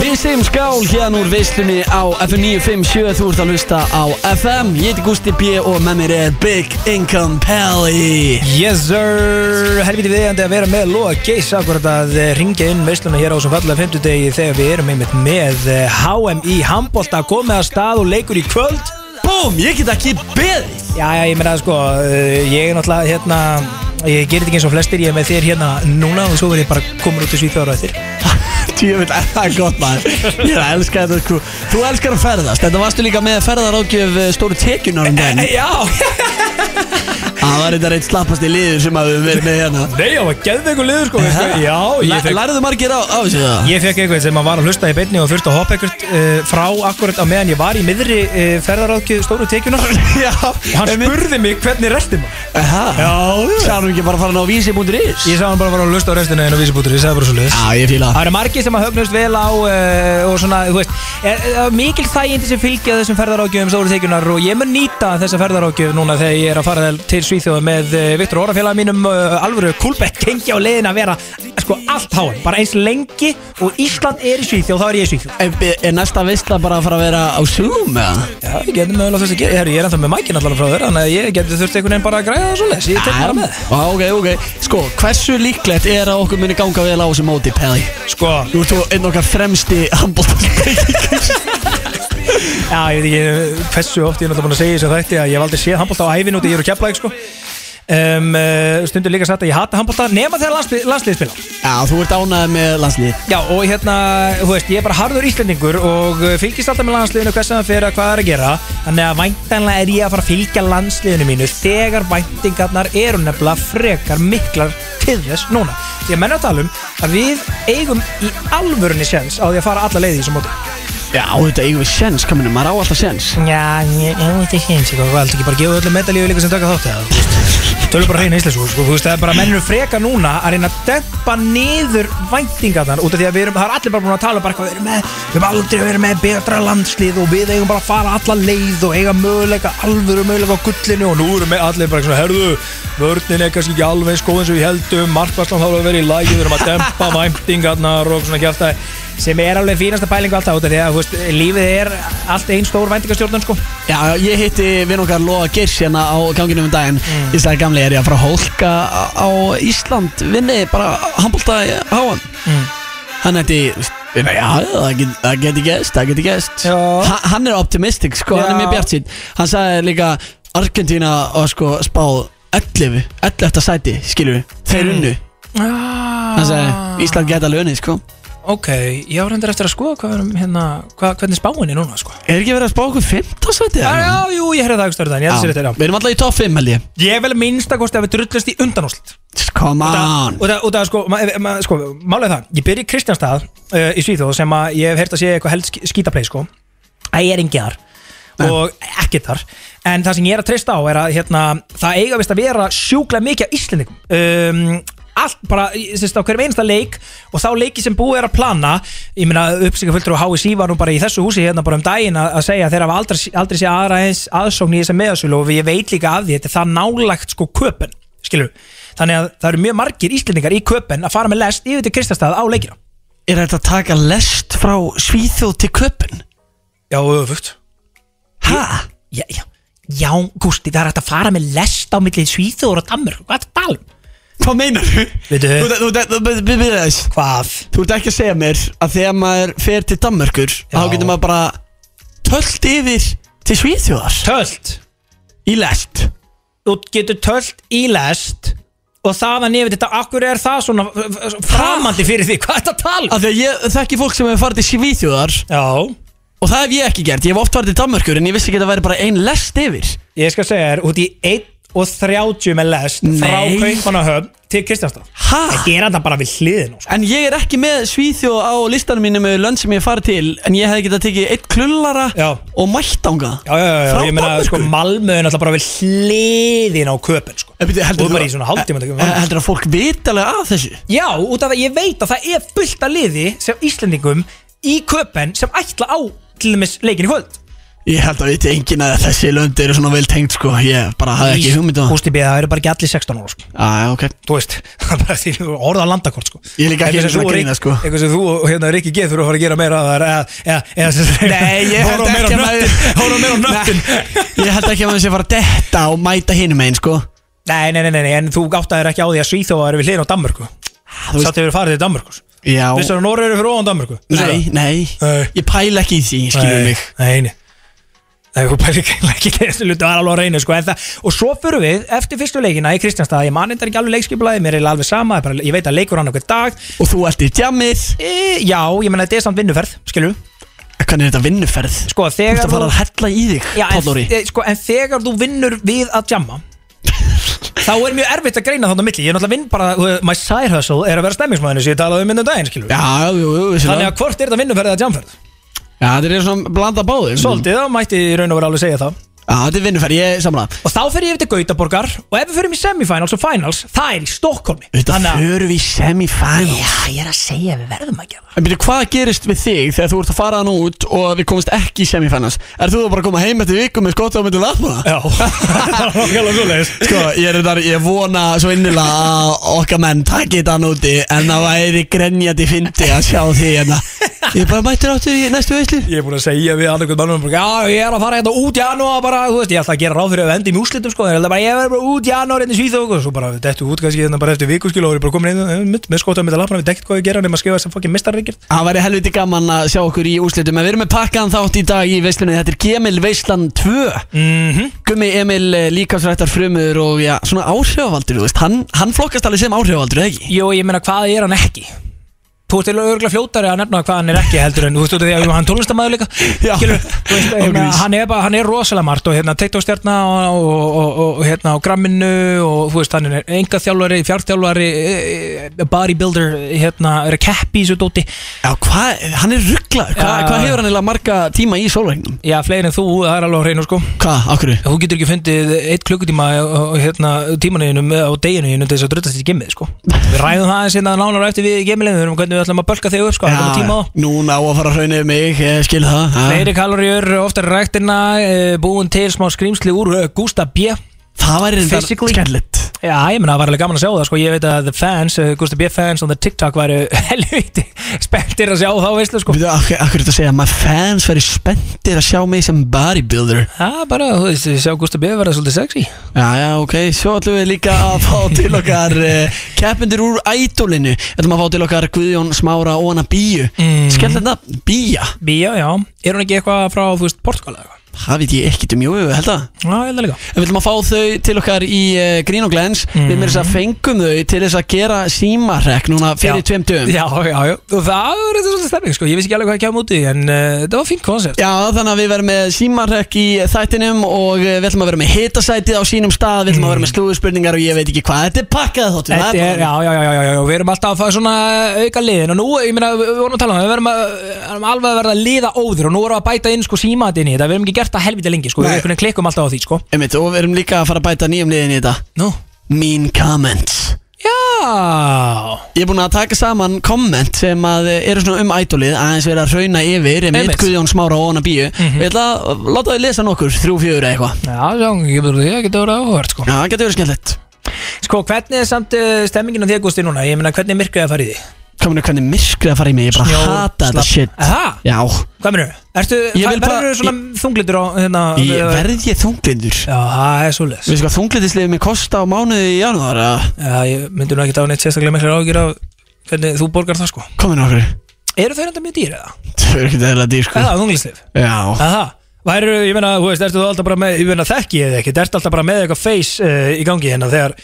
Við segjum skál hérna úr veislunni á FM 957 Þú ert að hlusta á FM Ég heiti Gusti B og með mér er Big Income Pally Yes sir, helviti viðjandi að vera með Lóa Geis akkurat að ringja inn veisluna hér á sem fallega 50 degi þegar við erum einmitt með eh, HMI handbólta komið að stað og leikur í kvöld Búm, ég get ekki beðið Já, já, ég meina sko, eh, ég er náttúrulega hérna, ég gerir þetta ekki eins og flestir, ég er með þér hérna núna og svo verð ég bara komin út í Svíþjóðar á þér Tjöfull, það er gott maður Ég er að elska þetta sko Þú elskar að ferðast Þetta varstu líka með ferðarákjöf eh, stóru tekjunar um daginn Já, Það var þetta reitt slappast í liður sem að við verið með hérna nei, já, geððu eitthvað liður sko, veistu? já, ég Læ- fekk Lærðu margir á, á þessu það? Ég fekk eitthvað sem að var að hlusta í beinni og þurfti að hoppa eitthvað uh, frá akkurat á meðan ég var í miðri uh, ferðaráðkið stóru tekjunar Já, og hann spurði mig hvernig restin var Já, Sáum ekki bara að fara á vísi.is Ég sá hann bara að fara að hlusta á restina en á vísibútur, ég sagði bara svo leiðis Já, ég fíla Það eru margir sem að höfnust vel á uh, og svona, þú veist, er, er, mikil þægindi sem fylgja þessum ferðaráðgjöfum stóru tekjunar og ég mun nýta þessa ferðaráðgjöf núna þegar ég er að fara til Svíþjóð með uh, Viktor Órafélag mínum uh, alvöru Kulbett gengja á leiðin að vera sko allt háum, bara eins lengi og Ísland er í Svíþjóð, þá er ég í Svíþjóð Er, er næsta veistla bara að fara að vera á Zoom eða? Já, ég geti mögulega þess að gera, Herri, ég er ennþá með mækin allavega frá þér, þannig að ég geti þurft einhvern veginn bara að græða það svolítið, ég tek bara með. Á, Ah, ok, ok Sko, hversu líklegt er að okkur muni ganga vel á þessu móti, Pelli? Sko, Þú ert þú einn okkar fremsti handbóltarspeiking já, ég veit ekki hversu oft ég er náttúrulega búin að segja þess að þetta, að ég hef aldrei séð handbólta á æfin út í ég er að kepla, sko. Um, uh, stundur líka sagt að ég hata handbólta nema þegar landslið, landslið spila. Já, þú ert ánæðið með landslið Já, og hérna, þú veist, ég er bara harður íslendingur og uh, fylgist alltaf með landsliðinu hvers að það fyrir að hvað það er að gera þannig að væntanlega er ég að fara að fylgja landsliðinu mínu þegar væntingarnar eru nefnilega frekar miklar til þess núna. Því að menna að tala um að við eigum í alvörunni séns á því að fara alla leið í þessum móti. Já, þetta eigum við sjens, kaminu, maður á alltaf sjens Já, ég veit ekki eins eitthvað, hvað heldur ekki bara að gefa öllum medalíu líka sem taka þátt eða, þú veist Tölum bara hreina íslensku, sko, þú veist, það er bara mennur freka núna að reyna að dempa niður væntingarnar út af því að við erum, það er allir bara búin að tala um bara hvað við erum með, við erum aldrei verið með betra landslið og við eigum bara að fara alla leið og eiga möguleika, alvöru möguleika á gullinu og nú erum við allir bara svona, herðu, vörnin er kannski ekki alveg sko eins og við heldum, markvarslan þá er að vera í lagi, við erum að dempa væntingarnar og svona kjæftæði sem er alveg fínasta pælingu alltaf út af því að þú veist, lífið er allt einn stór væntingastjórnum sko Já, já, ég hitti vinn okkar Lóa Geirs hérna á ganginum um daginn Ég sagði gamli, er ég að fara að hólka á- á Ísland Vinni, bara handbólta á hann Hann hætti, já, já, það get- það geti gæst, það geti gæst Já. ha, Hann er optimistic, sko, hann er Já. mjög bjart sín Hann sagði líka, Argentína og sko spáð 11, 11. sæti, skilur við Þeir unnu, hann Ah. sagði, Ísland geti alveg unni, sko Ok, ég á reyndar eftir að skoða hvað erum, hérna, hvað, hvernig spáin er núna sko Mhm. Er ekki verið að spá okkur 15 sæti? Já, já, jú, ég heyrði það ekki störðan, ég held sér við þetta, erum alltaf í top 5, held ég já Ég er vel minnst að kosti að við drullast í undanúslit Come on Og það, sko, ma, ma, sko, málega það, ég byrja í Kristjánstað uh, í Svíþjóð sem að ég hef heyrt að sé eitthvað held skítaplei sko að ég er engið þar og ekkert þar en það sem ég er að treysta á er að hérna, það eiga vist að vera sjúklega mikið af Íslendingum um, allt bara, sérst, á hverjum einasta leik og þá leiki sem búið er að plana ég meina uppsýkafulltur og HSI var nú bara í þessu húsi hérna bara um daginn að, að segja að þeir hafa aldrei, aldrei sé aðra eins aðsókn í þessa meðasölu og ég veit líka af því þetta er það nálagt sko köpen, skilur þannig að það eru mjög margir Íslendingar í köpen að fara með lest yfir til Kristastað á leikina Er þetta að taka lest frá Svíþjóð til köpun? Já, öfugt Hæ? Já, já, já, Gústi, það er hægt að fara með lest á millið Svíþjóður og Dammur Hvað er það um? Hvað meinar þú? Þú- Veitu- þú- þú- þú- þú- þú- þú- þú- Hvað? Þú ert ekki að segja mér að þegar maður fer til Danmörkur þá getur maður bara töllt yfir til Svíþjóðar Tölt í lest Þú getur tölt í lest og þaðan yfir þetta, akkur er það svona f- f- framandi fyrir því, hvað er þetta að tala um? Af því að ég þekki fólk sem hefur farið til Svíþjóðar Já, og það hef ég ekki gert, ég hef oft farið til Danmörkur en ég vissi ekki að það væri bara ein lest yfir ég skal segja þér, út í 1 og 30 með lest frá Nei. Kaupmannahöfn til Kristjánstað Ha? Það gera þetta bara við hliðin á sko. En ég er ekki með Svíþjóð á listanum mínu með lönd sem ég hef farið til en ég hef getað tekið eitt klullara Já. og mættanga Já, já, já, já, Frá ég meina, Danmörku? sko, Malmö er náttúrulega bara við hliðin á köpun, sko En byrju, Eh, heldur Og þú- bara í svona hálftíma tökum við. Eh, Heldur að fólk vitalega að þessu? Já, út af að ég veit að það er fullt að liði sem Íslendingum í köpen sem ætla á til dæmis leikin í kvöld Ég held að viti engin að þessi lönd eru svona vel tengt sko Ég bara hafði ekki hugmynd um það Ah, Úst í bíða, það eru bara ekki allir 16 ára sko. Já, ok Þú veist, það er bara því þú orða landakort sko. Ég er líka ekki Eitthvað sem að þú og Rick- grína, sko. Eitthvað sem þú og hérna Rikki G þurfa að fara að gera meira að það Nei, ég held ekki að maður Hóra meira á nöttin Nei, Ég held ekki að maður sé að fara að detta og mæta hinum einn sko Nei, nei, nei, nei, nei, en þú áttaðir ekki á því að Svíþjóða eru við hliðin á Danmörku þú veist- Satt hefur farið til Danmörku Já Ah, Vissar að Nóra eru fyrir ofan Danmörku Nei, nei Nei. Ég pæla ekki í því, skilur mig Nei, nei Það er bara ekki, ekki þessu luti, það er alveg að reyna sko, en það, og svo fyrir við eftir fyrstu leikina í Kristjánstað, ég man þetta ekki alveg leikskipulaði mér er eiginlega alveg sama, ég, bara, ég veit að leikur hann okkur dag Og þú ert í djamið e, já, ég menna þetta er samt vinnuferð, skilur Hvernig er þetta vinnuferð? sko, Þú þegar ert að fara að hella í þig, já, en, Pállóri e, sko, en þegar þú vinnur við að jamma þá er mjög erfitt að greina þannig á milli, ég er náttúrulega vinn bara þú- my side hustle er að vera stemmingsmaðinu sem ég talaði um minnum daginn, skilur Já, jú, jú, þannig vissilega að hvort er þetta vinnuferð eða jamferð Já, þetta er svona blanda báðir svolítið, þá mætti ég í raun og vera alveg segja það Já, þetta er vinnuferð, ég er samla Og þá fyrir ég yfir til Gautaborgar Og ef við fyrir í semifinals og finals Það er í Stokkólmi Þetta förum við í semifinals Já, ég er að segja við verðum að gera það. En byrju, hvað gerist við þig þegar þú ert að fara hann út og við komumst ekki í semifinals? Er þú þá bara að koma heim eftir viku með skotið á myndið laðbúna? Já, það er nákvæmlega svo leiðis Sko, ég er þar, ég vona svo innilega að okkar menn takki þetta hann úti en það væri grenjandi fyndi að sjá því hérna. Ég er bara mættur áttu í næstu veislu. Ég er búin að segja við annarkvæmt mannum bara, Já, ég er að fara hérna út í janúar bara Þú veist, ég ætla að gera ráð fyrir að við endum í úslitum sko, en ég, bara, ég verður bara út í janúar hérna í Svíþók Og svo bara, dettu út kannski hérna bara eftir viku skil Og ég er bara komin inn eh, með, með skotum með lapna Við dekkt hvað ég gera nema að skrifa sem fokkin mistarreikir Það væri helviti gaman að sjá okkur í úslitum en við erum með pakkaðan þátt í dag í veislunni þetta er Gemil Veislan 2 Mhm. Gummi Emil eh, líkamsrættar frumur og já, svona áhrifavaldur, þú veist hann, hann flokkast alveg sem áhrifavaldur, eða ekki? Jó, ég meina, hvað er hann ekki? Þú ert til örgulega fljótari að nefna hvað hann er ekki heldur en þú veist út af því að hann er tónlistamæður líka Já. Skilur, þú veist, hérna, Ángríns. hann, er bara, hann er rosalega margt og hérna, tektostjarna og, og, og, og hérna, á gramminu og þú veist, hann er enga þjálfari, fjartþjálfari e, e, bodybuilder, hérna, er að keppi í þessu dóti Já, hvað, hann er rugglaður, Hva, Já. hvað hefur hann eiginlega marga tíma í sólregnum? Já, fleiri en þú, það er alveg á hreinu sko Hvað, okkur? Þú getur ekki fundið eitt klukkutíma á- á- hérna, tímanuðinum á deginuðinum til þess að druttast í gemmið sko Við ræðum það eins hérna nánar á eftir við í gemmilegum hvernig við ætlum að bölka þig upp sko, það er tíma á það. núna á að fara að hraunið mig, ég skil það já. Fleiri kaloríur, oftar ræktina, eh, búin til smá skrýmsli úr eh, Gústa B Það væri reyndar Physically. Sko. skellett Já, ég meina, það var alveg gaman að sjá það, sko, ég veit að the fans, eh, Gústa B fans on the TikTok væru helviti spenntir að sjá þá, veistu, sko Við þú, akkur, akkur þetta að segja að maður fans væri spenntir að sjá mig sem bodybuilder Já, bara, þú veist, sjá Gústa B verða svolítið sexy Já, já, ok, svo ætlum við líka að fá til okkar uh, keppindur úr ædolinu ætlum að fá til okkar Guðjón Smára og hana Bíu Mhm. Skellett nafn, Bía Bía, já, er hún ekki eitthvað frá, þú veist, Portugal eða eitthvað? Það veit ég ekkert um, jú, jú, held að Já, ég held að líka En Við viljum að fá þau til okkar í uh, Grín og Glens Við með þess að fengum þau til þess að gera símarrekk núna fyrir Mhm. Já. tveim dögum Já, já, já, og það var eitthvað svolítið stemming, sko, ég vissi ekki alveg hvað ég kemur út í, en uh, það var fínt koncept Já, þannig að við verðum með símarrekk í þættinum og eh, við ætlum að vera með hitasætið á sínum stað, við ætlum að vera með slúðspurningar og ég veit ekki hvað, þetta er pakkað þóttum Mhm. Þetta er, já, já, já, já, já, já, við erum alltaf að fá svona auka liðin og nú, ég meina, við við vorum að tala um það, við verum að, erum alveg að verða liða óður og nú erum við að bæta inn sko símat inn í þetta, við erum ekki gert það helvita lengi, sko, við Nei. einhvern veginn klikkum alltaf á því, sko. Einmitt, og við erum líka að fara að bæta nýjum liðin í þetta Nú? Mean comments Já, Ég er búin að taka saman komment sem að eh, eru svona um ædolið aðeins verið að rauna yfir einmitt Einmitt. Mhm. Guðjón Smára og Óna Bíu Við ætla að láta þau lesa nokkur, þrjú, fjögur eða eitthvað já, já, ég verður því, það getur verið áhört, sko. Já, það getur verið skemmtilegt Sko, hvernig er samt uh, stemmingin á því að gústi núna, ég meina, hvernig myrkrið það farið í því? Komin er hvernig myrkrið að fara í mig, ég bara hata þetta shit Það? Já, Hvað myrðu? Ertu, Ég vil það bara- verður svona þunglindur á, hérna, ég, eh, verð ég þunglindur Já, það er svolítið. Við sko að þunglindisliðið mér kosta á mánuði í janúar að Já, ég myndi nú ekki á neitt sérstaklega miklar ágjur af hvernig þú borgar það, sko. komin okkur Eru þau enda mjög dýr eða? Það er ekkert eðla dýr sko Það er þunglistif Já Aha. Væru, ég meina, þú veist, ertu þú alltaf bara með ég meina, þekki ég þig ekki, ertu alltaf bara með eitthvað face uh, í gangi hérna þegar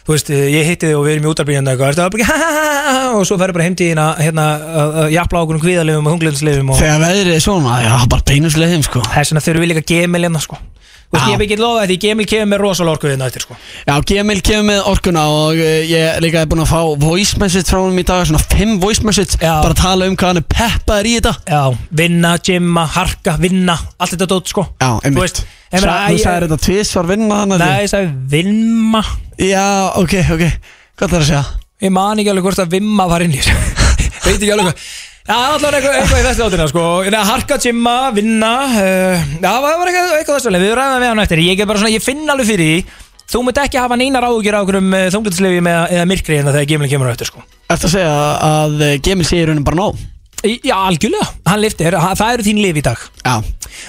þú veist, eh, ég hitti þig og við erum í útarbyrjandi eitthvað, ertu það bara ekki, ha, ha, ha, ha, og svo ferðu bara heimtíðina hérna, að að jafla á okkur um kvíðalifum og hunglindslifum og Þegar veðrið er svona, já, bara beinuslegðum sko þess vegna þurfum við líka gemil hérna, sko Þú veist, Já. ég hef ekki lofað því, gemil kemur með rosalega orku hérna eftir, sko Já, Gemil kemur með orkuna og uh, ég líka er búin að fá voice message frá hann í dag Svona fimm voice message, Já. bara að tala um hvað hann er peppaður í þetta Já, vinna, gymma, harka, vinna, allt þetta dót, sko Já, Þú einmitt veist, Sa- ég Þú meina, æ- sagðir þetta tvisvar vinna hann að Nei, ég sagði vinma því Já, ok, ok, hvað það er að segja? Ég man ekki alveg hvort að vimma var inn í þessu Veit ekki alveg hvað Já, allavega eitthvað, eitthvað í þessu átina sko. Nei, Harka, Jimma, vinna uh, Já, það var eitthvað, eitthvað þessu leið Við ræðum við hann á eftir Ég, er bara svona, ég finn alveg fyrir því Þú munt ekki hafa neinar áhugjur á okkurum þunglutislegu eh, eða, eða myrkri en þegar gemlinn kemur á eftir sko. Ertu að segja að eh, gemin sé í raunin bara nóg? Í- Já, algjörlega, hann liftir, ha- það eru þín lif í dag Já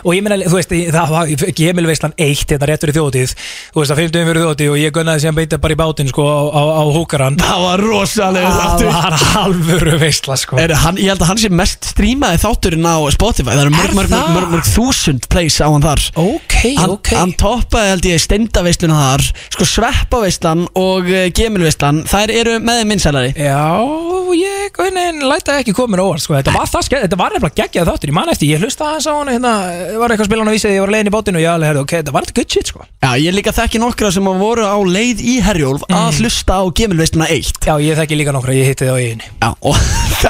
og ég meina, þú veist, það var gemilveislan eitt hérna rétt fyrir þjótið þú veist, að 50 fyrir þjótið og ég gunnaði sem beita bara í bátinn sko á, á, á húkaran Það var rosalega það var halvöru veisla sko Er, hann, ég held að hann sé mest strímaði þátturinn á Spotify Það eru mörg, Er mörg, mörg, það? mörg, mörg þúsund plays á hann þar ok, Hann, hann toppaði held ég steindaveisluna þar Sko sveppaveislan og uh, gemilveislan Þær eru með þeim minnsælari já, ég hvernig læta ekki komin óvart sko, þetta var, það, ske- þetta var nefnilega geggjað þáttur, ég man eftir, ég hlusta aðeins á hann hérna, var eitthvað spilan að vísið, ég var leiðin í bátinn og ég alveg, herrðu, ok, þetta var þetta good shit sko Já, ég líka þekki nokkra sem að voru á leið í Herjólf Mm. Að hlusta á gemilveisluna 1 já, ég þekki líka nokkra, ég hitti það á eiginni Já, og,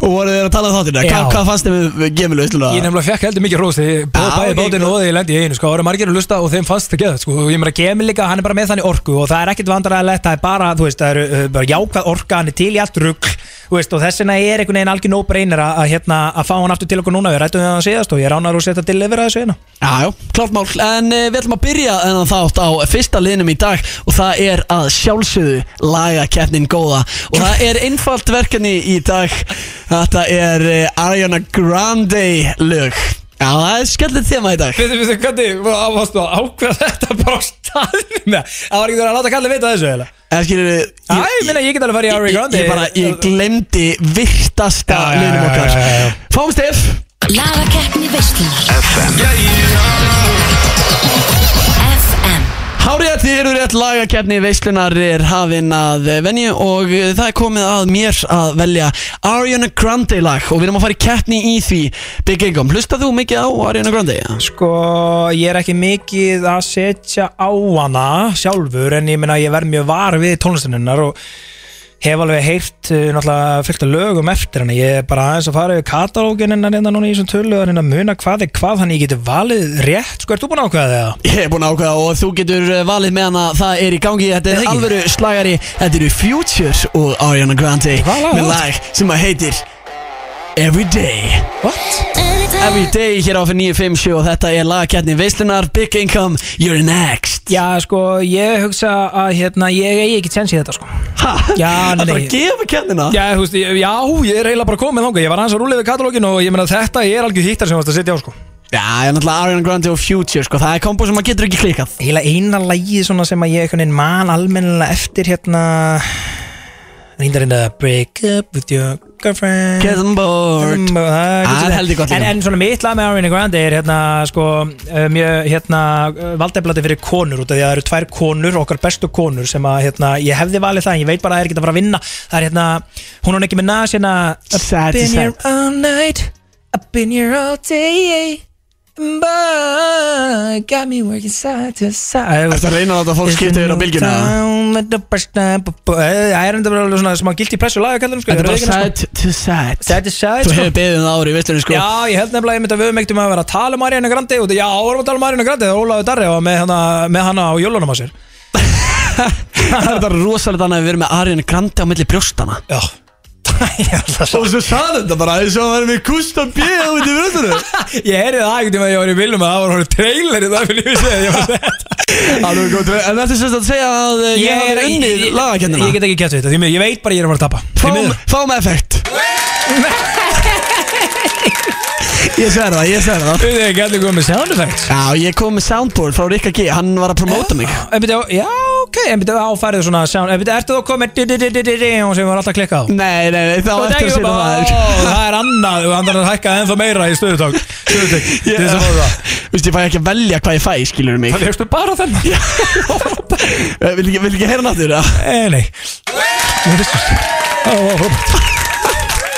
og voru þeir að tala um þátturinn Já. Hvað, hvað fannst þeim við gemilveisluna? Ég nefnilega fekk heldur mikið róst Já, Þegar bæði ok, bátinn gott. og þegar ég lendi í einu sko, Það voru margir að lusta og þeim fannst það geða sko. Og ég meina gemið líka, hann er bara með þannig orku Og það er ekkit vandaræðilegt, það er bara þú veist, Það eru uh, bara jákvæð orka, hann er til í allt rugg veist, Og þess vegna er einhvern veginn algjör nóbreynir að, að, hérna, að fá hann aftur til okkur núna Við rættum við hann síðast og ég ránar og setja til yfir að þessu hérna Já, já, klart mál En uh, við ætlum að byrja þennan þátt á fyrsta liðnum í dag Og það er að sjálfsögðu lagakeppnin góða Og það er einfalt verkefni í dag Þetta er uh, Ariana Grande lög Já, það er skellið þema í dag Við þau hvernig, varstu að ákveða þetta bara á staðnum Það var ekki að láta kallið vita þessu heila En skilur Æ, ég meina, ég get alveg farið í Ariana Grande. Ég, ég, bara, ég glemdi virtasta Já, já, liðnum já, okkar já, já, já. Fáum stef Lagakeppni veislunar FM Hárið að þið eru rétt lagakeppni veislunar er hafin að eh, venju og eh, það er komið að mér að velja Ariana Grande lag og við erum að fara í keppni í því Big Income. Hlusta þú mikið á Ariana Grande? Já, Sko, ég er ekki mikið að setja á hana sjálfur en ég meina ég verð mjög var við tónlistuninnar og hef alveg heyrt uh, náttúrulega fullt af lögum eftir henni ég er bara aðeins að fara yfir katalógin hennar hérna núna í þessum tölu og hérna muna hvað er hvað hann ég geti valið rétt sko, ert þú búin að ákveða það? Ég er búin að ákveða og þú getur eh, valið með hana það er í gangi, þetta Er það er ekki? alvöru slagari þetta eru Future og Ariana Grande Hvað lag er með það? lag sem að heitir Everyday What? Everyday hér á fyrir 9.57 og þetta er lagakeppni veislunar Big Income, you're next Já, sko, ég hugsa að hérna, ég eigi ekki tjens í þetta sko Ha? Já, Að nei, bara nei. gefa keppnina? Já, þú veist, ég- já, ég er eiginlega bara komið þangað, ég var aðeins að rúlega við katalógin og ég meina þetta er algjör hittar sem þú varst að setja á sko Já, ég er náttúrulega Ariana Grande og Future sko, það er kombo sem maður getur ekki klikað Heila eina lagið svona sem að ég einhvern veginn man almennilega eftir hérna Rýndar hérna Break up with your girlfriend Mm, Get on board Ah, Það það er heldur gott en, líka. en svona mitt lag með Ariana Grande er hérna sko eh, mjög hérna valdeflati fyrir konur út af því að það eru tvær konur, okkar bestu konur sem að hérna, ég hefði valið það en ég veit bara að það er ekki að fara að vinna það er hérna, hún hún ekki með nas hérna Sad I've is been here sad. all night I've been here all day But got me working side to side Ertu að reyna að láta fólk skipta yfir á bylgjuna? Það er enda bara alveg svona smá gilt í pressu laga kallar Þetta er bara side to side Side to side Þú sko. hefur beðið um það ári, veistu henni sko Já, ég held nefnilega að ég myndi að við mektum að vera að tala um Ariana Grande út, Já, vorum að tala um Ariana Grande þegar Ólaður Darri var með hana, með hana á jólunum á sér Það er bara rosalega þannig að við erum með Ariana Grande á milli brjóstana Já Ég held að- svo sagði þetta bara, eins og að vera með Gustav B. á milli brjóstana Ég heyrði það ekkert um að ég var í viljum að það var horið trailer í það fyrir ég vissi að ég var að segja þetta Alveg góð, en þetta er sérst að segja að eh, ég er- hafi unnið ég- Ég lagakennina get ekki kætt við þetta, því miður, ég veit bara að ég er að fara að tapa Því Fáum, miður. fáum effekt Ég sver það, ég sver það Við þið ekki allir komið með sound effects Já, ég kom með soundboard frá Rikka G, hann var að promóta mig En byrja, Ah, já, ok, en byrja áfærið svona sound En byrja, ertu þá komið di-di-di-di-di og sem var alltaf klikkað á Nei, nei, nei, það Og var það eftir að er setja bara, það ó, það er annað og andan að hækka ennþá meira í stöðutök Stöðutök, til þess að fá það Þú veist, ég fæ ekki að velja hvað ég fæ, skilur mig Það fegstu bara þennan Eh, Vil ekki, vil ekki heyra náttur, já Eh, nei Ég veist Ó, ó, ó.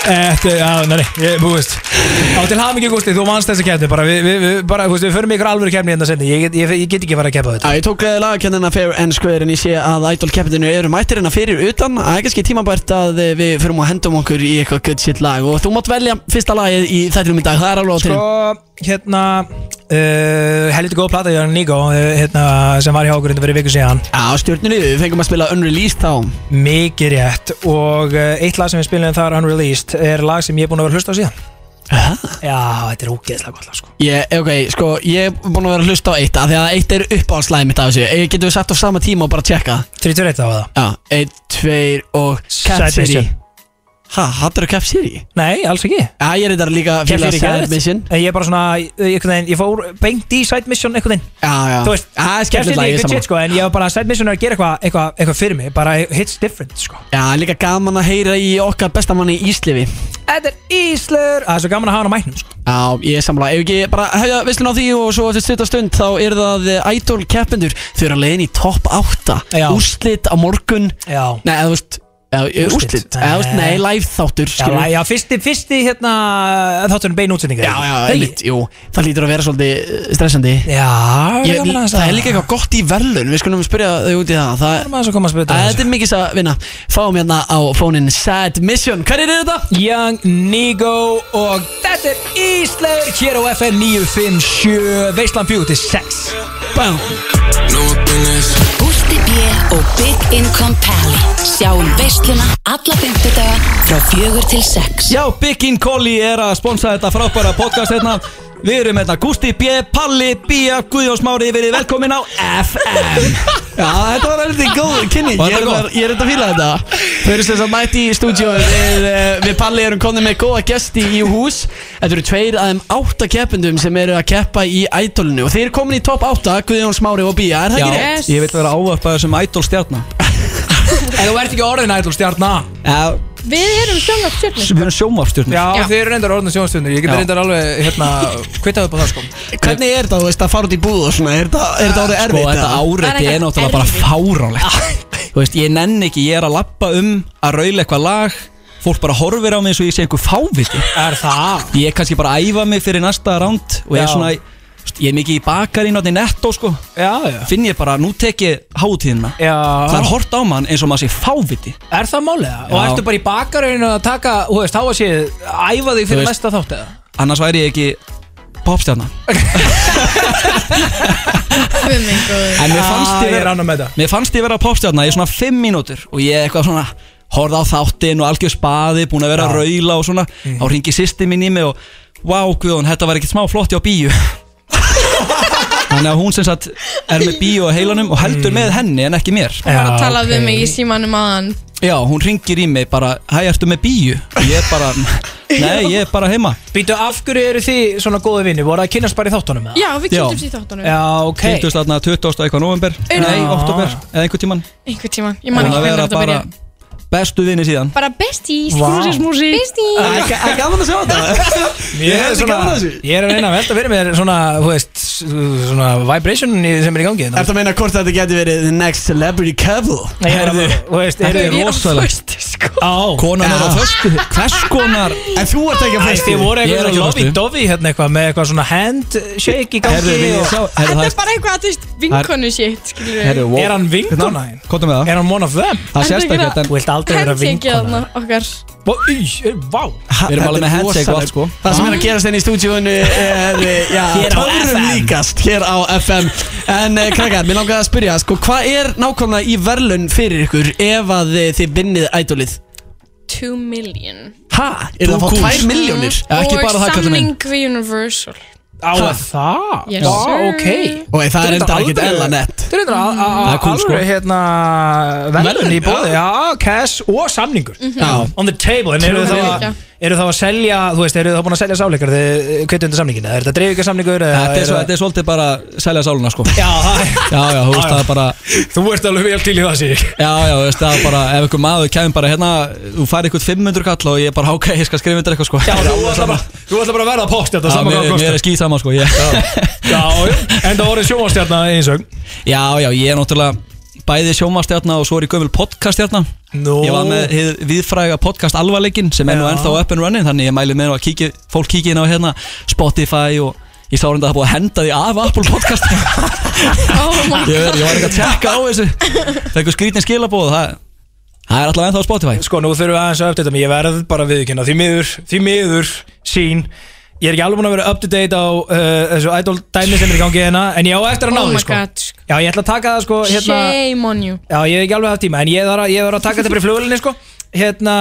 Þetta, já, nei, nei, ég, þú veist Á til hafa mikið gústi, þú manst þessa keppni bara, við, við, við, bara, þú veist, við förum í ykkur alvöru keppni hérna senni, ég, get- ég, ég get ekki fara að keppa á þetta Já, ég tók lagakennina fair and square en ég sé að idol keppinu eru mættir hérna fyrir utan að það er kannski tímabært að eh, við förum að hendum okkur í eitthvað good shit lag og þú mátt velja fyrsta lagið í þættinum í dag, það er alveg á til Sko, hérna, uh, helviti góð plata hjá Nico uh, hérna, sem var hjá okkur hérna fyrir viku síðan Já, stjórninu, við fengum að spila Unreleased þá mikið rétt og uh, eitt lag sem við spilum þar unreleased er lag sem ég er búin að vera að hlusta á síðan Hæ? já, þetta er ógeðslega gott lag sko Ég, ok, sko, ég er búin að vera að hlusta á eitt af Því að eitt er uppáhaldslæði mitt af þessu Eh, Getum við sagt á sama tíma og bara tjekka það? 31 á það Já, eitt, tveir og Cat Side City Mission. Hæ, hattur þú Cat City? nei, alls ekki Já, ég er þetta líka að Keflavík fíla er Sad geðveikt. Mission En ég er bara svona, eh, einhvern veginn, ég fór beint í side mission einhvern veginn Já, já, Þú veist, Já, það er Keflavík skemmtilegt er lagið saman legit, sko, en ég var bara side mission er að gera eitthvað eitthva, eitthva fyrir mig, bara hits different sko. Já, líka gaman að heyra í okkar bestamanni í Íslifi Þetta er Íslur Það er svo gaman að hafa hann á mæknum sko. Já, ég er sammála, ef ekki bara hefja visslun á því og svo eftir stutta stund þá er það eh, Idol keppendur, þau eru að leiðin í topp 8 Já. Úrslit á morgun Já, Nei, eða þú veist eða, eh, Úrslit? Úrslit, eða þú veist, Nei. nei, live þáttur já, skilur við. já fyrsti, fyrsti hérna, þátturinn bein útsendingar já, já, Hey. einmitt, jú, það lítur að vera svolítið eh, stressandi Já, ég, gaman að Það er líka eitthvað gott í verðlun, við skulum spyrja þau út í það Það Gaman að koma að spila Að Þetta er mikið að vinna Fáum hérna á fónin Sad Mission Hver er þetta? Young Nigo og þetta er Íslaur hér á FM 957 Veislan Beauty 6 Bam Gústi B. og Big Income Pally Sjáum veisluna alla fymtudaga frá fjögur til sex Já, Big In Collie er að sponsa þetta frábæra podcast hérna Við erum hérna Gusti B, Palli, Bía, Guðjón Smári Við erum velkomin á FM Já, þetta var alveg góð kynning Var Ég er þetta þetta- ég er þetta að fíla þetta Þau eru sless að mæti í stúdíu við, eh, við Palli erum konið með góða gesti í hús Þetta eru tveir af þeim átta keppendum sem eru að keppa í ædolinu Og þeir eru komin í topp átta Guðjón Smári og Bía Er það ekki rétt? ég vil vera ávarpaður sem idol stjarnar En þú ert ekki orðin idol stjarnar Já, Við erum sjónvarpstjörnum við erum sjómarstjórnir Já, þið eru reyndar orðin sjónstjarnar Ég get reyndar alveg, hérna, kvittaðu upp á það sko Hvernig er þetta, þú veist, að fara út í búð og svona Er þetta- er þetta orðið Sko, erfitt? þetta eða? áreiti Það er er náttúrulega bara erfitt. fáránlegt Þú veist, ég nenn ekki, ég er að lappa um að raula eitthvað lag Fólk bara horfir á mig eins og ég sé einhver fáviti Er það? Ég er kannski bara að æfa mig fyrir næsta ránd Og ég Já. er svona, þú veist, ég er mikið í bakarínu Þannig netto, sko Já, já Finn ég bara, nú tek ég hátíðina Það er Já, hort á mann eins og maður sé fáviti er það málega? Og Já. ertu bara í bakarauðinu að taka, þú veist, þá að sé æfa þig Þú fyrir veist- næsta þátt eða? Annars væri ég ekki popstjarnar Við minn góður En mér fannst ég vera annar með það Mér fannst ég vera popstjarnar í svona 5 mínútur og ég eitthvað svona horfði á þáttinn og algjör spaði, búin að vera að raula og svona Mhm. þá ringi sýsti mín í mig og wow Guðun, þetta var ekkert smá flott á bíu Þannig að hún sem sagt er með bíu á heilanum og heldur Mhm. með henni en ekki mér Hún var að tala við mig í símanum aðan Já, hún ringir í mig bara, hæ, ertu með bíu? Og Ég er bara, nei, ég er bara heima Býtu, af hverju eru þið svona góði vinni? Voru það að kynast bara í þáttunum? eða? Já, við Já. kynntumst í þáttunum Já, ok 20. aðna 20. eitthvað november Já. Nei, oktober, eða einhver tíman Einhver tíma, ég Ah. man ekki að hvernig vera þetta bara byrja bestu vinni síðan Bara besties, Vá. músi Besties Það er gaman að sjá þetta Ég er, heldur svona, gaman að þessu. ég er að reyna að velta fyrir mér svona, þú veist, svona vibration í- sem er í gangi hérna. Ertu að meina hvort þetta getur verið the next celebrity couple? Nei, ég er að- Þú veist, er Þetta er þið rosalegt. sko Á, Konan er á Já. föstu, hvers konar En þú ert ekki að Æst, fyrstu þið voru Ég er eitthvað ekki á föstu. lovey-dovey hérna eitthvað með eitthvað svona handshake í gangi Herðu, vil ég og- sjá herðu, Þetta það er bara eitthvað að þú veist vinkonu shit skilur við Herru, wow. Er hann vinkona þín? Kóta með það Er hann one of them? Það Ertu sést ekki ekkert að- en Þú vilt aldrei vera Handshake vinkona aðna okkar Vá, í, er- Vá Við erum alveg með handshake og allt sko Það sem er að gerast henni í stúdíónu er eh, já, Hér á töfrum FM. líkast hér á FM En eh, krakkar, mér langaði að spyrja sko, Hvað er nákvæmlega í verðlun fyrir ykkur ef að eh, þið vinnið ædolið? 2 million Ha? Er það að fá Kúls. 2 miljónir? Já, ekki bara það, Og kallinn minn. samning við Universal Á að það? Yes, Vá, sir. ok Og það er Þetta enda ekkert aldrei- eðla nett Þetta er reyndar al- al- Það er kúl, sko. alveg hérna verðin í Verðlaun, bóði Já, cash og samningur Mhm. Já. On the table En eru þá að Líka. eru þá að selja, þú veist, eru þá búin að selja sáleikar þegar kvittu undir samningina, er þetta dreifika samningur Þetta er, svo, þetta er svolítið bara selja sáluna sko Já, það- Já, já, þú veist Já, já. það er bara þú ert alveg vel til í það sér Já, já, þú veist það er bara Ef einhver maður kemur bara hérna Þú fær eitthvað 500 kall og ég er bara ok, ég skal skrifa undir eitthvað sko Já, þú ætla bara, þú ætla bara að verða post þetta Já, saman mér, hvað mér er kostar skýt sama sko ég. Já, já, en það voru sjómanstjarna einsögn Já, já, ég er náttúrulega bæði sjómastjarna og svo er ég gömul podcastjarna Nú. Ég var með hið viðfræga podcast alvarleikin sem er nú Já. ennþá up and running þannig ég mæli með nú að kíki, fólk kíki inn á hérna Spotify og ég sá reynda að það er búið að henda því af Apple podcast Oh my ég, ég var ekki að tjekka á þessu Fekkur skrítin skilabóð það, það er alltaf ennþá á Spotify Sko, nú þurfum við aðeins að uppdata mig, ég verð bara viðkynna Því miður, því miður, sín Ég er ekki alveg búin að vera up to date á uh, þessu idol dæmi sem er í gangi hérna En ég á eftir að ná því Oh my sko god, sko. Já, ég ætla að taka það sko hérna, shame on you Já, ég hef ekki alveg haft tíma En ég þarf að, ég þarf að taka þetta fyrir flugulinni sko Hérna,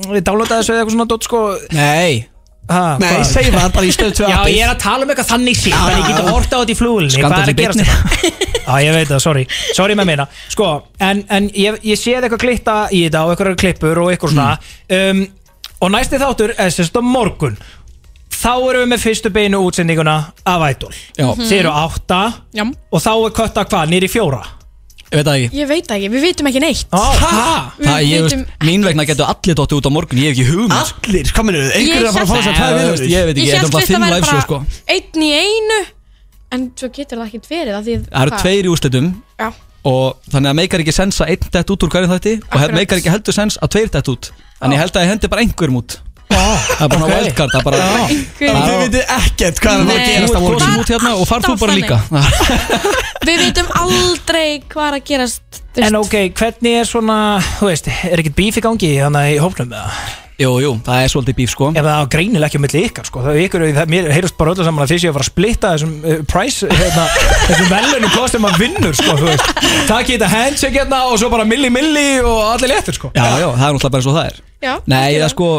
ég downloadaði þessu eða eitthvað svona dot sko Nei, ha, Nei, hvað? segðu það bara í stöðu 2 Já, ég er að tala um eitthvað þannig sín Þannig ég geti horta á þetta í flugulinni Skandall Hvað er í að gera beinni. þetta? Já, ég veit það, sorry Sorry með meina Sko, en, en ég, ég séð eitthvað klitta í þetta og eitthvað klippur og eitthvað svona um, Og næsti þáttur er sérst á morgun Þá erum við með fyrstu beinu útsendinguna af Idol já, Þið eru átta Já. Og þá er kötta hvað, nýri fjóra ég veit það ekki Ég veit það ekki, við veitum ekki neitt Hæ? Við Það, ég veist, vitum mín vegna getur allir dottið út á morgun, ég hef ekki hugmynd sko. Allir, hvað minnur þau? Einhverjir Ég að fara að fá þess að Nei, tvæða þú veist, Ég veit ekki, Ég þetta er held bara fyrst að þinn væri live show sko bara einn í einu En svo getur það ekkert verið af því Það eru hvað? tveir í úrslitum Já, og þannig að meikar ekki sens að einn dett út úr hverjum þætti og Akkurat. meikar ekki heldur sens að tveir dett út Þannig ég held að ég hendi bara einhverjum út Það er bara ok. okay. wildcard, það er bara einhver- Þau veitir ekkert hvað er að fara að Nei. gerast á Þú ert morgun kosin út hérna og farð þú Alltaf bara líka Við veitum aldrei hvað er að gerast þú En veist. ok, hvernig er svona, þú veist, er ekkert bíf í gangi þannig í hópnum með það? Jú, jú, það er svolítið bíf sko Ef það á greinilega ekki á milli ykkar, sko, það er ykkur, það, mér heyrast bara öllu saman að þið séu að fara að splitta þessum uh, price, hérna, þessum velunum hvað sem maður vinnur, sko, þú veist. Takk í þetta handshake hérna og svo bara milli milli og allir léttur, sko. Já, já, það er náttúrulega bara eins og það er Já, Nei, algjörlega. það sko,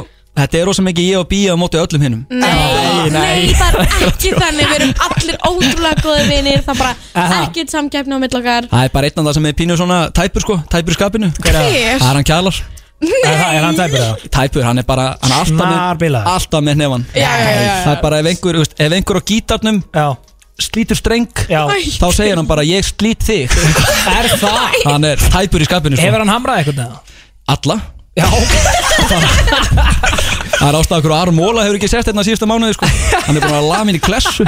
þetta er rosa mikið ég og bíja á móti öllum hinnum Nei, nei, það er ekki þannig Við erum allir ótrúlega góði vinir Það er bara Aha. ekkert samgefni á mill okkar Það er bara einn af það sem er pínu svona tæpur sko, tæpur í skapinu Hver? Það er hann kjælar Er, það- er hann tæpur það? Tæpur, hann er bara, hann er alltaf með, Snarbilaður. alltaf með nefann Já, já, já, já. Það er bara ef einhver, þú veist, ef einhver á gítarnum Já, slítur streng já. Æ. Þá segir hann bara, ég slít þig Er það? Hann er tæpur í skapinu sko. Hefur hann hamrað eitthvað það? Alla Já, ok. Það er ástæða okkur að Aron Móla hefur ekki sett hérna síðasta mánuði sko. Hann er búin að laga mín í klessu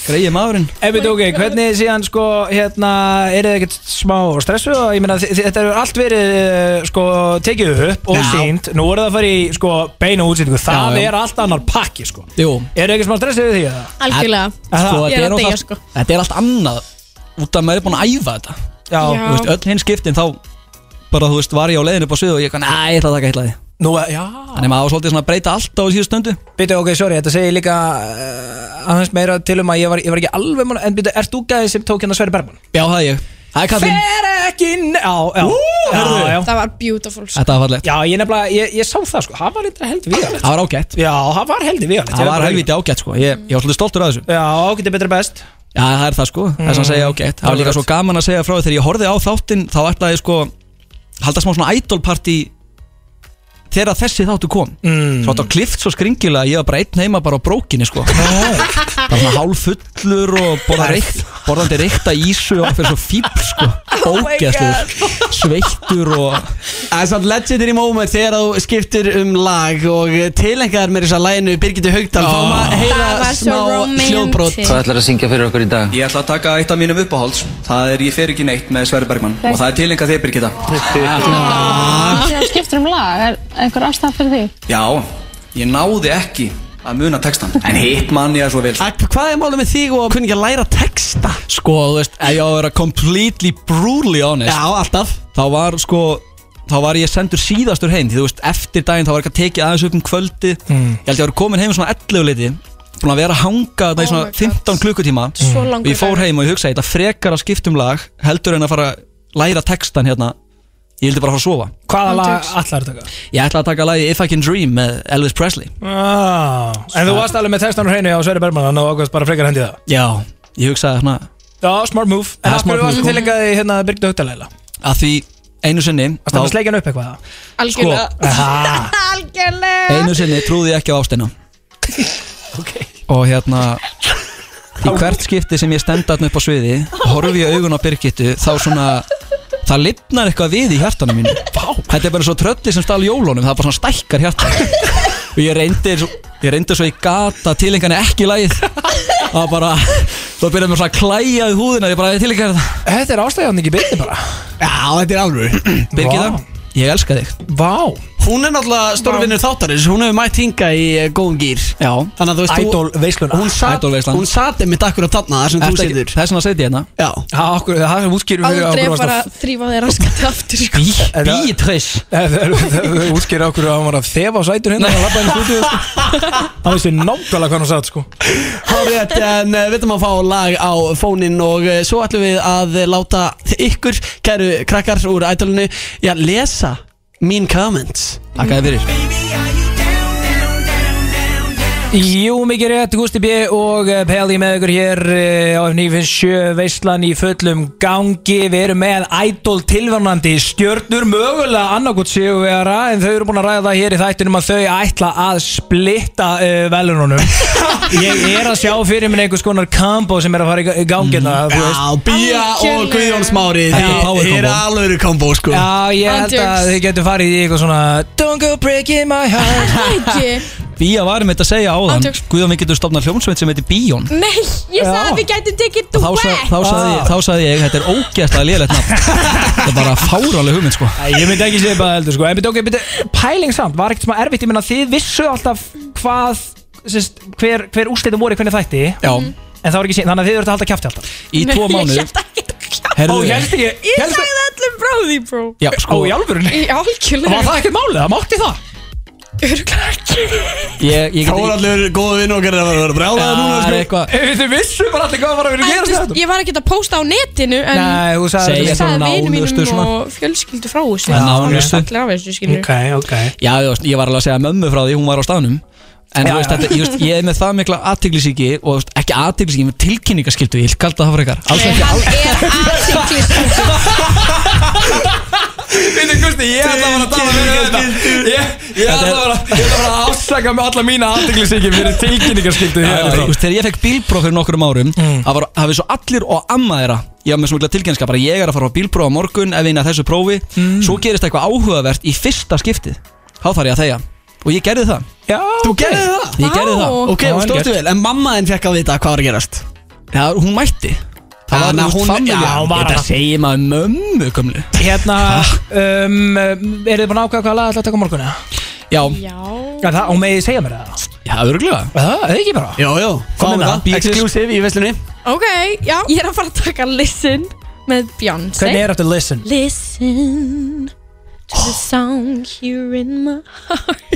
Greið maðurinn Ef við ok, hvernig síðan sko hérna, er þið ekkert smá stressuð og ég meina þi- þi- þetta hefur allt verið eh, sko tekið upp og Já. sínt nú er það að fara í sko beina útsýtingu það Já, já. er allt annar pakki sko Jú, Er þið ekkert smá stressuð við því eða? Algjörlega Aha. sko, Ég þetta er er, að deyja, alltaf, sko. þetta er allt annað Út af maður er búin að æfa þetta Já, Já. Þú veist, Öll hinn skiptin þá bara, þú veist, var ég á leiðinu upp á svið og ég kann, að ég ætla að taka heitlaði Nú, eh, já Þannig maður á svolítið svona að breyta allt á síðustu stundu Býtu ok, sorry, þetta segir líka uh, aðeins meira til um að ég var, ég var ekki alveg mann, en býtu, ert þú gæðið sem tók hérna Sverri Bergman? Já, það er ég Það er kallinn Fer ekki, ne- já, já, já, já. Það var beautiful sko. Þetta var fallegt já, ég nefnilega, ég, ég sá það sko, hann var eitthvað held við Það var ágætt Já, hann var held við Það var helviti ágætt sko Ég, ég var svolítið stoltur að þessu Já, ágætið betra best Já, það er það sko Þess að segja ágætt Það var líka svo gaman að segja frá því Þegar ég horfið á þáttinn Þá ætlaði ég sko Halda smá svona idol party Þegar þessi þáttu kom mm. Svo þetta klift svo skringilega Ég var bara einn heima bara á brókinni sko Bara svona hálf fullur Og borða reykt Borðandi reykta ísu Og fyrir svo fíbl sko Ógæstur Sveittur og Það er samt legendary moment þegar þú skiptir um lag og tilengar mér þess að læginu Birgitur Haugdal þá maður heyra Það var smá svo hljóðbrot romantic Hvað ætlar að syngja fyrir okkur í dag? Ég ætla að taka eitt af mínum uppáhalds Það er Ég fer ekki neitt með Sverri Bergmann Og það er tilenga þeir Birgitta Þegar þú skiptir um lag, er einhver ástæð fyrir því? Já, ég náði ekki að muna textan En hitt mann ég að svo vil Ak- Hvað er málið með þig og að kunni ekki að læra texta? Sko, þú veist, ef ég á að vera completely brutally honest Já, alltaf Þá var sko Þá var ég sendur síðastur heim Því þú veist, eftir daginn þá var ekki að tekið aðeins upp um kvöldi Ég held ég að vera komin heim um svona 11 leiti Búin að vera að hanga þetta í Oh my svona God. 15 klukkutíma Svo Og langur ég fór dagur. heim og ég hugsaði, þetta frekar að skipta um lag Heldur en að fara að læra textan hérna Ég vildi bara fara að sofa Hvaða lag allar þetta? Ég ætla að taka lagi If I Can Dream með Elvis Presley Ah, en þú varst alveg með textan og hreinu á Sverri Bergman Þannig að ákvæmst bara frekar hendi það Já Ég hugsaði hérna Já, smart move En Ja, af hverju smart move, varstu sko. tilengaði hérna Birgdu Haugdalæla? að því einu sinni Varstu að þá- sleikja hann upp eitthvað? Algjörlega Sko, Aha, Algjörlega Einu sinni trúði ég ekki á ástina ok Og hérna Í hvert skipti sem ég stenda hann upp á sviði Horfi ég augun á Birgittu Þá svona Það lifnar eitthvað við í hjartanum mínu Vá. Þetta er bara svo trölli sem stál jólunum Það er bara svona stækkar hjartan Og ég reyndi, svo- ég reyndi svo í gata Tilengan er ekki lægið Það var bara Þá byrjaði mér svona að klæja í húðina Ég bara tilengar það Þetta er ástæðan ekki byrni bara Já, þetta er alveg Birgitta, Vá. ég elska þig Vá Hún er náttúrulega stórvinnur þáttarins Hún hefur mætt hinga í eh, góðum gýr Já Þannig að þú veist þú- Idol veisluna. Hún sat, Idol veislan. hún sat einmitt akkur að þarna þar sem þú Ertu ekki- situr Það er svona að setja hérna Já Það okkur, það er útskýrur Aldrei bara þrýfa þeir raskandi aftur sko. En það- Bítrís Útskýrur okkur að hann var að þefa á sætur hérna og labba inn í stúdíu sko. Hann vissi nákvæmlega hvað hann satt sko Hárétt, en eh, við ætlum að fá lag á fónin og eh, svo ætlum við að eh, láta ykkur, kæru krakkar úr ædolinu, já, lesa mín comments Takk að þið fyrir Jú, mikið rétt, Gusti B. og eh, Peli með ykkur hér eh, á F957 veislan í fullum gangi Við erum með idol tilvörnandi stjörnur mögulega annarkot sigurvegara en þau eru búin að ræða það hér í þættunum að þau ætla að splitta uh, velununum Ég er að sjá fyrir minn einhvers konar combo sem er að fara í ga- í gangina þú veist. Já, Bía og Algjörlega. Guðjón Smári Þetta er power Þeir eru combo. alveg kombo, sko Já, ég held að Andjöks. þið getur farið í eitthvað svona Don't go breaking my heart Það ekki Bía varum þetta að segja áðan Andjóks. Guðjón, við getum stofnað hljómsveit sem heitir Bíjón Nei, ég sagði Já. að við gætum tekið Þá, sa, duett þá, sagði, Ah. þá sagði ég, þetta er ógeðslega lélegt nafn Þetta er bara fáraleg hugmynd sko Æ, Ég myndi ekki segja bara heldur sko En byrja, okay, byrja, Pæling samt var ekkert smá erfitt Ég meina þið vissu alltaf hvað sérst, hver, hver úrslitum voru í hvernig þætti Já, mm. En það var ekki sín, þannig að þið verður að halda kæfti alltaf í tvo Nei, mánuði Ég held Herðu, ekki ég, Ég sagði það öllum frá því, bró Já, Ó, sko, í alvörunni Í Var algjörlega það ekkert málið, það mátti það Örugglega ekki. ég, ég get Þóraldur, góðu vinn okkar er að vera brjálaða núna, Það er sko eitthvað Ef Þið vissu bara allir hvað var að vera að En, gera þú veist, þetta Ég var ekki að posta á netinu En Nei, þú sagði Segja ég svona sagði vinum nánustu mínum svona. og fjölskyldu frá þessu Já, Það var nánustu. Allir af þessu, skilur Ok, ok Já, þú veist, ég var alveg að segja mömmu frá því, hún var á staðnum Já, En þú já. veist, þetta, ég, veist, ég er með það mikla aðtiklisíki og þú veist, ekki aðtiklisíki, með tilkynningaskildu ég kallt að það fyrir ykkar alls ekki Hann er aðtiklis Fyndi Gusti, ég ætla bara að tala fyrir þetta Ég, ég ætla bara ég ætla bara að ásaka með alla mína aðdeglisíki fyrir tilkynningarskyldu Já, hér þú veist, Þegar ég fekk bílpróf fyrir nokkrum árum það var, hafið svo allir og amma þeirra ég var með svo mikla tilkynninga, bara ég er að fara á bílpróf á morgun ef eina þessu prófi, svo gerist eitthvað áhugavert í fyrsta skiptið, þá þarf ég að þegja og ég gerði það, Já, Þú gerði það? ég gerði það Vá. Ok, Já, og vel stóðstu gert. vel, en mamma þinn fekk að vita hvað var að gerast Já, hún mætti Það var Þannig að hún hún- familja já, hún var Þetta hana. segir maður mömmu gömlu Hérna, um, er þið búin að ákveða hvaða lag ætla að taka á morgun? eða? Já, Já Já, það, og megið þið segja mér það? já, örgulega Það, eða ekki bara? Jó, jó, Hvað hvað með var það? það? Exclusive í veslunni Ok, já Ég er að fara að taka Listen með Beyonce Hvernig er aftur listen? Listen to the sound here in my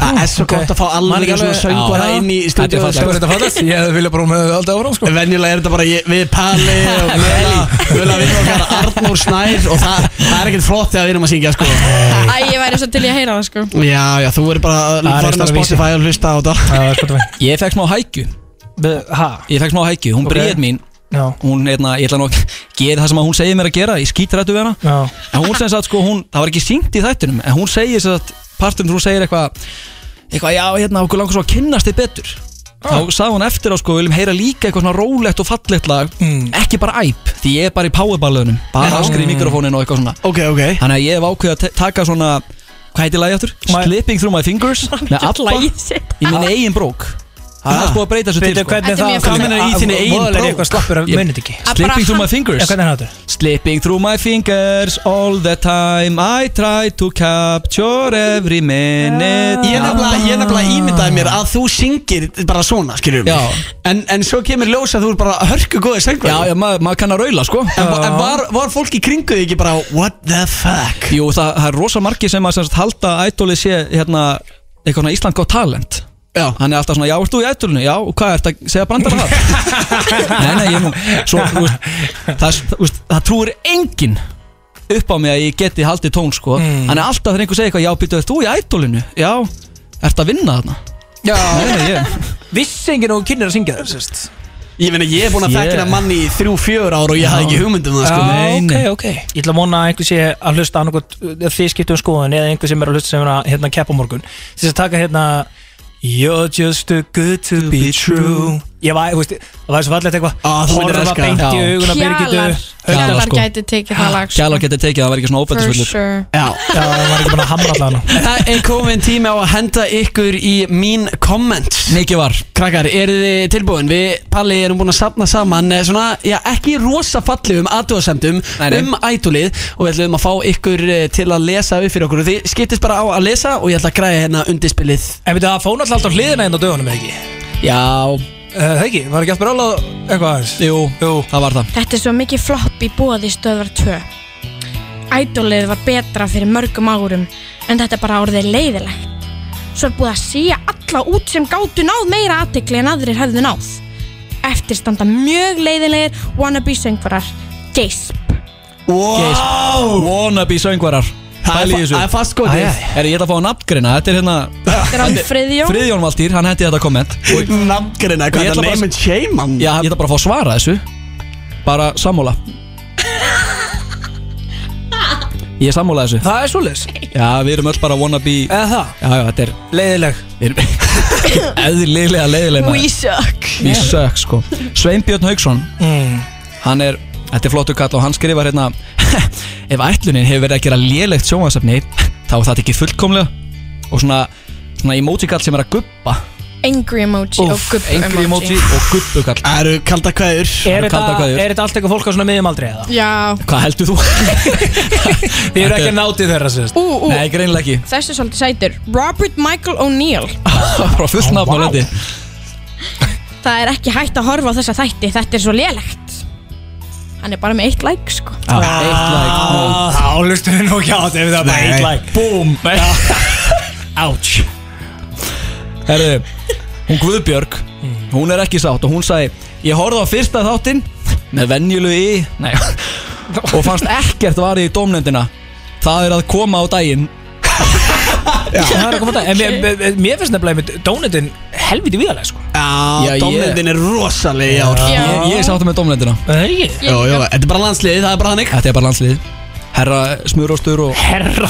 Það er svo Ok. gott að fá Man alveg ekki svona alveg- söngvara Já. inn í Þetta er stúdíu fallegt. sko. þetta fallast? Ég hefði viljað bara með alltaf áfram sko Venjulega er þetta bara ég, við Palli og Guðla Guðla við okkar Arnór Snær og það, það er ekkert flott þegar við erum að syngja sko Æ, ég væri svo til í að heyra það, sko Já, já, þú er Það bara er farin reyndar að að vísi. Spotify og hlusta á þetta Já, spott Ég fekk smá hækju við Hæ? Ég fekk smá hækju, hún Ok. okay. mín Já, Hún, hérna, ég ætla nú að gera það sem að hún segir mér að gera Ég skítrættu við hana já En hún sem sagt, sko, hún, það var ekki syngt í þættunum En hún segir sem sagt, partum þú segir eitthvað Eitthvað, já, hérna, okkur langar svo að kynnast þið betur Ah. Þá sagði hún eftir á, sko, við viljum heyra líka eitthvað svona rólegt og fallegt lag Mm. Ekki bara æp, því ég er bara í powerballöðunum Bara öskur í mikrofóninu og eitthvað svona Ok, ok Þannig að ég hef ákveðið að te- taka svona Hvað heitir lagið aftur? My- Slipping through my fingers Með ABBA Lagið sitt. Í minni eigin brók Það er Ha? allt búið að breyta þessu til Bíddu, sko. Þetta hvernig er það? mjög fallegt. Hvað meinar í þinni eigin Voðalega brók? eitthvað slappur af Ég- munið ekki Að bara Slipping through my hann- fingers Já, hvernig er það? aftur? Slipping through my fingers All the time I try to capture every minute Ég nefnilega, ég nefnilega ímyndaði mér að þú syngir bara svona, skiljum Já. en, en svo kemur ljós að þú er bara hörku góði Já, söngvar já, maður ma kann að raula sko En, en var, var fólk í kringu þig ekki bara What the fuck? Jú, það, það er rosa margi sem að sem sagt, halda að Idolið sé hérna Eitthvað svona Ísland gott talent Já Hann er alltaf svona, já, ert þú í ætlunni? Já, og hvað ert að segja brandar það? nei, nei, ég nú svo, úst, það, úst, það trúir enginn upp á mig að ég geti haldið tón, sko mm. Þannig að alltaf þegar einhver segir eitthvað, já, býtu, ert þú í ætlunni? Já, ert að vinna þarna? Já Nei, nei, ég Vissi enginn og kynir að syngja þér, sérst Ég meina, ég er búin að Yeah. þekkina manni í þrjú, fjör ára og ég hafði ekki hugmyndum það, sko Nei, ok, nei. ok Ég ætla að vona að einhver sé að hlusta annarkot Þið skiptum skoðun eða einhver sem er að hlusta sem er að hérna keppa á morgun Þess að taka hérna You're just too good to be true Ég var, þú veist, það var svo fallegt Ah, eitthvað þú myndir Horfa elska beint það. í Já. auguna Birgitu Kjalar Haukar, Kjalar sko. gæti tekið það lag sko. Kjalar getur tekið, það sko. var ekki svona For óbættisvöldur sure Já, Já, það var ekki búin að hamra allan það er komin tími á að henda ykkur í mín comments Mikið var Krakkar, eru þið tilbúin? Við, Palli, erum búin að safna saman eh, svona, já, ekki rosa fallegum aðdóðasemdum Nei, nei. um ædolið og við ætlum að fá ykkur eh, til að lesa upp fyrir okkur og þið skiptist bara á að lesa og ég ætla að græja hérna undirspilið En veitu, það fóna alltaf alltaf hliðina einn á dögunum, eða ekki? Já, Eh, Það ekki, var ekki alltaf rála eitthvað aðeins? Jú, Jú. það var það Þetta er svo mikið flopp í bóði stöðvar 2. Ædolið var betra fyrir mörgum árum en þetta er bara orðið leiðilegt. Svo er búið að síja alla út sem gátu náð meira aðtekli en aðrir hefðu náð. Eftir standa mjög leiðilegir wannabe söngvarar. Geisp. wow. Wannabe söngvarar það er Pæli í fa- þessu það er fast skotið Er ég ætla að fá að nafngreina, þetta er hérna Þetta er hann Friðjón. Friðjón Valtýr, hann hendi þetta komment og Nafngrina, Ég hvað ætla er bara- name and shame hann? Já, ég ætla bara að fá að svara þessu Bara sammóla Ég er sammóla þessu Það er svoleiðis, Já, við erum öll bara wannabe Já, eða það, já, þetta er leiðileg Við erum eðlilega leiðilega We suck. We suck, sko Sveinbjörn Hauksson mm. Hann er, þetta er flottu kall og hann skrifar hérna Ef ætlunin hefur verið að gera lélegt sjónvarsefni Þá er þetta ekki fullkomlega Og svona, svona emoji kall sem er að gubba Angry emoji og gubb Engri emoji emoji. og gubbu kall Það eru kalda kvæður Er þetta kaldar kveðjur. er þetta allt eitthvað fólk á svona miðjum aldrei eða? Já. Hvað heldur þú? Þið eru ekki að náti þeirra sérst Ú, ú. Nei, greinlega ekki Þessi er svolítið sætur. Robert Michael O'Neill. Frá fullt nafn á vá. lendi Það er ekki hægt að horfa á þessa þætti, þetta er svo lélegt Hann er bara með eitt like sko Já, Eitt like og- Þá lustum við nú ekki á þetta ef það er bara Nei. eitt like Búm Ouch Herðu, hún Guðbjörg Hún er ekki sátt og hún sagði Ég horfði á fyrsta þáttinn Með venjulu í Nei, Og fannst ekkert varði í dómnefndina Það er að koma á daginn Það er að koma þetta En mér- mér- mér finnst nefnilega með dónutin helviti viðalega sko Já, Já, ég- domnendin er rosalega í ár Já. Ég, ég er sátt með dómnefndina Það er ekki Jó, jó, þetta er bara landsliðið, það er bara hannig Þetta er bara landslið Herra smuróstur og Herra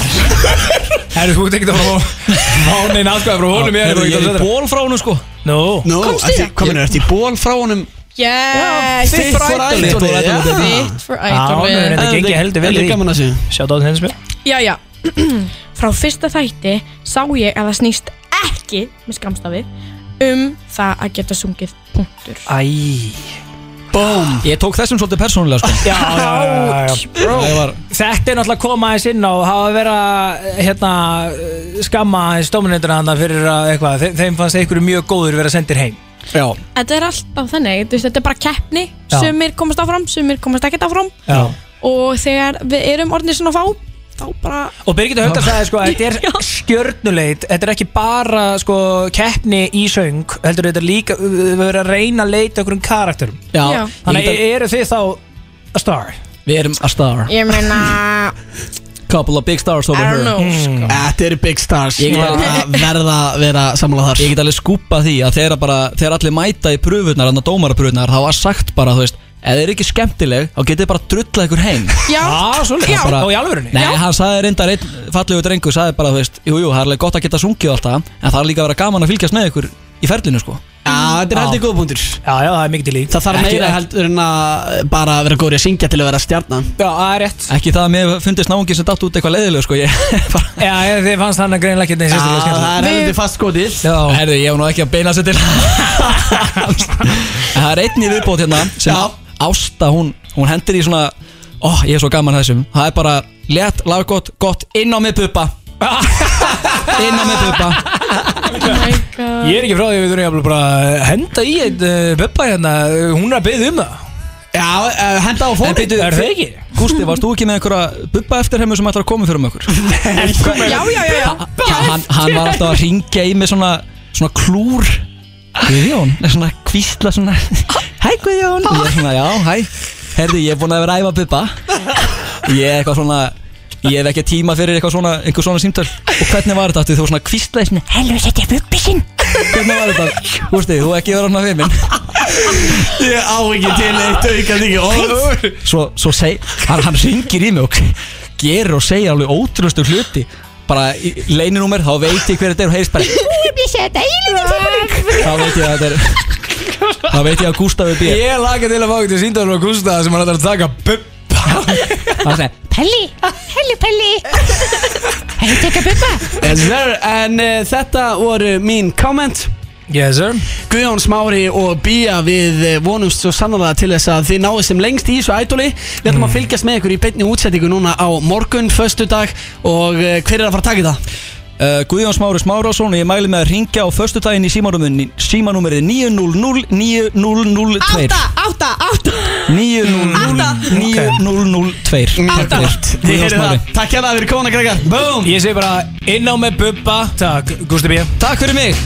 Herru, þú ert ekki að fá Mánin aðskæða frá honum ég er Herra, ekki ég að er fá ból frá hún sko Nú Nú, Komstu ertu- þér? komin er þetta í ból frá honum Yes, Fit fit for Idolið, Idolið, Fit for já. Idolið. Fit for Já, idol nei, nei. Þetta gengi heldur vel Þetta er í- gaman að sé Sjátt á þetta henni spil Já, já Frá fyrsta þætti sá ég að það snýst ekki með skamstafi um það að geta sungið punktur Æ Bóm Ég tók þessum svolítið persónulega sko Já, já, já, já, já. Það var Þetta er náttúrulega að koma aðeins inn á og hafa verið að hérna, eh, skamma aðeins dóminundina hann fyrir að eitthvað, Þe- þeim fannst einhverju mjög góður vera sendir heim Já Þetta er alltaf þannig, þú veist, þetta er bara keppni Já. sumir komast áfram, sumir komast ekkert áfram Já. og þegar við erum orðinir svona fá þá bara Og Birgitta Haukar sagði sko að þetta Já. er stjörnuleit Þetta er ekki bara sko keppni í söng heldur þetta er líka við höfum verið að reyna að leita okkur um karakterum Já. Já Þannig að Ég- eru þið þá a star Við erum a star Ég meina, Couple of big stars over I here don't know sko. Þetta eru big stars Ég Ég get verða að vera sammála þar Ég get alveg skúpa því að þegar, bara, þegar allir mæta í pröfunar, þannig að dómarapröfunar, þá var sagt bara, þú veist, ef þið er ekki skemmtileg, þá getið þið bara drullað ykkur heim. Já, Já, svolítið, Já. bara, og í alvörunni Nei, hann sagði reyndar einn fallegu drengu, sagði bara, þú veist, jú, jú, það er alveg gott að geta sungið og allt það, en það er líka að vera gaman að fylgjast með ykkur í ferlinu, sko. Já, þetta er heldur góð punktur Já, já, það er mikið til í Það þarf meira heldur en að bara vera góður í að syngja til að vera stjarnan Já, það er rétt Ekki það að mér fundist náungi sem datt út eitthvað leiðileg, sko, ég bara... Já, ég- þið fannst hann að greinlega ekki neins sérstaklega það skemmtilega er heldur fast skotið Já, Herðu, ég hef nú ekki að beina sér til En Það er einn í viðbót hérna sem Já. Ásta, hún, hún hendir í svona Ó, ég er svo gaman að þessum Það er bara létt, laggott, gott Inn á mig puppa Inn á mig puppa oh my god Ég er ekki frá því að við þurfum jafnvel bara að henda í eitt uh, Bubba hérna, eh, hún er að byggja um það Já, eh, henda á En fónu byrju, er það ekki? Gústi, varst þú ekki með einhverja bubba eftirheimu sem ætlar að koma fyrir um okkur? Já, já, já, já hann, hann var alltaf að ringja í mig svona, svona klúr Guðjón, er svona kvísla svona Hæ Guðjón Ég er svona, já, hæ Herði, ég er búin að vera að æfa bubba Ég er eitthvað svona Ég hef ekki tíma fyrir eitthvað svona, einhver svona símtöl Og hvernig var þetta? Áttu Þú var svona kvíslaði svona Helvið, þetta er bubbi sinn Hvernig var þetta? Gústi, þú ekki vera svona fyrir minn Ég á ekki til eitt auka þig orð svo, svo seg, hann, hann ringir í mig og gerur og segir alveg ótrúlustu hluti bara í leininúmer, þá veit ég hver þetta er og heyrist bara "Ú, ég sé þetta í leininúmer." þá veit ég að þetta er Það veit ég að Gústafi B Ég laka til að fá ekki til síndar og Gústa sem hann ætlar að taka bubba Það er Pelli, hellu Pelli Hei, tekka bubba Yes, sir. En uh, þetta voru mín comment Yes sir Guðjón Smári og Bía við eh, vonumst svo sannlega til þess að þið náðu sem lengst í þessu ædoli Við ætlum að fylgjast með ykkur í beinni útsettingu núna á morgun, föstudag og eh, hver er að fara að taka í það? Uh, Guðjón Smári Smárásson og ég mæli með að ringja á föstudaginn í símanúmerið símanúmerið 900 9002 Átta, átta, átta 900 Mm, 9002 Átta. Þið heyrið Smári það, takk hérna fyrir komuna Gregga Boom! Ég segi bara inn á með bubba Takk, Gústi B Takk fyrir mig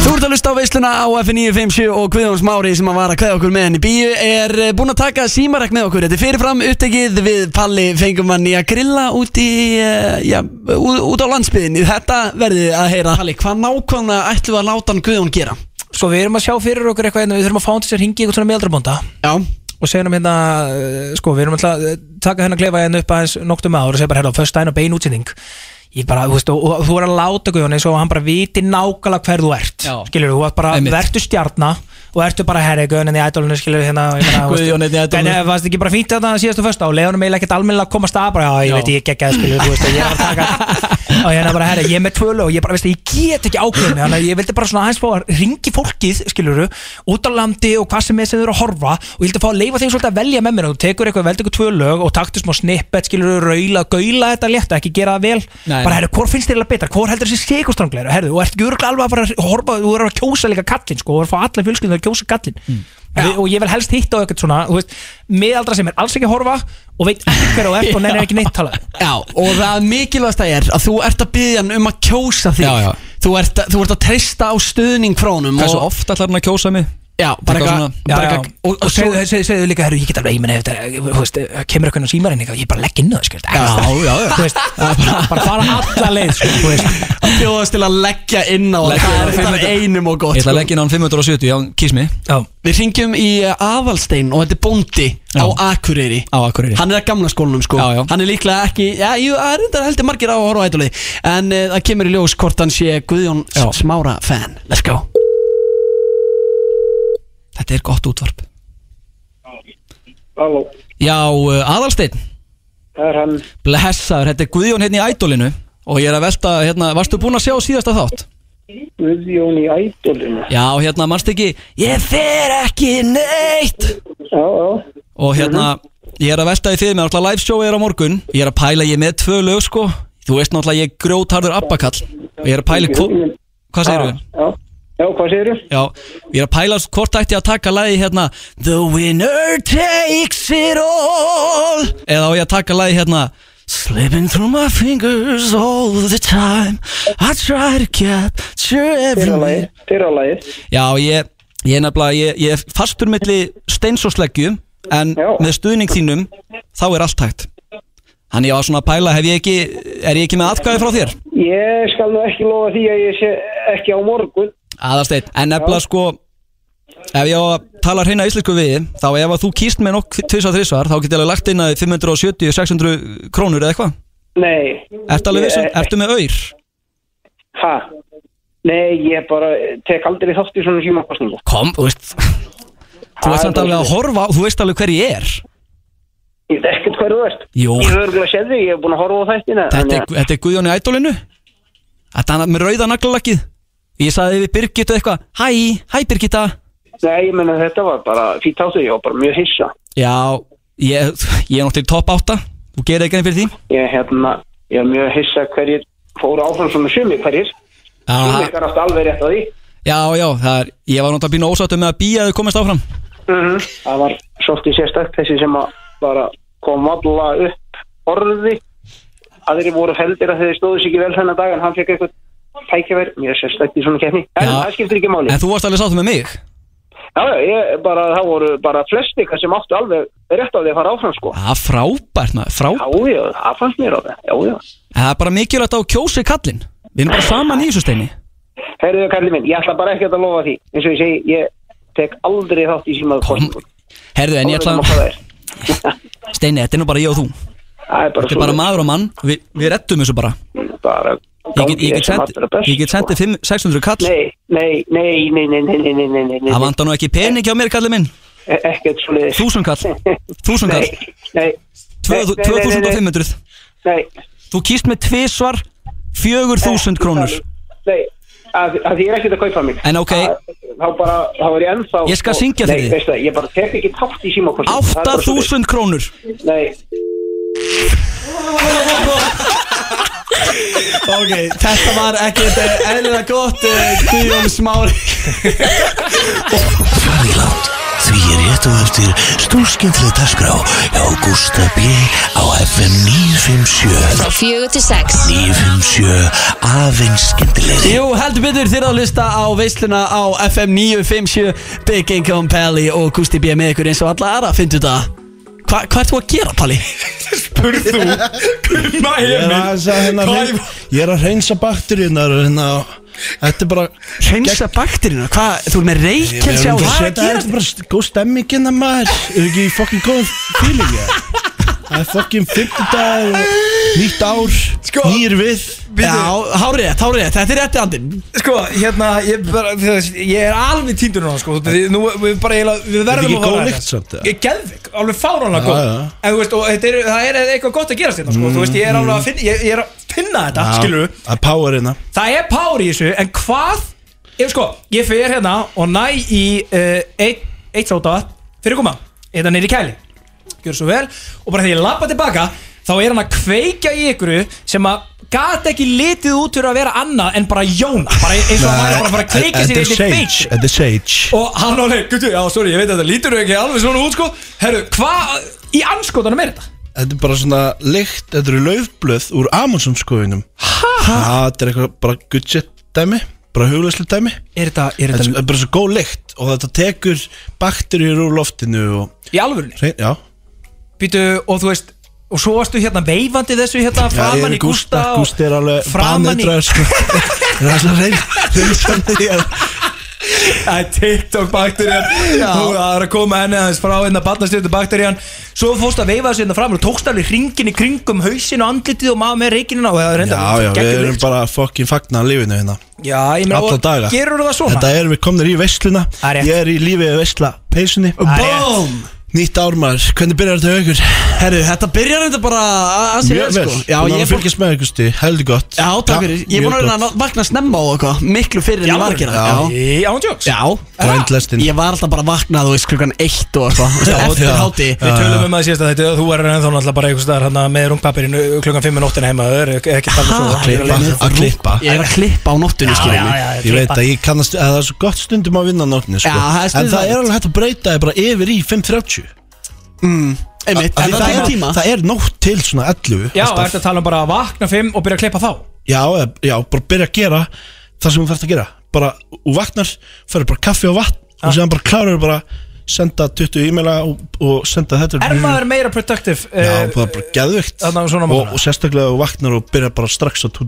Þú ert að lusta á veisluna á F957 og Guðjón Smári sem að var að kveða okkur með henni Bíu er eh, búinn að taka símarek með okkur Þetta er fyrirfram upptekið við Palli fengum hann í að grilla út í eh, já, ú- út á landsbyðinni Þetta verðið að heyra Palli, hvað nákvæmlega ætlum við að láta hann Guðjón gera? Sko við erum að sjá fyrir okkur eitthvað hérna Við þurfum að fá hann til sér hingi eitthvað svona meðaldrabónda Já Og segja hann hérna eh, Sko við erum alltaf að taka hennar klefa hérna upp aðeins Nóktum ára og segja bara hérna Föst dæn og bein útsending Ég bara, þú veist, og, og þú er að láta Guðjón eins og hann bara viti nákvæmlega hver þú ert Já. Skilur þú, ert bara, Einmitt. vertu stjarna Og ertu bara herri Guðjón en í ædólinu skilur hérna og ég meina, þú veist, Guðjón einn í ædolinu. En eh, varst ekki bara fínt þetta síðastu föst á Leðanum eiginlega ekkert almennilega að komast að bara Já, ég Já. veit, ég gekk að skilur, þú veist, ég er að taka Og hérna bara, herri, ég er með tvö lög og Ég bara, veist, ég get ekki ákveðin Þannig að ég vildi bara svona aðeins fá að ringi fólkið, skilur Út á landi og hvað sem er sem þau eru að horfa Og ég vildi fá að leifa þeim svolítið að velja með mér Þú tekur eitthvað, veldi eitthvað tvö lög og taktu smá snippet Skilur, raula, gaula þetta létt Ekki gera það vel, Nei. bara, herri, hvort finnst þér eiginlega betra Hvor heldur þessi sigurstrangleir, herri, og ertu örugglega alveg að fara að horfa, þú er að kjósa líka kallinn, sko, þú ert að fá allar fjölskyldurnar að kjósa kallinn. Við- og ég vil helst hitta á eitthvað svona, þú veist, miðaldra sem er alls ekki að horfa og veit ekki hver þú ert og nennir ekki neitt tala Já, og það mikilvægsta er að þú ert að byggja hann um að kjósa þig Já, já. Þú, ert, að- þú ert að treysta á stuðning krónum Hversu og, oft ætlar hann að kjósa mig? Já, bara Eitthvað eitthvað svona. Já, bara já. eitthvað- og, og segðu, segðu, segðu líka herru, ég get alveg, ég meni, þú veist, eh, kemur eitthvað inn á símarinn eitthvað, ég bara legg inn á það, skilur Já, já, já. þú veist, bara, bara fara alla leið, sko, þú veist að bjóðast til að leggja inn á Leggja það inn á er það er einum og gott Ég ætla sko. að leggja inn á hann 570, já, kýs mig já, Við ringjum í eh, Avalstein og þetta er bóndi Já. á Akureyri Á Akureyri Hann er að gamla skólanum sko Já, já. Hann er líklega ekki, já, jú, það er þetta heldur margir á að horfa á ætlulegi En eh, það kemur í ljós hvort hann sé Guðjón Já. Smára fan Let's go Þetta er gott útvarp Halló, Já, uh, Aðalsteinn það er hann Blessaður, þetta er Guðjón hérna í ædolinu Og ég er að velta, hérna, varstu búinn að sjá síðasta þátt? Guðjón í ædolinu. Já, hérna, manstu ekki Ég fer ekki neitt Já, já, Og hérna, ég er að velta í þið með Náttúrulega live show er á morgun Ég er að pæla ég er með tvö lög, sko Þú veist náttúrulega ég er grjótarður abbakall Og ég er að pæla, hvo- hvað segir við? já, já, hvað segir þú? Já, ég er að pæla hvort ætti ég að taka lagi hérna The winner takes it all Eða á ég að taka lagi hérna Slipping through my fingers all the time I try to capture every Fyrralagið, fyrralagið, Já, ég, ég er nefnilega, ég, ég er fastur milli steins og sleggju En Já. með stuðning þínum, þá er allt hægt Þannig ég var svona að pæla, hef ég ekki, er ég ekki með atkvæði frá þér? ég skal nú ekki lofa því að ég sé ekki á morgun. Aðalsteinn, en nefnilega sko Ef ég á að tala hreina íslensku við þig, Þá ef að þú kýst með nokk tvisar þrisvar Þá get ég alveg lagt inn að 570-600 krónur eða eitthvað Nei. Ertu alveg vissun? Ég- Ertu með auður? Ha? Nei, ég bara tek aldrei þátt í svona símakostningu. Kom, þú veist Þú veist samt alveg að horfa á- Þú veist alveg hver ég er Ég veit ekkert hver þú ert. Jú. Ég hef örgulega séð þig, ég hef búin að horfa á þættina. Þetta er, þannig að- þetta er Guðjón í ædolinu Þetta er hann með rauða naglalakkið Ég sagði við Birgit eitthvað Hæ, hæ Birgitta Nei, ég menna þetta var bara fýtt áttu, ég var bara mjög hissa. Já, ég, ég er náttúrulega í topp 8 Þú gerir ekki enn fyrir því Ég, hérna, ég er mjög hissa hverjir fóru áfram svona sumi hverjir. Sumi Já, ykkar átti alveg rétt á því. já, já það er, ég var náttúrulega býna ósáttu með að býja að þau komist áfram það var svolítið sérstakt þessi sem að bara kom alla upp orði aðri voru feldir að þeir stóðu sér ekki vel þennan dag en hann fekk eitthvað tækjaver mjög sérstakt í svona kefni en Já. það skiptir ekki máli En þú varst alveg sáttu með mig já, já, ég, bara, það voru bara flest ykkar sem áttu alveg rétt á því að fara áfram sko Það er frábært maður, já, frábært já, það fannst mér á það já, já Það er bara mikilvægt að þú kjósi kallinn Við erum bara saman í þessu steini Herðu kallið minn, ég ætla bara ekki að lofa því eins og ég segi, ég tek aldrei þátt í símaðu kostningum Herðu, en ég ætla það er Steini, þetta er nú bara ég og þú Þetta Það er bara er bara svona maður og mann Við, við rettum þessu bara bara Ég get, Gangi ég get þér sem sendi, allra best, ég get sendi sko. 5, 600 kall Nei, nei, nei, nei, nei, nei, nei, nei, nei, nei, nei. Það vantar nú ekki pening hjá mér kallið minn E- Ekkert svo leiðis 1000 kall 1000 Nei, kall nei Nei, nei, nei, nei, nei. 2500 Nei, Þú kýst með tvisvar 4000 krónur Nei, að, að því ég er ekkert að kaupa mig En ok. Að- Þá bara, þá er ég ennþá Ég skal syngja fyrir þig. Nei, veistu það, ég bara tek ekki tátt í símakostið 8000 krónur Nei, Ok, þetta var ekkert eh, eðlilega gott eh, Guðjón Smári Fræðiland Því er rétt og eftir stórskemmtileg dagskrá hjá Gústa B á FM 957 Frá fjögur til sex 957 aðeins skemmtilegri Jú, heldur betur þér að hlusta á veisluna á FM 957 Big Income Pally og Kusti B með ykkur eins og alla aðra, fyndu þetta Hva, Hvað ert þú að gera, Palli? Spurð þú Gunna Ég er aðeins að hérna Hvað hrein- Ég er að reynsa bakteríunar hérna og Þetta er bara Hreinsa bakterina, hvað, þú er með reykjel sjá Hvað þér? Þetta er bara góð stemming hérna maður Er ekki í fokkin góð feeling ég Það er fokkin 50 dagar Nýtt ár Sko. Nýr við Já, hárið, hárið, þetta er rétti andinn Sko, hérna, ég, bara, þú veist, ég er alveg tíndur núna, sko Því, nú, við, bara, eiginlega- við Þetta er verðum ekki að horfa góð á lykt þetta. samt, eða? Ég geðvik, alveg fáránlega góð já. En þú veist, og þetta er, það er eitthvað gott að gerast þetta, sko Þú veist, ég er alveg að finna, ég, ég er að finna þetta, Mm, Já, skilur Það er power hérna Það er pár í þessu, en hvað Ég sko, ég fer hérna og næ í uh, eitt, eitt sóta Fyrir koma, hérna niður í kæli Gjör svo vel, og bara þegar ég labba tilbaka Þá er hann að kveikja í ykkur Sem að gat ekki litið út Fyrir að vera annað en bara Jóna Bara eins og hann væri bara að fara að kveikja sér í Þetta eitt er feik sage Þetta er sage Og hann á leik, gutti, já, sorry, ég veit að þetta lítur ekki alveg svona út sko Herru, hvað í anskotanum er þetta? Þetta er bara svona lykt Þetta eru laufblöð úr Amundsenskoðinum Hæ? Þetta er eitthvað bara good shit dæmi Bara huglæslu dæmi Er þetta, er Þetta þetta er bara svo góð lykt Og þetta tekur bakteríur úr loftinu og í alvörunni? hrein- Já Býtu, og þú veist, og svo varstu hérna veifandi þessu hérna framan í Gústa og- Gústa er alveg framan í- banedraður, sko. Það er alltaf reynd Það er TikTok bakterían Þú það er að koma henni aðeins frá hérna Batnastjöldu bakterían Svo fórst að veifa þessu hérna fram Og tókst alveg ringin í kringum hausin og andlitið Og maður með reikinina og það er reynda Já, já, við erum bara fokkin fagnar lífinu hérna Já, ég meina, Alla og daga gerur það svona? Þetta er við komnir í veisluna Það er rétt. Ég er í lífið að veisla peysunni er rétt. BOOM Nýtt ármar, hvernig byrjar þetta hjá ykkur? Herru, þetta byrjar þetta bara að- að sér, Mjög vel, sko Já, Búin ég er að búin- fylgjast með ykkur sti, heldur gott Já, takk fyrir, ég er búin að reyna að vakna snemma á eitthvað Miklu fyrir en ég var að gera Já, Já, án jokes Já, Grindlestin ég var alltaf bara að vakna, þú veist, klukkan eitt og eitthvað Eftir já. háti Við tölum um að síðast að þetta Þú er ennþá náttúrulega bara einhvers staðar hérna með rungpapirinu klukkan 5 minúttina heima Það er ekki Ha, talað ég svo er Klippa, alveg með að klippa Ég er að klippa á nóttunni, Já, já, skiljum já, Ég veit að ég kannast, að það er svo gott stundum að vinna nótni sko. Já, það er En stundum það það. er alveg hægt að breyta þið bara yfir í 5.30 Einmitt, Af því en það er tíma Það er nótt til svona 11 Já, alltaf. ertu að tala um bara að vakna 5 og byrja að klippa þá Já, eða- já, bara byrja að gera það sem þú þarfst að gera bara, og vaknar, ferur bara kaffi og vatn og séðan bara klárar bara senda 20 e-maila og, og senda þetta Er maður meira productive? Mm. Já, eh, það er bara geðvikt þarna á svona og, morgna? og sérstaklega þú vaknar og byrjar bara strax að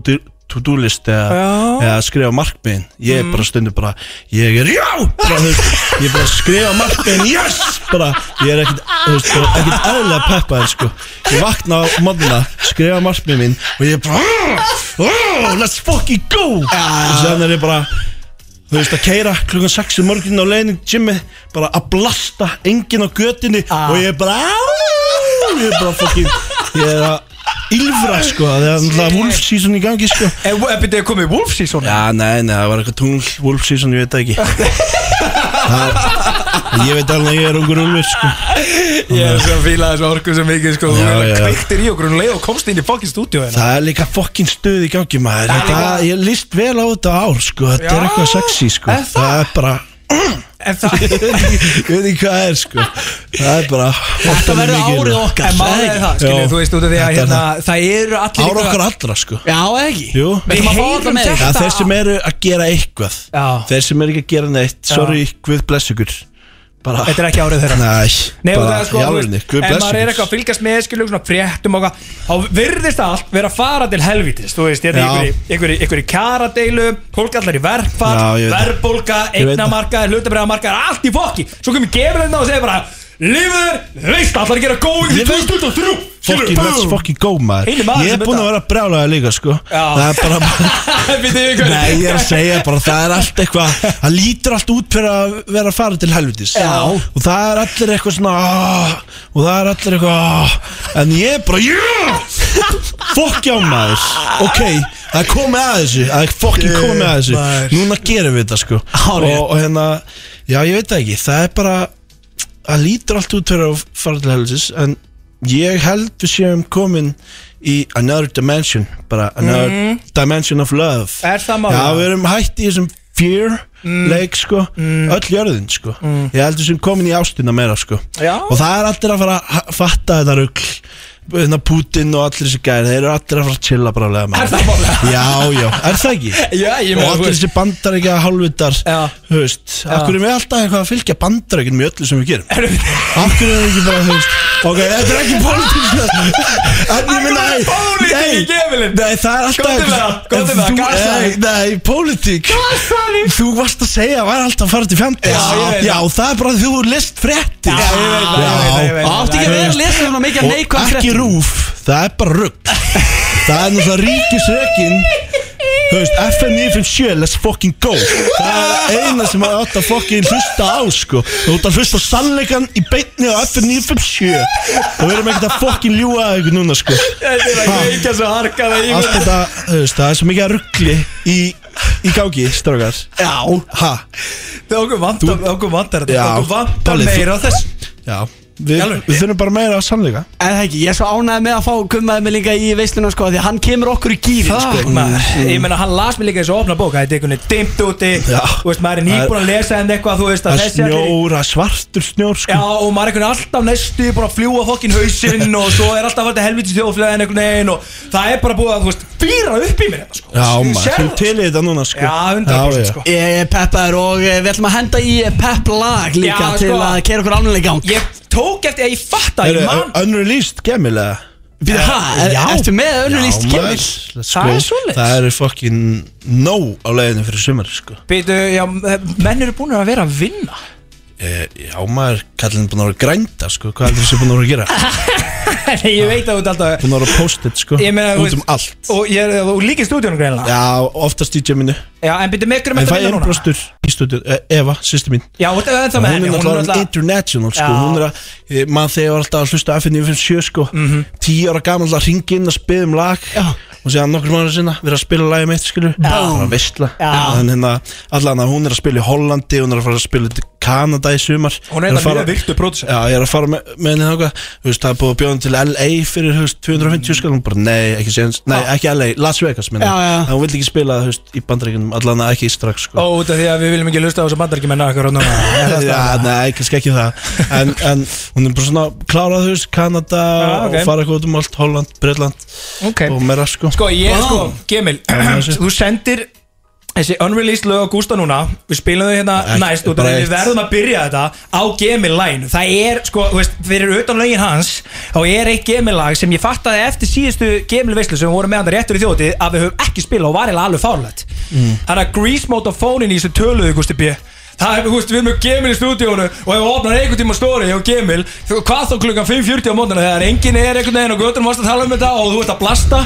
to-do list eða, Já. Mm. eða skrifa markmiðin ég er bara stundum bara, ég er já bara, þú veist, ég er bara að skrifa markmiðin yes, bara, ég er ekkit þú veist, bara ekkit eðlilega peppaðir sko ég vakna á modna, skrifa markmiðin mín og ég er bara "Ah, ah, let's fucking go og séðan er ég bara Þú veist að keira klukkan 6 í morgunin á leiðin Jimmy bara að blasta enginn á götinni og ég er bara ég er bara fokkin ég er að ylfra sko það er náttúrulega wolf season í gangi sko Er eh, byrja að koma í Wolf season? Já, nei, nei, það var eitthvað tungl wolf season, ég veit það ekki það, Ég veit alveg að ég er ungur ulfur sko Ég er svo að fíla þessu orku svo mikið sko Þú Já, er já. kveiktir í okkur um leið og komst inn í fokkin stúdíu hérna Það er líka fokkin stuð í gangi maður Þetta, ég líst vel á þetta ár sko Þetta er Já, eitthvað sexy sko er það? er bara, En það ég veit ekki hvað það er sko Það er bara Þetta verður árið okkar En málið er það, skilju, Já. þú veist út af því að Þetta er hérna, það eru allir Ára okkar að allra sko Já, eða ekki Jú. Við erum að fá alla Heyrum með Það þetta. er þeir sem eru að gera eitthvað Já. Þeir sem eru ekki að gera neitt Sorry, Guð bless ykkur bara, Þetta er ekki árið þeirra Nei, Nei, og bara það er sko, þú járinni, veist, Guð ef bless maður er eitthvað ykkur að fylgjast með, skilju, svona fréttum og eitthvað Þá virðist það allt vera að fara til helvítis, þú veist, Já. hérna einhverju einhverju kjaradeilu, fólk allar í verkfall, Já, ég veit það. verðbólga, Ég veit það. eignamarkaðir, hlutabræðamarkaðir, allt í fokki Svo kemur gefur þetta og segir bara Lifur, veist, allar að gera góðing í 2023 Fucking, let's fucking go maður Einu maður Ég sem er búin að vera brjálega líka sko Það er bara Nei, ég er að segja bara, það er allt eitthvað Það lítur allt út fyrir að vera að fara til helvitis Já Og það er allir eitthvað svona "Ah", Og það er allir eitthvað "Ah", En ég er bara, yeah Fokk já maður Ok, það er komið að þessu Það er fokkin komið að þessu Núna gerum við þetta sko Hárrétt. og, og hérna, já ég veit það ekki Það er bara, það lítur allt út fyrir að fara til helvitis En ég held við séum komin í another dimension bara another Mhm. dimension of love Er það málið? Mm. Já, við erum hætt í þessum fear leik sko, öll jörðin sko ég held við sem komin í ástina meira sko Já. og það er allir að fara að ha- fatta þetta rugl hérna Putin og allir þessi gæri þeir eru allir að fara að chilla bara er það málega? já, já, er það ekki? Já, ég meina, og þú allir veist. þessi bandar ekki að hálfvitar þú veist, Já. akkur erum við alltaf eitthvað að fylgja bandar í öllu sem við gerum akkur erum við ekki bara, þú veist ok, þetta er ekki pólitík en ég minna, nei, Pólitík í gefilinn Nei, það er alltaf Góðum það, góðum það, Þú- gasaði Nei, nei, pólitík Þú varst að segja að væri alltaf að fara til Já, fjandi ég veit Já, það er bara að þú lest fréttir Já, ég veit það, ég veit það, ég veit það. Já. Átti ekki að vera að lesa svona mikið af Og neikvæðum Ekki fréttum. rúf, það er bara rugg Það er náttúrulega ríkisrökin Þú veist, FM 957, let's fucking go Það er eina sem maður átt að fucking hlusta á, sko Þú átt að hlusta á sannleikan í beinni á FM 957 Og við erum ekkert að fucking ljúga að ykkur núna, sko Þetta er að kveika svo harka það í Allt þetta, þú veist, það er svo mikið að ruggli í, í gangi, strákar Já Ha, Það okkur vantar, okkur vantar þetta Já. Okkur vantar Palli, þú- meira á þess já Við, Í alvöru? við þurfum bara meira að sannleika En það ekki, ég er svo ánægði með að fá gummaði mig líka í veisluna sko Því að hann kemur okkur í gýrin Fuck, sko Mm. maður. Ég meina, hann las mér líka þessu opna bók Það er einhvern veginn dimmt úti Já. Þú veist, maður er nýbúin að lesa henni eitthvað Þú veist, að Það er þessi allir- snjóra, svartur snjór, sko Já, og maður er einhvern veginn alltaf næstu búin að fljúa fokkin hausinn og svo er alltaf að þetta helvítið þjóðflæðin einhvern veginn og það er bara búið að, þú veist, flýra upp í mér þetta, sko. Já, Þú maður, sérð þú það, til í þetta núna, sko Já, 100% Já, já. sko. Ég er peppaður og eh, við ætlum að henda í pepp lag líka Já, sko. Til að kera okkur alveg í gang Ég tók eftir að ég fatta, Eru ég man unreleased gemil, eða? Býðu, hæ, er, já. ertu með Já, önnulíst maður, kemur? let's Það go. er svoleiðis. Það eru fucking no á leiðinu fyrir sumar, sko Býtu, já, menn eru búin að vera að vinna Eh, Já, maður, kallinn búin að vera að grænda, sko Hvað heldur þessi búin að vera að gera? Nei, ég veit að þú ert alltaf Búin að vera að post it, sko Ég meina, þú Út um veist- allt Og ég er, og líka í stúdíunum greinlega Já, oftast í geminu Já, en býtu, með hverjum En ertu fæ að vinna núna? einblástur í stúdíu, e, Eva, sýstu mín Já, þú ert ennþá með Hún henni, er hún er náttúrulega alltaf international sko. Já. Hún er að, eh, maður þegar var alltaf að hlusta á FN 957 sko. Mhm. Tíu ára gaman alltaf að ringa inn og spila um lag Já. Og séðan nokkur mánuður sinna Við erum að spila lagið mitt skilur Bara veistla En hérna, allan að hún er að spila í Hollandi Hún er að fara að spila í Kanada í sumar Hún er að þetta fara- mjög virtu pródusent Já, ég er að fara með, með henni þáka Þú veist, það er búið að bjóða henni til LA fyrir, þú veist, 250 skall sko. Hún bara, nei, ekki séðans, nei, ekki LA, Las Vegas minna Já, já. En hún vill ekki spila, þú veist, í bandaríkunum Allan að ekki strax, sko Ó, út af því að við viljum ekki lusta á þessu bandar ekki menna okkur og núna Er það Já, staðan? nei, kannski ekki það En, en hún er bara svona klárað, þú veist, Kanada Já, ok. og fara eitthvað út um allt, Holland, Breitland Ok og meira, sko Sko, ég, sko, Gemil, þú sendir þessi unreleased lög á Gústa núna Við spilum þau hérna Ekki- næst út af bara því eitt. Við verðum að byrja þetta á Gemil-læn Það er, sko, þú veist, fyrir utan lögin hans Þá er eitt Gemil-lag sem ég fattaði eftir síðustu Gemil-veislu sem við vorum með hann réttur í þjóti að við höfum ekki spilað og var eiginlega alveg fárlegt Þannig að Grease Motofónin í þessu töluðu, Gústi B Það er, þú veist, við erum með Gemil í stúdíónu og ef við opnar einhvern tíma stóri á Gemil þú- hvað þá klukkan 5.40 á mótana þegar enginn er einhvern veginn og göttum varst að tala um þetta og þú ert að blasta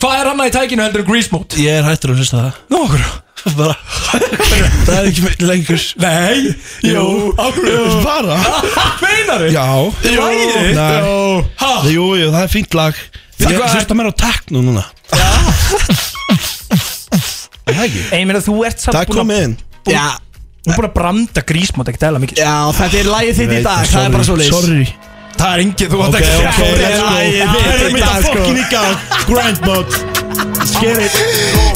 Hvað er annað í tækinu heldur en Grease Mode? Ég er hættur að hlusta það Nú okkur bara, Það er ekki með lengur Nei, jú, okkur Bara? Meinar þið? Já Lagið? Nei. Ha? Jú, jú, það er fínt lag Veitu Ég hvað? hlusta meira á tekno núna Er Það ekki Ég meina þú ert samt Það er búin komið að inn Já, Þú ert búin að branda Grease Mode ekki dæla mikið já, þetta er lagið þitt í Veit dag, það er bara svo leys Sorry Það er engið, þú Ok, ert ekki ok, let's go Það er mitt að fokkin í gang Grind mode Sker it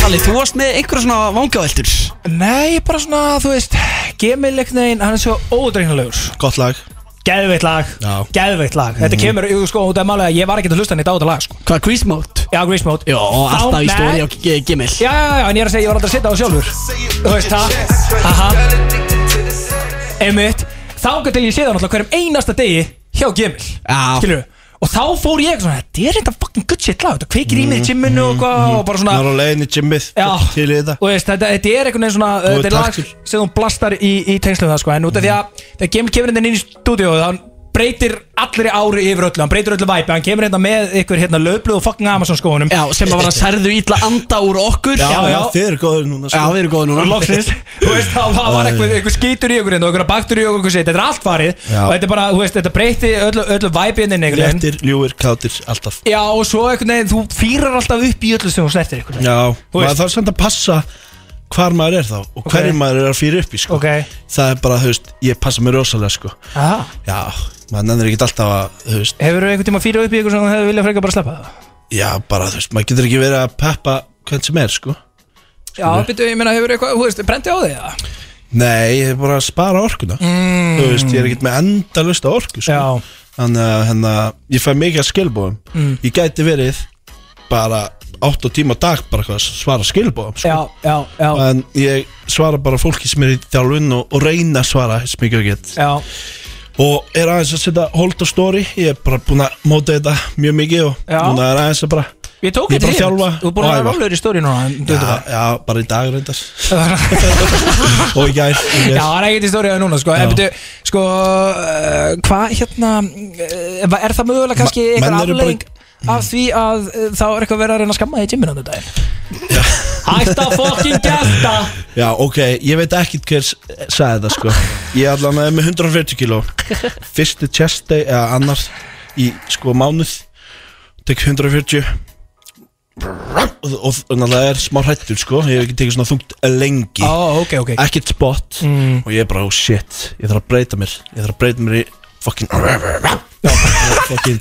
Palli, þú varst með einhverja svona vangaveltur Nei, bara svona, þú veist Gemil einhvern veginn, hann er svo ódreiknulegur Gott lag Geðveitt lag, Já. Mhm. geðveitt lag Þetta kemur, jú, sko, það er málega að ég var ekki að hlusta neitt á þetta lag sko. Hvað, Grease Mode? Já, Grease Mode Jó, Þá- alltaf í Nei. stóri á G- Gimil Já, já, já, en ég er að segja, ég var aldrei að setja á sjálfur Þú veist það Aha Einmitt Þángar til ég sé það náttúrulega hverjum einasta degi Hjá Gemil Já. Skilju Og og þá fór ég svona, þetta er þetta fucking good shit lag, þetta kveikir í mig Mhm, í gymminu og, mm, og bara svona Náður á leiðin í gymmið Já. Til í þetta og veist, þetta, þetta er einhvern veginn svona uh, Og þetta er lag taktur. sem þú blastar í, í tengslum það sko, en út af því að þegar kemur, kemur hérna inn í stúdíu hann breytir allir ári yfir öllu, hann breytir öllu væpi hann kemur hérna með ykkur hérna löflu og fucking Amazon skóunum Já, sem að var að særðu ítla anda úr okkur Já, já, já. þið eru góður núna sko. Já, við erum góð núna loksins, þú veist, þá þá var eitthvað, eitthvað skítur í okkur hérna og eitthvað baktur í okkur, eitthvað sitt, þetta er allt farið Já. og þetta er bara, þú veist, þetta breyti öllu, öllu væpiðinni einhvern veginn Léttir, ljúir, kátir, alltaf Já, og svo einhvern veginn, þú fýrar alltaf upp í öllu sem þú snertir einhvern veginn Já, maður veist. þarf samt að passa hvar maður er þá og hverju maður er að fyrir upp í sko. Ok. það er bara, þú veist, ég passa mér rosalega sko. Aha. já, maður nennir ekkert alltaf að þú veist, Hefur þú einhvern tíma fýrar upp í ykkur sem þú hefur viljað frekar bara sleppa það? já, bara, þú veist, maður getur ekki verið að peppa hvern sem er, sko Já, betur, ég meina, hefur eitthvað, þú veist, brendi á þig, eða? nei, ég er bara að spara orkuna mm. þú veist, ég er ekkert með endalust á orku sko. Já. þannig að, hérna, ég fæ mikið að skilbóðum Mm. ég gæti verið bara 8 tíma á dag bara hvað að svara skilbóðum sko. Já, já, já, en ég svara bara fólki sem er í þjálfun og, og reyna að svara eins mikið og ég get já, og er aðeins að setja hold og story ég er bara búin að móta þetta mjög mikið og Já. núna er aðeins að bara Ég tók Ég er þetta bara að þjálfa Þú er búin að og vera æfa. rólur í stóri núna um en þú já, veitir það. já, bara í dag reyndar Já, og í gær, í gær. það er ekkert í stóri á núna, sko En betur, sko, uh, hvað, hérna uh, Er það mögulega kannski Ma- einhver menn eru bara í- aflegging Af því að uh, þá er eitthvað verið að reyna að skamma þig í gymminu á þetta Hætta fokkin gæsta já, ok, ég veit ekkit hver s- sagði þetta sko ég allan er með 140 kíló fyrsti chest day eða annar í sko mánuð tek 140 og, og, og náttúrulega er smá hrættur sko ég hef ekki tekið svona þungt lengi Ó, ok, ok ekkert spot Mm. og ég er bara, oh shit, ég þarf að breyta mér ég þarf að breyta mér í fucking fucking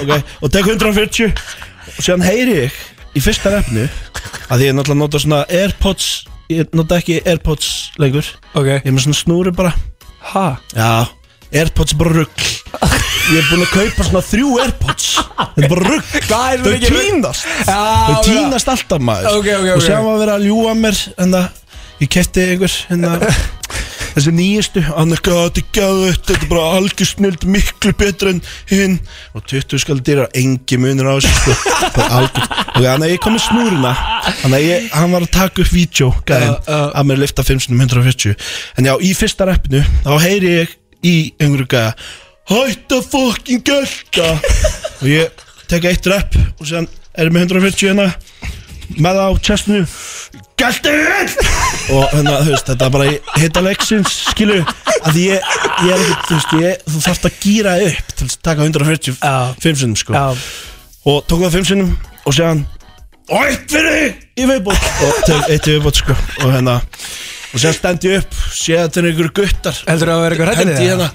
ok, og tek 140 og séðan heyri ég í fyrsta refnu að ég náttúrulega nota svona airpods ég nota ekki airpods lengur Ok, ég er með svona snúri bara ha já, airpods er bara rugg ég er búin að kaupa svona þrjú airpods þetta er bara rugg Hvað er þau mikið- týnast Já, Þau týnast alltaf maður Ok, ok, ok. Og sem að vera að ljúa mér En það Ég kæfti einhver En Þessi nýjastu Hann er gæt í gæðu Þetta er bara algjör snild Miklu betur en hinn Og 20 skal dýra Engi munur á þessu sko. Það er algjör Ok, þannig að ég kom með snúruna Þannig að ég Hann var að taka upp vídeo Gæðin Að mér lifta 540 En já, í fyrsta reppinu Þá heyri ég í einhverju gæða Hætta fokkin gælta Og ég tek eitt repp Og séðan er ég með 140 hérna með það á chestinu Gæltu Og hérna, þú veist, þetta er bara í hita leiksins Skilu, að ég, ég er ekki Þú veist, ég, þú þarft að gýra upp Til að taka 145 sinnum, sko Já, Og tók það 5 sinnum og séðan Og eitt fyrir þig í viðbót Og tek eitt í viðbót, sko Og hérna, og séðan stend ég upp Séð að þetta er einhverju guttar heldur það að vera eitthvað hrættir Hendi hérna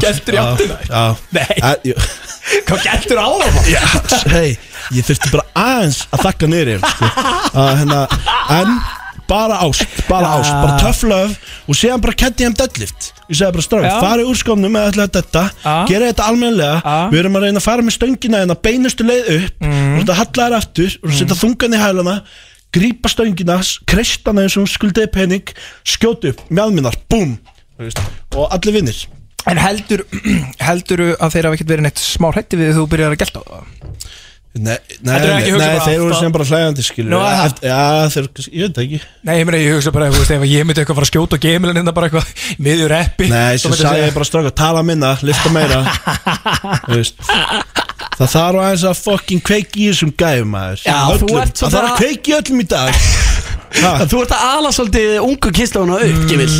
Geltur í áttina? Nei. Nei Hvað gættur á það? maður? yes, hey, ég þurfti bara aðeins að þakka niður yfir sko. að, hérna, en bara ást, bara ást, bara tough love og síðan bara kendi ég um deadlift ég segi bara strafn, Já. farið úr skónum eða ætlaði þetta, Já. gera þetta almennilega Já. Mhm. við erum að reyna að fara með stöngina en að beinustu leið upp og þetta hallar aftur og setja þungan í hælana grípa stöngina, kreista hana eins og hún skuldiði pening, skjóti upp mjálminar, búm Þú veist, og allir vinnir En heldur, heldur að þeir hafa ekkert verið neitt smá hrætti við þú byrjar að gelta á það? Nei, nei, Þetta er nei, ekki hugsa nei bara þeir voru alltaf- sem bara hlægandi skilur Nú, aha. Já, þeir, ég veit það ekki Nei, ég meina, ég hugsa bara, þú veist, ef ég myndi eitthvað fara að skjóta og gemilin hérna bara eitthvað miður eppi Nei, sem sagði ég bara stráka, tala minna, lifta meira Þú veist Það þarf aðeins að fucking kveiki í þessum gæfum maður Já, öllum. þú ert Það þarf svona- að kveiki í öllum í dag ha, Þú ert að ala svolítið ungu kynstlóna upp, Gimil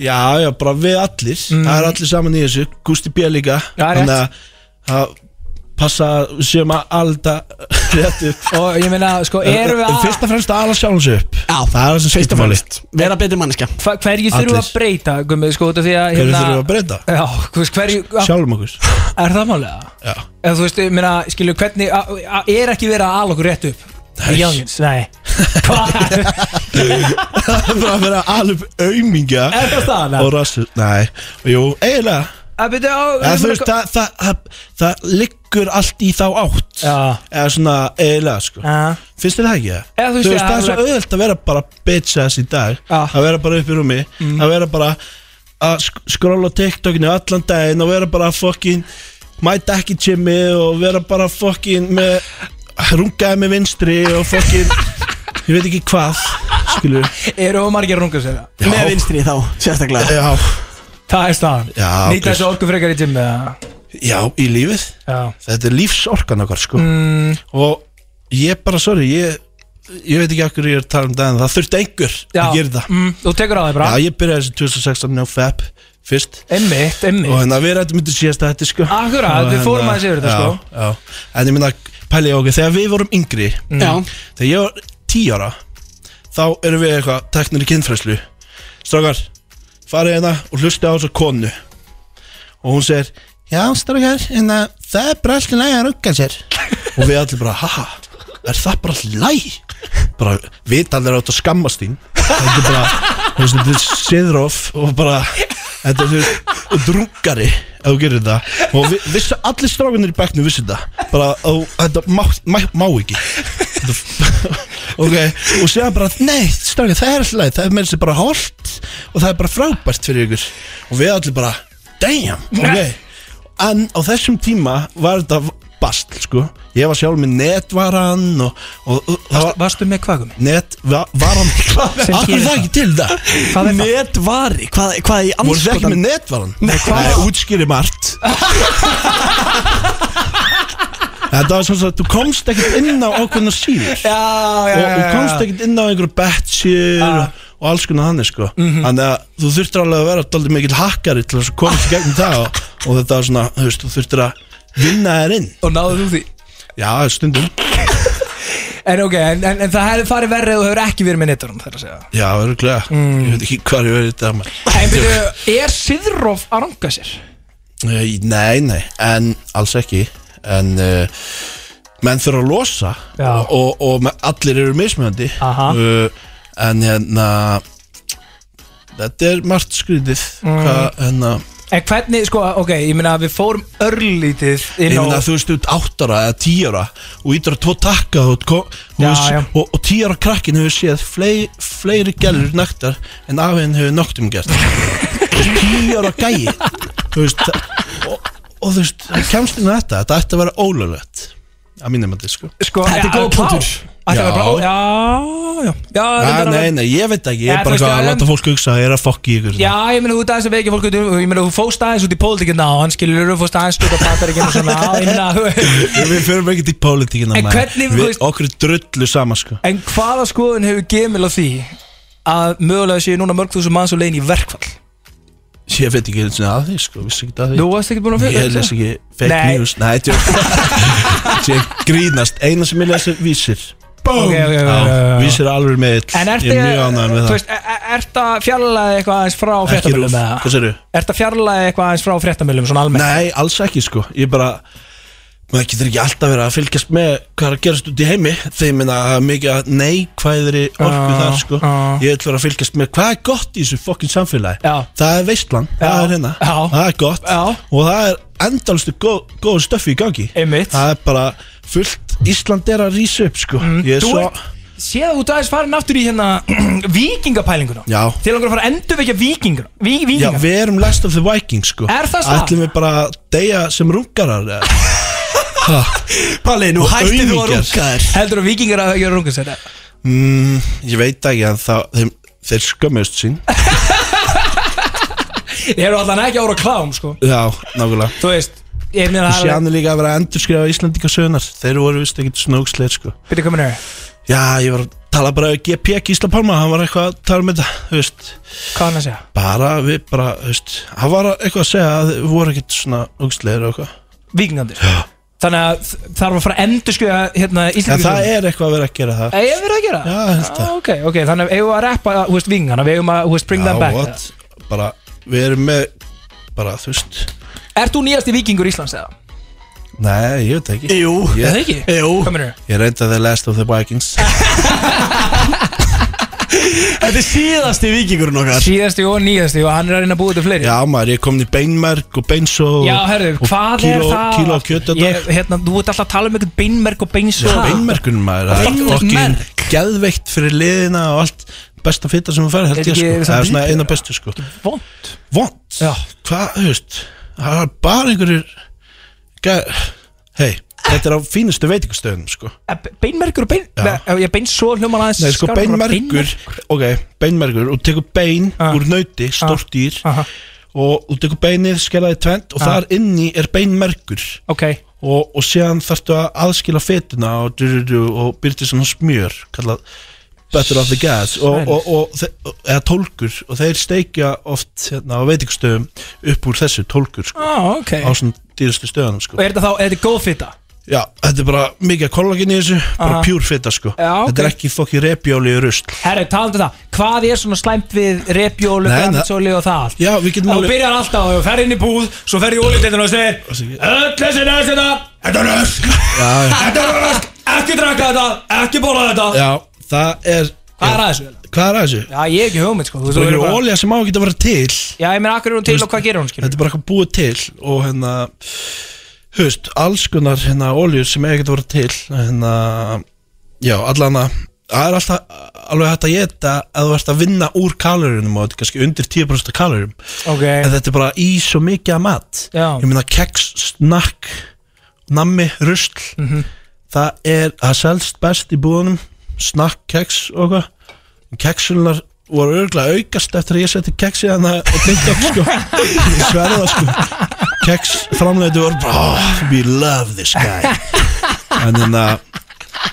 Já, já, bara við allir Mm. Það er allir saman í þessu, Gústi B. líka Já, rétt. að að passa að við séum að alda rétt upp Og ég meina, sko, erum við En að Fyrst og fremst að ala sjálfum sig upp Já, Það er það sem fyrst og skiptir máli fremst Vera betri manneska hva- hverju þurfum við að Allir. breyta, gummið, sko, út af því að Hérna- Hverju þurfum við að breyta? Já, þú veist, hverju, að, Sjálfum okkur er það málega? Já Eða þú veist, ég meina, skilju, hvernig, a, a, er ekki verið að ala okkur rétt upp? Nei. Jónins, nei Það er bara að vera alveg aumingja Er það staðan, eða? Og rassu, nei Jú, eiginlega Að byrja á Eða, þú veist, það, það, það, það liggur allt í þá átt Já. Eða svona eiginlega sko. Já. Finnst þér það ekki? Eða, þú veist, veist, ég- það er svo auðvelt að vera bara bitch ass í dag Já. Mm. Að vera bara upp í rúmi Að vera bara að sk- skrolla TikTokinu allan daginn og vera bara fucking mæta ekki Jimmy og vera bara fucking með rungaði með vinstri og fucking ég veit ekki hvað skilur Eru of margir runga sér það? Með vinstri þá, sérstaklega Já, Það er staðan já, Nýta þessu orku frekar í gym eða? já í lífið Já. þetta er lífsorkan okkar sko Mm, og ég bara, sorry ég, ég veit ekki okkur ég er að tala um það en það þurfti einhver já, að gera það mm, Þú tekur á þig bara Já, ég byrjaði þessi 2016 á FAP fyrst Einmitt, og einmitt hérna við rættum yfir síðasta þetta sko Akkurat, Og við fórum hérna- aðeins yfir þetta, já, sko. já. En ég minna, pæli ég okkur, þegar við vorum yngri Mm. Já, Þegar ég var 10 ára Þá erum við eitthvað teknir í kynfræslu Strákar, farið hérna og hlusti á þessa konu Og hún segir Já, strákar, en það er bara allir læg að runga sér Og við allir bara, haha Er það bara allir læg? Bara, við allir átt að skammast þín Þetta er bara, þú veist, þetta er siðrof Og bara, þetta er þú veist, drungari Ef þú gerir þetta Og við, vissu, allir strákunir í bekknu vissu þetta Bara, og, þetta má, má, má ekki Þetta- Ok, og segja bara Nei, strákar, það er allir læg Það er með þessi bara holt Og það er bara frábært fyrir ykkur Og við allir bara, damn, ok En á þessum tíma var þetta bastl sko Ég var sjálf með netvaran og, og, og það var Varstu með kvagum? netvaran Sem gerir Akkur er það það? ekki til það Hvað er það? netvari, hvað, hvað í Voru þið ekki anskotan með netvaran? Nei, Nei útskýri margt Þetta var svona að þú komst ekkert inn á ákveðna síður Já, já, já, og þú já, Ah. komst já. ekkert inn á einhverju betjir og alls konar þannig sko Mhm. þannig að þú þurftir alveg að vera daldið mikil hakkari til þess að komast í gegnum það og, og þetta var svona, þú veist, þú þurftir að vinna þér inn Og náðu þú því Já, stundum En ok, en, en, en það hefði farið verrið og hefur ekki verið með nettarum þar að segja Já, örgulega Mm. Ég veit ekki hvað ég verið þetta maður. En byrju, er Siðrof að ranga sér? Nei, Eh, Nei, nei, en alls ekki En uh, menn þurfa að losa Já. og, og, og me- allir eru mismöndi Aha. En hérna Þetta er margt skrítið Mm. Hvað, hérna En hvernig, sko, ok, ég meina að við fórum örlítið Ég inn á meina þú veist út áttara eða tíara og ítur að tvo takka og, ko- og, Já, veist, já. og, og tíara krakkin hefur séð fleiri, fleiri gælur nættar en afinn hefur noktum gert tíara gæi þú veist það- og, og þú veist það kemst inn á þetta, þetta ætti að vera ólöglegt að mínum að sko sko, Þetta er ja, góð blá. punktur. Þetta er Já. blá, já, já, já Nei, reyndar nei, alveg. nei, ég veit ekki, ég Ja, er þú veist, bara eitthvað að en- láta fólk hugsa að ég er að fokki ykkur Já, ég meina, þú dæðis að veikja fólk út í- Ég meina, þú fóst aðeins út í pólitíkina og hann skilur þú fóst aðeins út á Bandaríkina og svona á, ég meina, Við förum ekki til pólitíkina En maður. hvernig, þú Við veist- okkur er drullu sama sko En hvaða skoðun hefur gemil á því að mögulega séu núna mörg þúsund manns og leiðin í verkfall? Ég veit ekki einu sinni að því sko, vissi ekki að því Þú varst ekki búin að Ég fyrir les ekki fake Nei. news Nei, þetta er Ég grínast, eina sem ég les er vísir Bóm Ok, ok, ok, ok, ok. Vísir er alveg með ill En ert Ég er mjög ánægð með þú það veist, e- e- ertu að fjarlæði eitthvað aðeins frá fréttamölum rúf. Hvað eða? sérðu? Ertu að fjarlæði eitthvað aðeins frá fréttamölum svona almennt? Nei, alls ekki sko Ég bara maður getur ekki alltaf verið að fylgjast með hvað er að gerast út í heimi þegar minna mikið að neikvæðri orku Já, þar sko já. ég ætla að vera að fylgjast með hvað er gott í þessu fokkin samfélagi Já. það er veistlan, það Já, er hérna já. það er gott Já. og það er endalstu góð, góð stöfi í gangi Einmitt. það er bara fullt Ísland er að rísa upp sko ég er Þú svo ert, séð að þú ert aðeins farin aftur í hérna vikingapælinguna Já. Til langar að fara að endurvekja vikinguna Ví, Já, Vikinga við erum last of the vikings sko Er það staðan? Ætlum við bara að deyja sem rungarar eða? Ha, Palli, nú Og hætti þú að aumingjar. runga þér Heldur að vikingar að gera runga sér mm, Ég veit ekki en það, þeim, þeir skömmust sín Ég eru allan ekki ára klám sko Já, nákvæmlega Þú veist, ég meina Ég sé það hann er líka að vera að endurskrifa Íslandika sögnar Þeir voru vist ekkert snóksleir sko Byrja komin hér, Já, ég var að tala bara við GP Gísla Pálma Hann var eitthvað að tala um þetta, þú veist hvað hann að segja? Bara við bara, þú veist Hann var eitthvað að segja að þeir voru ekkert svona ógsleir og eitthvað Vikingandir Þannig að þarf að fara að endurskjöða hérna En Íslandingar það er eitthvað að vera að gera það Ég verið að gera Já, ég held það. ah, Ok, ok, þannig að eigum við að rappa, hú veist, vingana Við eigum að, hú veist, bring them back what? Bara, við erum með Bara, þú veist Ert þú nýjasti vikingur Íslands eða? Nei, ég veit ekki Jú, Ég- Er það ekki? jú Hvað mennur Ég reynda The Last of the Vikings Þetta er síðasti vikingurinn okkar Síðasti og nýjasti og hann er að reyna að búa þetta fleiri Já maður, ég er komin í beinmerk og beinsó Já, herðu, og hvað kíló, er það? Kíló kjöt Ég- Hérna, þú ert alltaf að tala um eitthvað beinmerk og beinsó Beinmerkunum maður það er Beinmerk? fucking geðveikt fyrir liðina og allt besta fitta sem þú fær held Er ég ekki sko, samt það er svona lítið? eina bestu sko vond vond, hvað, þú veist það er bara einhverjir gæ- hei, þetta er á fínustu veitingastöðum sko Beinmerkur Eh, og bein Já. Ef ég bein svo hljóman aðeins Nei, sko skárra, beinmergur Ok, beinmergur Og tekur bein úr nauti, stórt dýr Og þú tekur beinið, skelaði tvent Og Ah. þar inni er beinmergur Ok Og, og síðan þarftu að aðskila fetuna Og, du- du- du- og byrja til svona smjör Kallað Better of the gas og, Sæl. og, og, þe- og, Eða tólkur Og þeir steikja oft hérna, á veitingastöðum Upp úr þessu tólkur sko, Ah, ok Á svona dýrastu stöðanum sko. Og er þetta þá, er þetta góð fitta? Já, þetta er bara mikið af kollaginn í þessu Bara Aha. pure fitta sko Já, Þetta er ok. ekki fokki repjáli rusl Herru, talandi um það, hvað er svona slæmt við repjólu, Nei, grænsóli og það allt? Já, við getum Þá alveg- byrjar alltaf og fer inn í búð, svo fer í ólítinu og segir Öll þessi næst þetta, þetta er ösk, Já, já þetta er ösk, ekki drakka þetta, ekki bóla þetta Já, það er Hvað er að þessu? Hvað er að þessu? Já, ég er ekki hugmynd sko þú Það er veist, ekki bara- ólja sem á að geta að vera til Já, ég meina, akkur er hún til og hvað gerir hún, skilur? Þetta er bara eitthvað búið til og hérna Hust, alls konar hérna óljur sem eiga að geta að vera til hérna Já, allan að Það er alltaf alveg hægt að geta að þú ert að vinna úr kalorinum og þetta er kannski undir 10% af kalorum Ok. en þetta er bara í svo mikið að mat Já. ég meina keks, snakk nammi, rusl Mhm. það er að selst best í búðunum snakk, keks og eitthvað keksunar voru örgulega aukast eftir að ég seti keksi hana og tinda upp sko ég sverði það sko keks framleitu voru bara oh, we love this guy en þannig að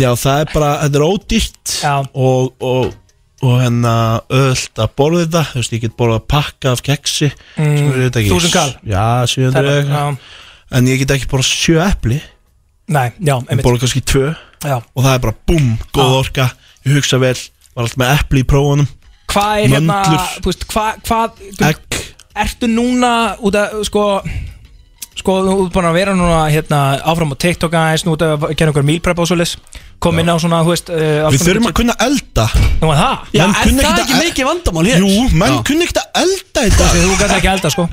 já það er bara, þetta er ódýrt Já. og, og og hérna öll að borða þetta þú veist, ég get borðað pakka af keksi Mm, sem eru þetta ekki 1000 kall. já, 700 Það er- eitthvað. en ég get ekki borðað sjö epli Nei, já, ég einmitt borða kannski tvö Já. og það er bara búm, góð orka ég hugsa vel, var alltaf með epli í prófunum Hvað er hérna, Möndlur. þú veist, hvað, hvað þú- Egg. Ertu núna út að, sko Sko, þú ert búin að vera núna hérna, áfram á TikTok aðeins, nú út að gera einhver meal prep og svoleiðis Kom inn á svona, þú veist uh, við þurfum að kunna elda Nú að það? Já, Menn er kunna það ekkert ekki að- mikið vandamál hér? jú, menn Já. kunni ekkert að elda í dag Þú gæti ekki elda, sko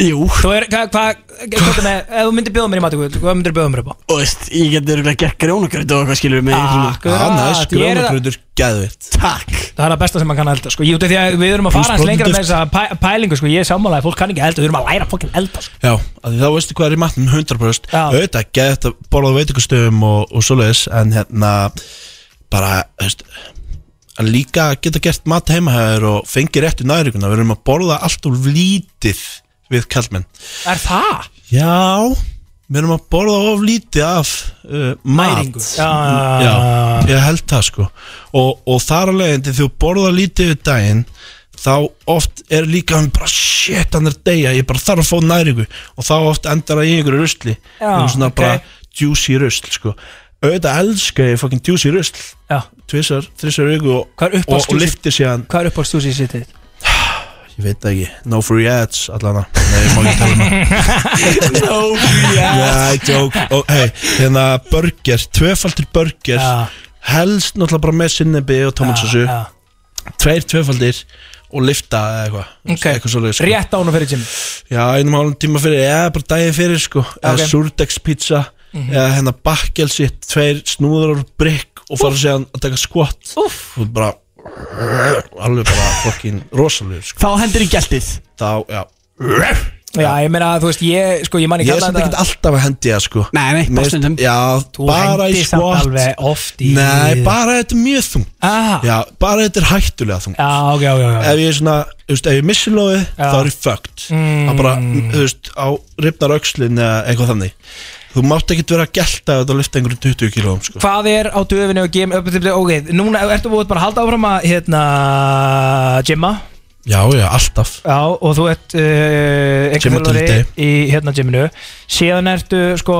Jú, Þú er, hvað, hvað, hvað með, ef þú myndir bjóða mér í mati, hvað myndir bjóða mér upp á? og veist, ég geti örugglega gert grjónagröð og eitthvað skilur með einhverjum- Já, næs, Akkurat, ég er það- grjónagröður, geðvitt Takk Það er það besta sem maður kann að elda sko. Ég út af því að við erum að Plús fara hans lengra með brodduduft. þessa pæ- pælingu sko. Ég er sammálaði, fólk kann ekki að elda Við erum að læra fólk að elda sko. Já, af því þá veistu hvað er í matnum 100% Já. auðvitað gett að borða á veitingastöðum og, og svoleiðis en hérna bara, þú veist að líka geta gert mat heimahæður og fengi réttu næringuna, við erum að borða allt úr lítið við kallmenn Er það? Já, við erum að borða of lítið af uh, mat Næringu. Já, já, já, já, já. ég held það sko og, og þar alveg en þegar þú borða lítið við daginn þá oft er líka hann bara shit hann er að deyja, ég bara þarf að fá næringu og þá oft endar það í einhverju rusli Já, Einhverju svona ok. bara juicy rusl sko auðvitað elska ég fucking juicy rusl Já. tvisar, þrisar auku og, Hvað er og, uppáhalds og juicy- liftir síðan Hvað er uppáhalds þú sér sitt þitt? ég veit það ekki, no free ads allana, nei, ég má ekki tala um það No, yeah. Já, ég jók Og hei, hérna burger, tvöfaldir burger Já. Helst náttúrulega bara með sinnebi og tomatsósu Já, Tveir tvöfaldir og lifta eða eitthvað Ok. Eitthvað svoleiðis já. sko. Rétt án og fyrir Jimmy Já, einum hálfum tíma fyrir, eða bara daginn fyrir sko Eða Ok. Mhm. okay. pizza Eða hérna bakkelsi, tveir snúður og brikk Og fara séðan að taka skott Úff. Þú ert bara Alveg bara fokkin rosalegur sko Þá hendur í gæltið Þá, já Já, ég meina, þú veist, ég, sko, ég man Ég ekki er samt ekkert alltaf að hendi það sko Nei, nei, bara Mér- stundum Já, bara í skott alveg oft í Nei, bara þetta er mjög þungt Ah. Já, Eh. bara þetta er hættulega þungt Já, ok, já, já, já Ef ég er svona, þú veist, ef ég missi lóðið þá er ég fucked Það bara, Mm. þú veist, á ripnar öxlin eða eitthvað þannig Þú mátt ekkert vera að gelta þetta og lifta einhverjum 20 kílóum sko. Hvað er á döfinu og gym Ok, núna ertu búið bara að halda áfram að hérna, gymma Já, já, alltaf Já, og þú ert uh, Gymma einhverjálfari til í hérna gyminu síðan ertu sko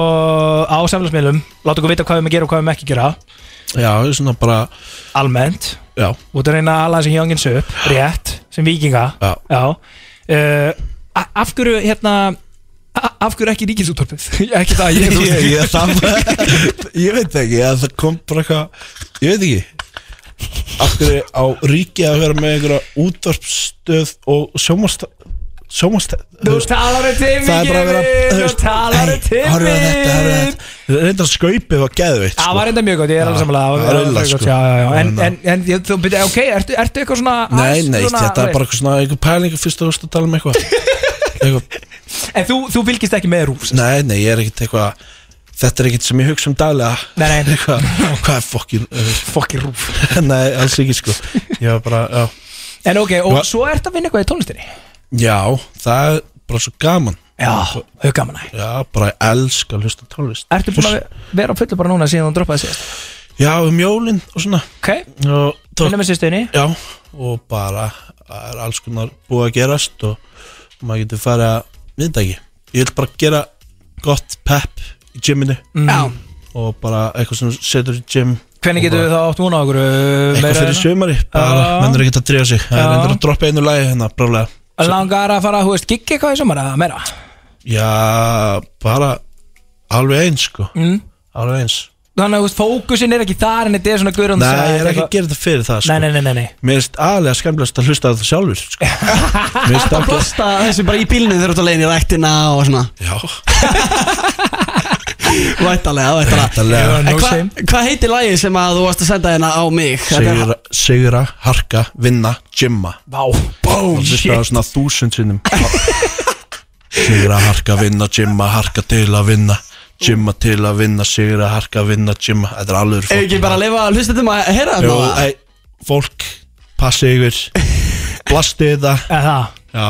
á samfélagsmiðlum láta okkur vita hvað við með gera og hvað við með ekki gera Já, ég er svona bara, almennt, já, út að reyna að ala þessi hjóngins upp rétt, sem vikinga já já uh, a- af hverju hérna a- af hverju ekki ríkisúttorpið ekki það, ég, Ég, ég, ég, ég, ég, það, ég veit ekki, ég, það kom bara eitthvað Ég veit ekki Af hverju á ríki að vera með einhverja útvarpsstöð og sjómarstöð sjónvast Þú talar um Timmy Það er bara að vera Gimmi, þú Þú veist, talar um hey, horfðu á þetta, horfðu á Timmy þetta Reyndar að skaupi var sko. geðveitt Það var reynda mjög gott, ég er alveg samlega það var rullað, sko. já, já, já. En, Þannig að- en, en ég- þú byrja, ok, ertu, ertu eitthvað svona Nei, nei, svona- þetta er veist, bara eitthvað svona einhver pæling fyrst og fyrst að tala um eitthvað eitthvað, En þú, þú fylgist ekki með rúf Nei, nei, ég er ekkert eitthvað Þetta er ekkert sem ég hugsa um daglega Nei, nei. eitthvað, Hvað er fokkin uh, Fokkin rúf Nei, alls ekki sko Ég var bara, já En ok, og Hva- svo ertu að vinna eitthvað í tónlistinni Já, það er bara svo gaman Já, þau gaman að Já, bara ég elska að hlusta á tónlist Ertu búin að vera á fullu bara núna síðan þú droppaði síðast Já, um jólin og svona Ok, og, tók, vinna með sýstunni Já, og bara það er alls konar búið að gerast og maður getur farið að mynda ekki Ég vil bara gera gott pep í gyminu Já og bara eitthvað sem þú setur í gym Hvernig getur við þá átt vona okkur uh, Eitthvað fyrir sömari, bara hérna? Já. mennur ekkert að dreifa sig Það er Já. endur að droppa einu lagi hérna, brálega Langar að fara, hú veist, gigg eitthvað í sumar að meira Já, bara alveg eins sko Mm. Alveg eins Þannig að þú veist, fókusin er ekki þar en þetta er svona guður Nei, ég er ekki að gera þetta fyrir það sko Nei, nei, nei, nei, nei Mér finnst aðlega skemmtilegast að hlusta á það sjálfur sko. Mér finnst Að alltaf blasta þessu bara í bílnu þegar þú ert að leiðin í rættina og svona Já, Vættalega, vættalega réttalega No En hva- shame. Hvað heitir lagið sem að þú varst að senda hérna á mig? Þetta er- Sigra, sigra, harka, vinna, gymma Vá Bóm, shit Það er svona þúsund sinnum Sigra, harka, vinna, gymma, harka til að vinna Gymma til að vinna, sigra, harka, vinna, gymma Þetta er alveg Ef ekki bara að lifa að hlusta þetta maður að heyra Jó, þetta ei, fólk, passi yfir Blastið það Eða það Já,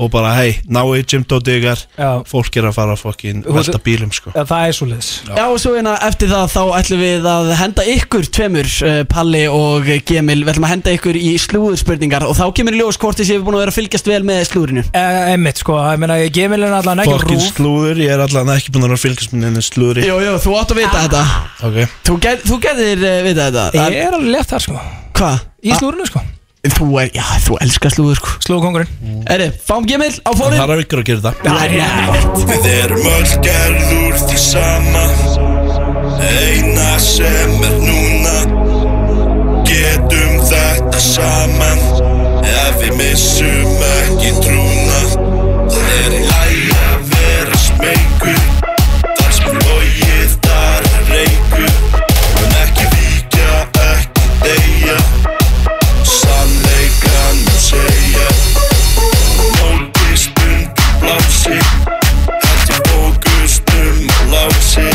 og bara hei, náu í gymdóti ykkar Já. Fólk er að fara að fokkin Þú- velta bílum sko Eða það er svo liðs Já, og svo hérna eftir það þá ætlum við að henda ykkur tveimur, uh, Palli og Gemil Við ætlum að henda ykkur í slúðurspurningar og þá kemur í ljós hvort þessi hefur búin að vera að fylgjast vel með slúðurinu Emmitt, sko, ég meina, ég gemil er allan ekki Fokkin rúf slúður, ég er allan ekki búinn að vera að fylgjast með henni slúðri Jú, jú, þú átt að vita þetta Ok, Þú, get, þú getur uh, vita þetta Það- Ég er alveg left þar, sko Hvað? Ah. Í slúrinu, sko Þú er, já, þú elskar slúður sko Slúkongurinn Erri, fám Gemil á það fónin er að ykkur að gera það Alright. Við erum öll gerð úr því sama Eina sem er núna Getum þetta saman Ef við missum ekki trúna Það er í lagi að vera smeykur Þar sem logið þar er reykur En ekki víkja, ekki deyja Sannleikanum segja Móti stund blási Hætti fókust um að lási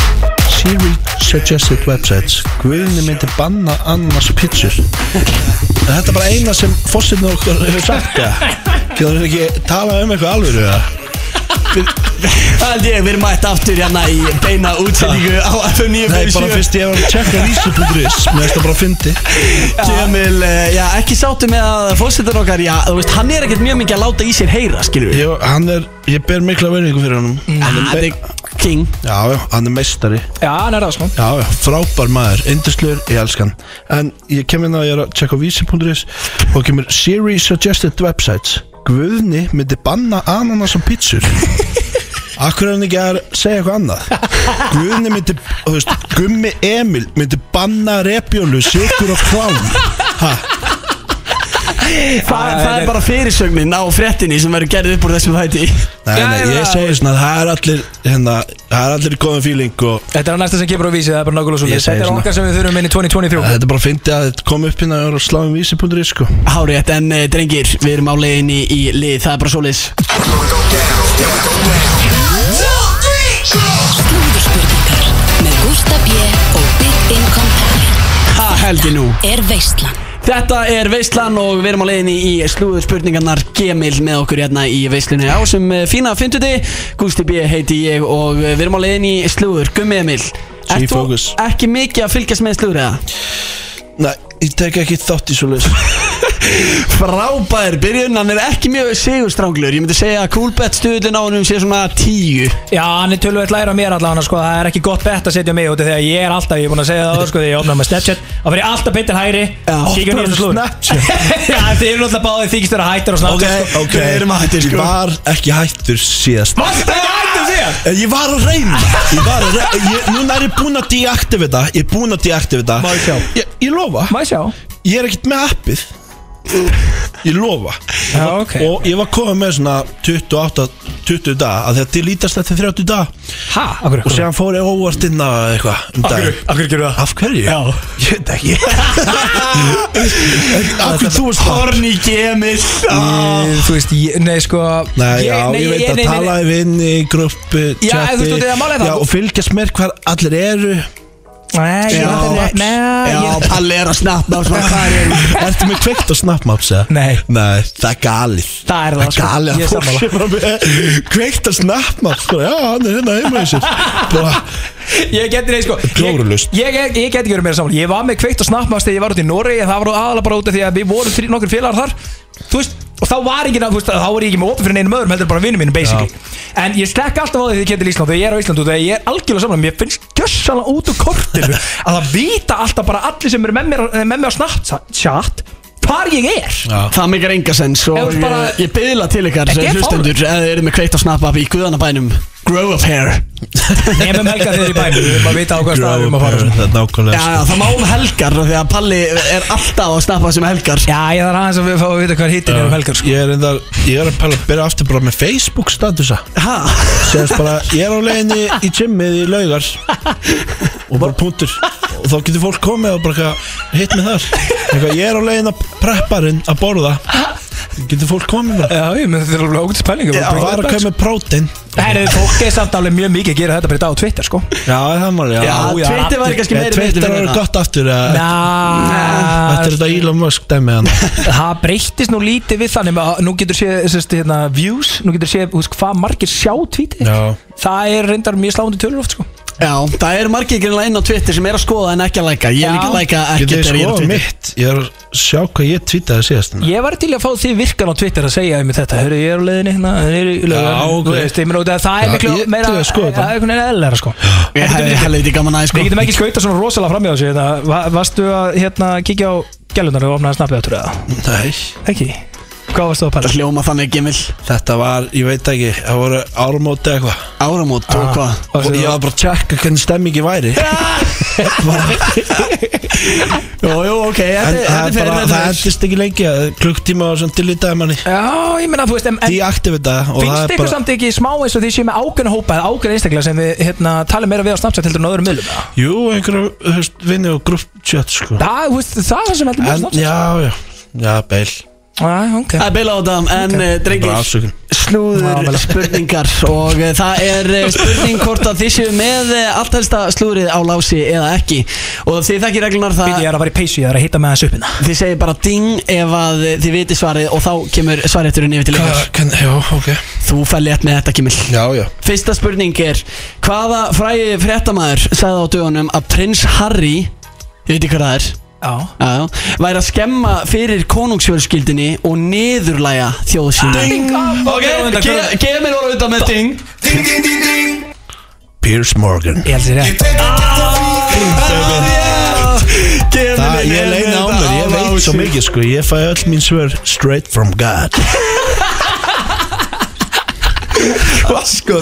Siri suggested websites Guðinni myndi banna annars pítsur Þetta er bara eina sem fósitna okkur hefur sagt Getur þér ekki tala um eitthvað alvöru eða? Það held ég, við erum mætt aftur hérna í beina útsendingu á FM Nei, bara 957 fyrst ég var að checka vísu.is Mér finnst það bara að fyndi Kemil, eh, já, ekki sáttu með að fórsetar okkar, já, þú veist, hann er ekkert mjög mikið að láta í sér heyra, skilur við. Ég, hann er, ég ber mikla verðingu fyrir honum Hann Það er er me- king. Já, já, hann er meistari Já, hann er það, sko Já, já, frábær maður, yndislegur, ég elska hann En ég kem inn að ég er að checka á vísi.is Og kemur Siri suggested websites Guðni myndi banna ananas og pítsur Akkur er hann ekki að segja eitthvað annað Guðni myndi, þú veist, Gummi Emil myndi banna repjólu, sikur og klám Ha, Það, það er bara fyrirsögnin á fréttinni sem verður gerð upp úr þessum þætti. nei, nei, ég segi svona Það er allir, hérna, það er allir í góðum fíling og Þetta er að næsta sem kemur á vísi, það er bara nákvæmlega svo Ég segi Þetta er svona. okkar sem við þurfum inn í 2023 Þetta er bara að fyndi að þetta kom upp hérna og er að slá um vísi.is sko Hárið, en eh, drengir, við erum á leiðinni í lið, það er bara svoleiðis. Slúðurspurningar með Gústa B. og Big Income Talent Ha, held ég nú. er veislan Þetta er Veistlan og við erum á leiðinni í slúður spurningarnar Gemil með okkur hérna í Veistlunni á sem eh, fína 50. Gústi B. heiti ég og eh, við erum á leiðinni í slúður. Gummi Emil, Sí, ert þú fókus. ekki mikið að fylgjast með slúður eða? Nei, ég tek ekki þátt í svo leys Frábær byrjun, hann er ekki mjög sigurstranglur Ég myndi segja að Coolbet stuðlinn á hennum sé svona tíu Já, hann er tölvöld læra mér allan, sko Það er ekki gott bett að setja mig út af því að ég er alltaf, ég er búin að segja það, áður, sko Þegar ég opnaði með Snapchat Þá fyrir alltaf beint til hægri Kíkjum í þessu slúður Já, þið eru náttúrulega báðið þykist vera hættur og Ok, Snapchat, sko. ok Ég var ekki hættur síðast Þetta er hættur síðan En Ég var að reyna Ég var að reyna ég, Núna er ég búinn að deaktivita Ég er búinn að deaktivita Má ég sjá? Ég, ég lofa Má ég sjá? Ég er ekkert með appið Ég lofa Já, ok Og ég var komið með svona 28, 20 dag að þetta lítast eftir 30 dag Ha? Akkur, Og séðan fór ég óvart inn að eitthvað um dag akkur gerur það? Af hverju? Já Ég veit ekki Af hverju þú veist það? Horni gemis Þú veist, ég, nei sko Nei, já, ég veit að tala í vinni, gruppu, Já, en þú veist, þetta er málið það. Já, og fylgjast með hvar allir eru Nei, ég Já, veit að Nei, Já, ég Palli er að snappa og svona hvað er Ertu með kveikt á Snapmaps, eða? Nei. Nei, það er galið Það er það, Það er sko. galið Ég er að fólk sé bara með kveikt á Snapmaps bara, Já, hann er hérna heima í sér Bara, Ég geti neins sko ég- Glórulaust. Ég, ég, ég geti ekki verið meira saman Ég var með kveikt og snappmast þegar ég var út í Noregi en Það var aðalega bara út af því að við vorum þrír- nokkur félagar þar Þú veist Og þá var ekki, þú veist, þá var ég ekki með opið fyrir neinum öðrum heldur bara vinnum mínum, basically En ég slekk alltaf á því því ég kemdi til Ísland og ég er á Ísland út af því að ég er algjörlega saman Mér finnst kjössalega út úr kortinu að það vita alltaf bara allir sem eru með mér, með mér á Snapchat hvar ég er Það meikar enga sens Ef og þú bara- ég, ég byðla til ykkar eh, Þetta er hlustendur eða þið eru með kveikt á snappa í guðanabænum Grow of hair Nefnum helga þegar ég bæmi, við erum að vita á hvað stað við erum að fara og svona. það er Já, nákvæmlega já, það má um helgar af því að Palli er alltaf að snappa sem helgar Já, ég þarf aðeins að við fá að vita hvað hittin er um helgar sko. Ég er reyndar, ég er að pæla að byrja aftur bara með Facebook statusa Ha? Segðast bara, ég er á leiðinni í gymmið í laugar Og bara punktur Og þá getur fólk komið og bara eitthvað hitt mig þar Eitthvað, ég er á leiðinni að prepparinn að borða Getur fólk komið bara Já, ég með þetta er alveg ógætt spælinga Já, var að koma með prótein Herri, fólk er samt alveg mjög mikið að gera þetta bara í dag á Twitter, sko Já, það er málið, Já, já, Eh, Twitter væri kannski meiri Twitter er gott aftur eða- Þetta er Næ, þetta Elon Musk dæmi hann það breyttist nú lítið við þannig að nú getur sé, sérst, hérna, views, nú getur sé, hús, hvað margir sjá tweetið Já. Það er reyndar mjög sláandi tölur oft, sko Já, það eru margir greinlega inn á Twitter sem er að skoða en ekki að læka Ég er Já. líka að læka ekki Getur þið þegar ég er á skoða Twitter mitt Ég er að sjá hvað ég tvítið síðast hérna. Ég var til í að fá því virkan á Twitter að segja um þetta Hörru, ég er á leiðinni hérna, þeir eru í lögum Já, ok. Þú veist, ég meina út að það er Já, miklu ég- meira til að skoða þetta. Það er einhvern veginn eðlæra, sko Ég hef helviti gaman sko. aðeins Við getum ekki skauta svona rosalega fram í þessu hérna. Va- Varstu að hérna, kíkja á gælunar og opnaði snappið áttur eða? Nei Ekki? Hvað varstu að pæla? Hljóma þannig gemil Þetta var, ég veit ekki, það voru áramóti eða eitthvað Áramót og Ah, hvað Og ég var bara að tjekka hvernig stemmingi væri Jú, jú, ok, En þetta það þetta er fer bara, reyndar það vel. endist ekki lengi Klukktíma og svona tilítaði manni Já, ég meina, þú veist, en, en Því aktiv þetta og finnst það er ykkur bara samt ekki smá eins og því séu með ákveðna hópa eða ákveðna einstaklega sem við hérna, tala meira við á Snapchat heldur en á öðrum miðlum? eða? Jú, einhverjum, þú veist, vinni og grupp tjött sko Það, þú veist, það er það sem heldur meira á En, Snapchat já, já, já, beil Já, ok Það er beila á þetta, en okay. Bara drengir, afsökun slúður Já, vel. spurningar og eh, það er eh, spurning hvort að þið séu með eh, allt helsta slúðrið á lási eða ekki og þið þekkir reglunar það Býti, ég er að fara í peysu, ég er að hitta með þessu uppina þið segir bara ding ef að eh, þið viti svarið og þá kemur svaretturinn yfir til ykkur Já, ok þú fær létt með þetta kemur Já, já Fyrsta spurning er Hvaða fræði fréttamaður sagði á dögunum að prins Harry Þið veitir hvað það er Já já, já, Væri að skemma fyrir konungsfjölskyldinni og niðurlæja þjóðu sína Ok, ge- geð mér orða auðvitað með ding Piers Morgan Ég held sér rétt Ah, Geð Það, ég leina á mér, ég veit svo mikið sko Ég fæ öll mín svör straight from God um sko,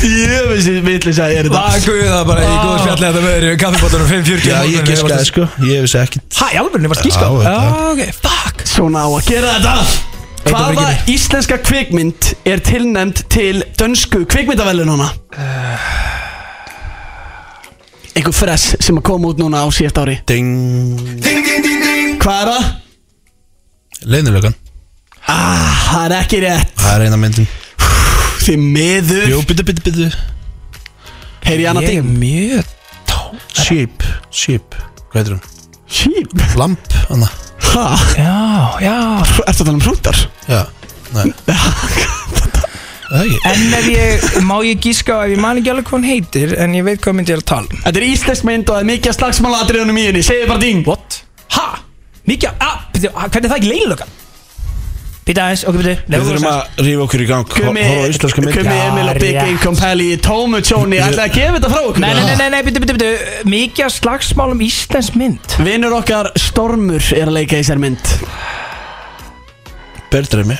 Djöfisins vitlis að ég er þetta Vaguð það bara í góðu spjalli þetta með þér Kaffibóttunum 5.40 Já, ég giskaði sko, ég vissi ekkit Hæ, alveg, ég var skíska Já, Já, þetta- ok, fuck Svona á að gera þetta var Hvaða ekki- íslenska kvikmynd er tilnæmt til dönsku kvikmyndavelununa? Uh. Einhver fress sem að koma út núna á síðast ári Ding Hvað er það? Leinilegan Ah, það er ekki rétt Það er eina myndin Því miður Jú, byttu, byttu, byttu Heyri ég annað Ég er ding mjög Sheep Sheep Hvað heitir hún? Sheep Lamp Anna Ha, Já, já ertu að tala um hrútar? Já Nei Það ekki En ef ég, má ég gíska á ef ég man ekki alveg hvað hún heitir En ég veit hvað myndi ég er að tala um Þetta er íslensk mynd og það er mikið af slagsmálatriðunum í henni Segðu bara ding What? Ha? Mikið, að, byrju, að, hvernig er það ekki leilögan? Býta aðeins, ok, byrju Við þurfum að rífa okkur í gang Hor- Kumi, Horfa á íslenska myndi Kumi Emil og Big Já, Game Compelli Tómu Tjóni Ætlaði að gefa þetta frá okkur Nei, nei, nei, nei, nei, byrju, byrju, byrju Mikið af slagsmálum Íslands mynd Vinnur okkar Stormur er að leika í sér mynd Berðremi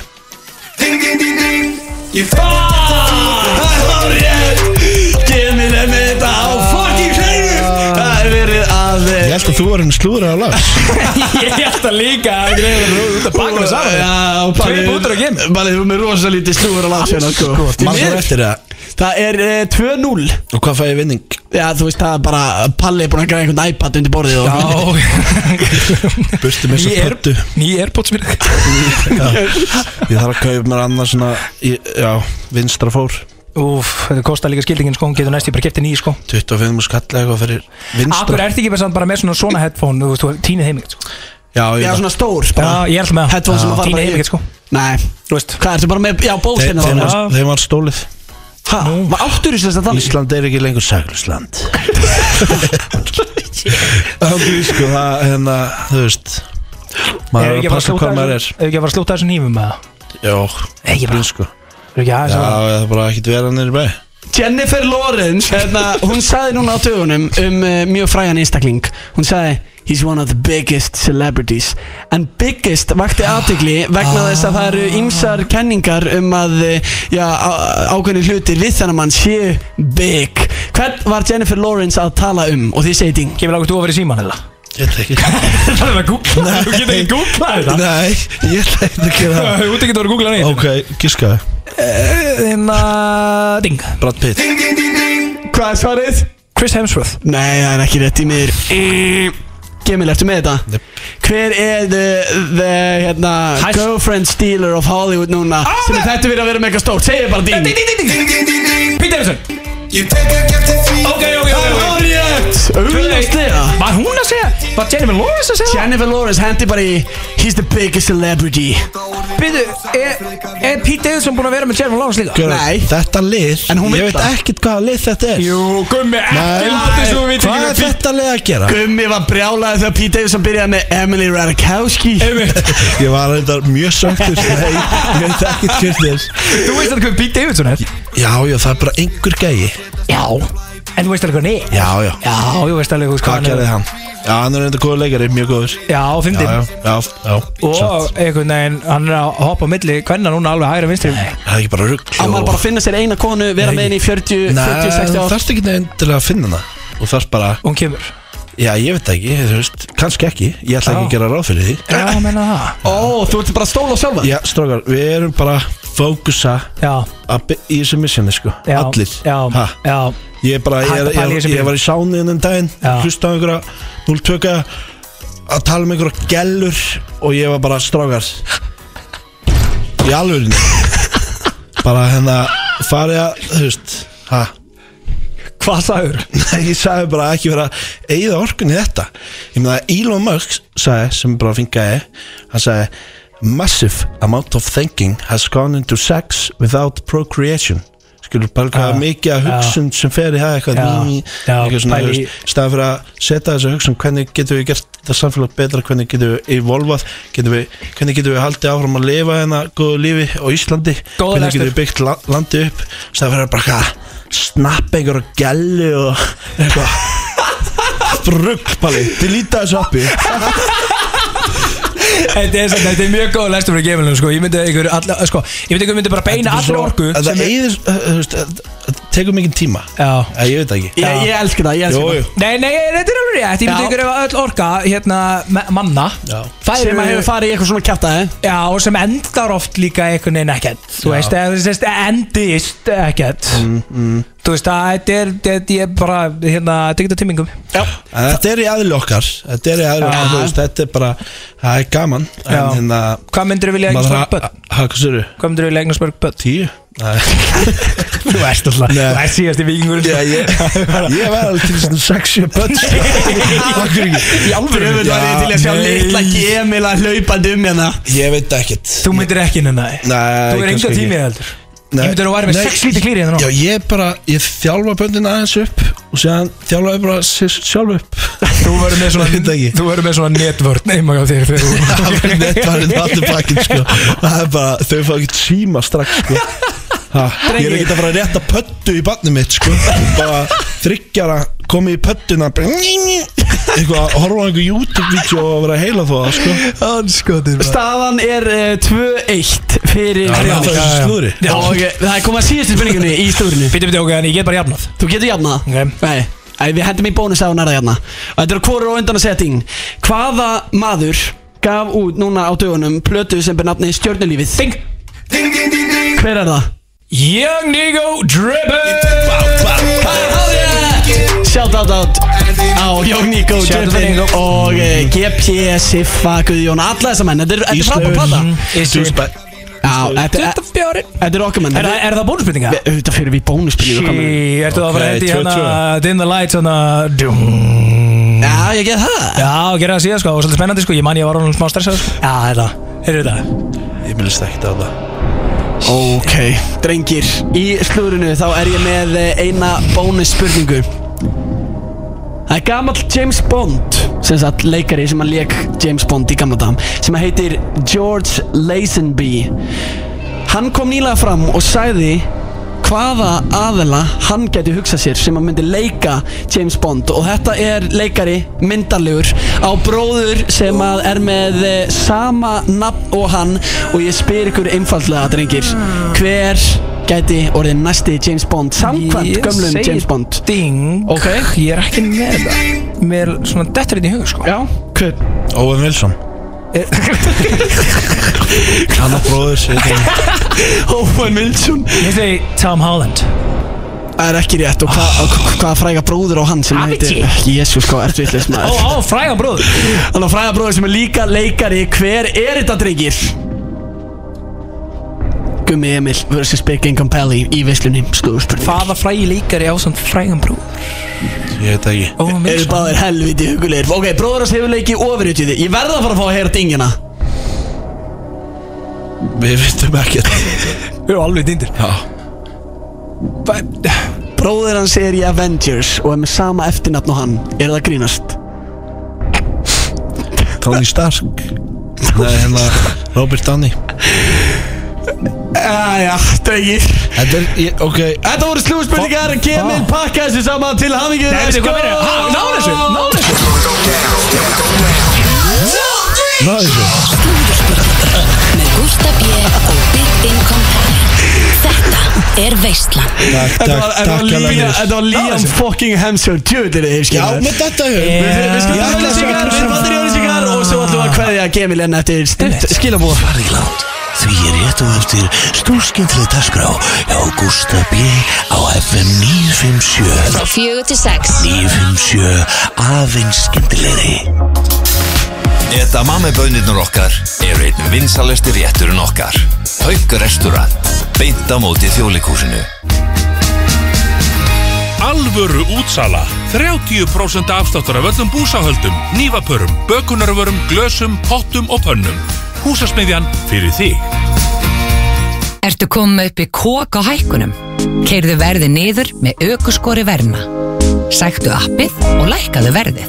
Gemil er með þetta á fucking hreinu Það er verið að að Ég held að þú var henni slúður á lags Ég held að líka að það er út að baka með saman Já, og Tveir bútur á gem Balið, þú er með rosa lítið slúður á lags hérna, sko. Því Mann miður. fór eftir það Það er eh, 2-0 Og hvað fæ ég vinning? Já, þú veist, það er bara Palli er búin að græða einhvern iPad undir borðið og Burtu mér svo Ný Air- pöttu ný Airpods fyrir þig. Ég þarf að kaupa mér annað svona í- Já, vinstra fór Úf, þetta kostar líka skildingin sko, hún getur næst, ég bara kefti nýju sko 25 múl skalla eitthvað fyrir Akkur vinstra ertu ekki bara samt bara með svona svona headphone, þú veist, þú tínið heimíkt sko. Já, ég Já, veit svona stór Já, bara. ég er alltaf með það. Headphone sem Já. að fara Tína bara í- heimilið, sko. Nei Þú veist Hvað, ertu bara með Já, Þeim, bóstina þá þeim, var, þeim var stólið Hæ, var áttur í þess að þannig Ísland er ekki lengur sælusland Ok, sko, það, hérna, þú veist Ef Maður ekki að fara að er að passa slúta hvað maður er þessu- ef ekki að fara að slúta þessum nýfum með það Já, Nei, ekki bara. sko Er ekki aðeins Já, að það er bara ekkert vera nýri bæ Jennifer Lawrence hérna, Hún sagði núna á tögunum um uh, mjög frægan einstakling Hún sagði He's one of the biggest celebrities En biggest vakti aðtegli vegna þess að það eru ymsar kenningar um að eh, já, á- ákveðnir hlutir við þennan mann séu big Hvern var Jennifer Lawrence að tala um og því segi ding Kemur lágur þú að vera í síman eða? Ég ætla ekki Það er að googla, þú getur ekki googla þetta Nei, ég ætla ekki að gera Þú getur það ekki að vera að googla neitt Ok, gíska Þannig að, Hérna, ding Brad Pitt Hvað er svarið? Chris Hemsworth Nei, það er ekki rétt í mér Gemil, ertu með þetta? Yep. Hver er the, the hérna, Hæst- girlfriend stealer of Hollywood núna Ah, sem er þetta verið að vera með eitthvað stórt segir bara ding Pete Davidson Ok, ok, Það er ok, ok orðið Augljóslega Var hún að segja? Var Jennifer Lawrence að segja? Jennifer Lawrence hendi bara í He's the biggest celebrity Býtu, er, er Pete Davidson búin að vera með Jennifer Lawrence líka? Nei. Þetta lið En hún Ég veit veit það. ekkert hvaða lið þetta er Jú, gummi, Nei, ekki látið svo við hvað er þetta lið að gera? Gummi var brjálaði þegar Pete Davidson byrjaði með Emily Radikowski Einmitt, Ég var reyndar mjög sögtur Nei, ég veit ekkert hver þér þú veist alveg hvað Pete Davidson er Já, já, það er bara einhver gæi Já En þú veist alveg hvað hann er Já, já Já, þú veist alveg hvað Hvað gerði hann? Já, hann er reyndar góður leikari, mjög góður Já, Já, fyndin já, já, já Og satt. einhvern veginn, hann er að hoppa á milli Hvernig núna alveg hægra vinstri Það er ekki bara rugg Á maður bara að finna sér eina konu vera með henni í 40, Nei, 40, 60 þú ár þarft ekki nefndilega að finna hana Þú þarft bara, Hún kemur já, ég veit það ekki, þú veist Kannski ekki, ég ætla ekki Já. að gera ráð fyrir því Já, menna það Ó, þú ert bara að stóla sjálfa Já, strókar, við erum bara að fókusa Já, að by- í þessu missjani, sko já Allir Já, ha, já Ég er bara, ég, Hætt að er, pæla í ég, þessu ég var í sáni þennan daginn Já. Hlusta á einhverja 0-2 Að tala um einhverja gellur Og ég var bara, strókar Í alvörinu Bara hérna, farið að, þú veist Ha, Hvað sagður? Nei, ég sagði bara ekki vera að eigða orkunni í þetta ég meina að Elon Musk sagði sem bara finkaði hann sagði massive amount of thinking has gone into sex without procreation skilur bara hvað Já, mikið að Ah, já. hugsun sem fer í það eitthvað Já, ný, já, eitthvað svona, pæli þú í- veist, staðan fyrir að setja þessa hugsun hvernig getum við gert það samfélag betra hvernig getum við evolvað getum við, hvernig getum við haldið áfram að lifa hérna góðu lífi á Íslandi Góður hvernig lestur. getum við byggt la- landið upp staðan fyrir að bara hvað snappa einhverja gælu og eitthvað Rugg, Palli, delita þessu appi Þetta er, samt- þetta er mjög góð lestur fyrir gefilinu sko. Ég myndi að ykkur alla, sko, Ég myndi að ykkur myndi bara beina allra orku En sem Það er- eyðir, uh, þú veist, uh, það tekur mikið tíma Já Æ, Ég veit það ekki Ég, ég elska það, ég elska Jú, það jú. Nei, nei, þetta er alveg rétt Ég myndi Já. ykkur ef öll orka hérna, me- manna Já. færu, sem að hefur farið í eitthvað svona kjartaði Já, og sem endar oft líka einhvern veginn ekkert Þú veist, eða þú veist, endist ekkert Mm. Þú veist, það þetta er, þetta er bara, hérna, þetta getur timmingum En þetta er í aðli okkar Þetta er í aðli okkar, Já. þú veist, þetta er bara Það er gaman Já. En hérna Hvað myndirðu vilja eignast maður mörg ha- börn? ha- ha- Hvað sér Hvað myndirðu vilja eignast mörg börn? Tíu? Nei Þú veist alltaf, Nei. það er síðast í vikingurinn Já, ég, ég var alveg til svona 6-7 börn sko. Akkur ekki Í alvöru Djöfull var ég til að sjá litla gemila hlaupandi um hérna Ég veit ekkert Þú myndir ekki hérna Þú Nei, er enga kannski ekki. tímið heldur Nei, Ég myndi að þú væri með nei, sex lítið klíri hérna nú. Já, ég bara, ég þjálfa böndin aðeins upp og séðan þjálfa ég bara sér sjálf upp Þú verður með Ég veit ekki. svona Þú verður með svona netvörn Neyma á þér þegar þú- Nettvarinn allir pakkin, sko Það er bara, þau fá ekki síma strax, sko ha, Ég er ekki að fara að rétta pöttu í barnið mitt, sko Bara þryggjara, komið í pöttuna bara Eitthvað, horfa á einhver YouTube-vídeó og vera að heila þó, sko Anskotin Staðan er eh, 2-1 fyrir Það er Grindvík. alltaf já, já. þessi slúðri Já, ok, það er komið að síðustu spurningunni í slúrinu Býtum við ok, en ég get bara jafnað Þú getur jafnað það? Ok. Nei, Æ, við hendum í bónus á næra hérna Og þetta eru hvorur og undan að segja ting Hvaða maður gaf út núna á dögunum Plötu sem ber nafni stjörnulífið Ting Ding, ding, ding, ding Hver er það? Young Nigo Dribbin Shout out out á Jón Níko Shout out to Dribbin Nico. og eh, GP, Siffa, Guðjón Alla þessa menn, þetta er- þetta er frábær plata Mhm. Já, þetta er- 24 þetta er okkar menn Er, er það bónusbyrninga? Þetta fyrir við bónusbyrjum Shí, ertu það að fara að hendi Ok, hérna 22. Dim the lights hérna djúm. Já, ég get það Já, gera það síðan sko, og svolítið spennandi sko Ég man ég var honum smá stressað sko Já, þetta, heyrðu þetta Ég minnist ekkert á það Ok, drengir Í slúrinu þá er ég með eh, eina bónusspurningu Það er gamall James Bond sem sagt leikari sem að leik James Bond í gamla dam sem að heitir George Lazenby Hann kom nýlega fram og sagði hvaða aðela hann gæti hugsa sér sem að myndi leika James Bond og þetta er leikari myndarlegur á bróður sem að er með eh, sama nafn og hann og ég spyr ykkur einfaldlega drengir hver gæti orðið næsti James Bond samkvæmt Ég gömlum segi James Bond Ding, Ok. ég er ekki með það Mér er svona detturinn í huga sko Já, hver? Owen Wilson Hann og bróður sér Owen Wilson Ég segi Tom Holland Það er ekki rétt og Ah. hvað hva fræga bróður á hann sem Avicii. heitir Jésu sko, ertu vitleis Ó, maður ó, fræga bróður Þannig að fræga bróður sem er líka leikari Hver er þetta drengir? Gummi Emil vs. Big Income Pally í veislunni slúðurspurning Hvaða frægi leikari á samt frægan bróður? Ég veit það ekki Ó, mér Eru báðir helviti hugulegir Ok, bróður hans hefur leikið ofurutjöði Ég verða að fara að fá að heyra dingina Við veitum ekkert Við erum alveg dindir Já Bróður hans er í Avengers og er með sama eftirnafn og hann Er það að grínast? Tony Stark Nei, hérna Robert Downey Æja, drengir Þetta er, ég- ok Þetta voru slúðspurningar Kemil pakka þessu saman til hafingjur Nei, veitu, hvað meira? Ha, náðu þessu, náðu þessu Náðu þessu Með Gústa B. og Big Income Pally Þetta er veislan Takk, Þetta takk, var, þetta var takk Liam, þetta var Liam fucking Hemsworth Tjöðlir þið, Já, skilur með þetta höfum Við Eh, við skulum um Ég taka ætla að segja auglýsingar, við þessu. fattir í auðlýsingar og svo ætlum við að kveðja Gemil enn eftir stutt skilabóð farið langt því ég rétt og eftir stúrskindrið dagskrá hjá Gústa B. á FM 957 Frá fjögur til sex 957 aðeins skindilegri Edamame-bönirnur okkar eru einn vinsalesti rétturinn okkar. Hauk restaurant, beint á móti þjóðleikúsinu. Alvöru útsala 30% afsláttur af öllum búsáhöldum Nývapörum, bökunarvörum, glösum, pottum og pönnum Húsasmiðjan fyrir þig Ertu komið upp í kók á hækkunum? Keirðu verði niður með aukuskori Verna. Sæktu appið og lækkaðu verðið.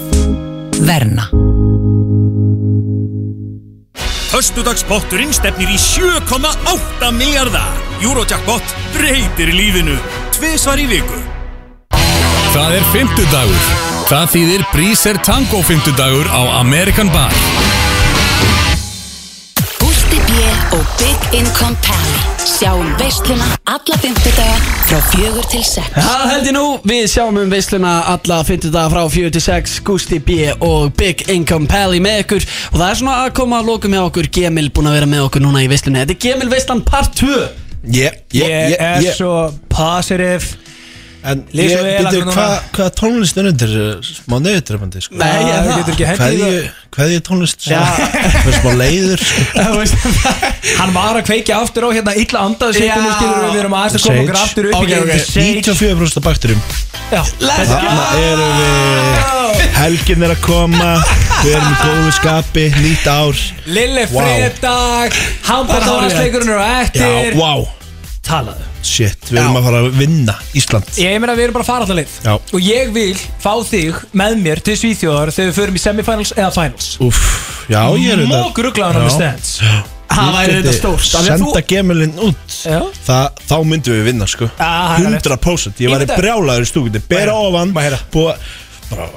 Verna. Föstudagspotturinn stefnir í 7,8 miljardar. Eurojackpot breytir lífinu. Tvisvar í viku. Það er fymtudagur. Það þýðir Breezer Tango fymtudagur á American Bar. Gústi B. og Big Income Pally Sjáum veisluna alla fymtudaga Frá fjögur til sex Það held ég nú, við sjáum um veisluna alla 50 daga frá 46 Gusti B og Big Income Pally með ykkur og það er svona að koma að lokum hjá okkur Gemil búin að vera með okkur núna í veislunni Þetta er Gemil veislan part 2 Ég, Ég er ég- svo positive En Lýs ég, svo vel býtu, akkur núna. hvað hva tónlist er undir uh, smá nöðutrefandi, sko? Nei, ég er Þú það. getur ekki hendið í Hvað það. ég, hvað ég tónlist? Já. Það er smá leiður, sko. Þú veist, Hann var að kveikja aftur á hérna illa andaðu sýttinu Já. skilur við við erum aðeins að koma okkur Sage. aftur upp Ok, í ok. gegnum The Sage. 94% af bakturum. Já, Þarna erum við, helgin er að koma, við erum í góðu skapi, nýtt ár. Lille Wow. Fredag Bara hárrétt. Handbóltalandsleikurinn eru Já, eftir wow, Talaðu shit, við erum að fara að vinna Ísland. Ég meina við erum bara að fara allar leið Já. Og ég vil fá þig með mér til Svíþjóðar þegar við förum í semifinals eða finals Úff, já, ég er auðvitað- Mók rugglaðan á Já. með stands það væri Ég þetta geti stórt af því að þú- Senda gemulinn út Já. Það, Þá myndum við vinna sko Ah, það er rétt. 100% Ég var í Ímynda- brjálaður í stúkunni Bera heyra, ofan má heyra. Búa Bara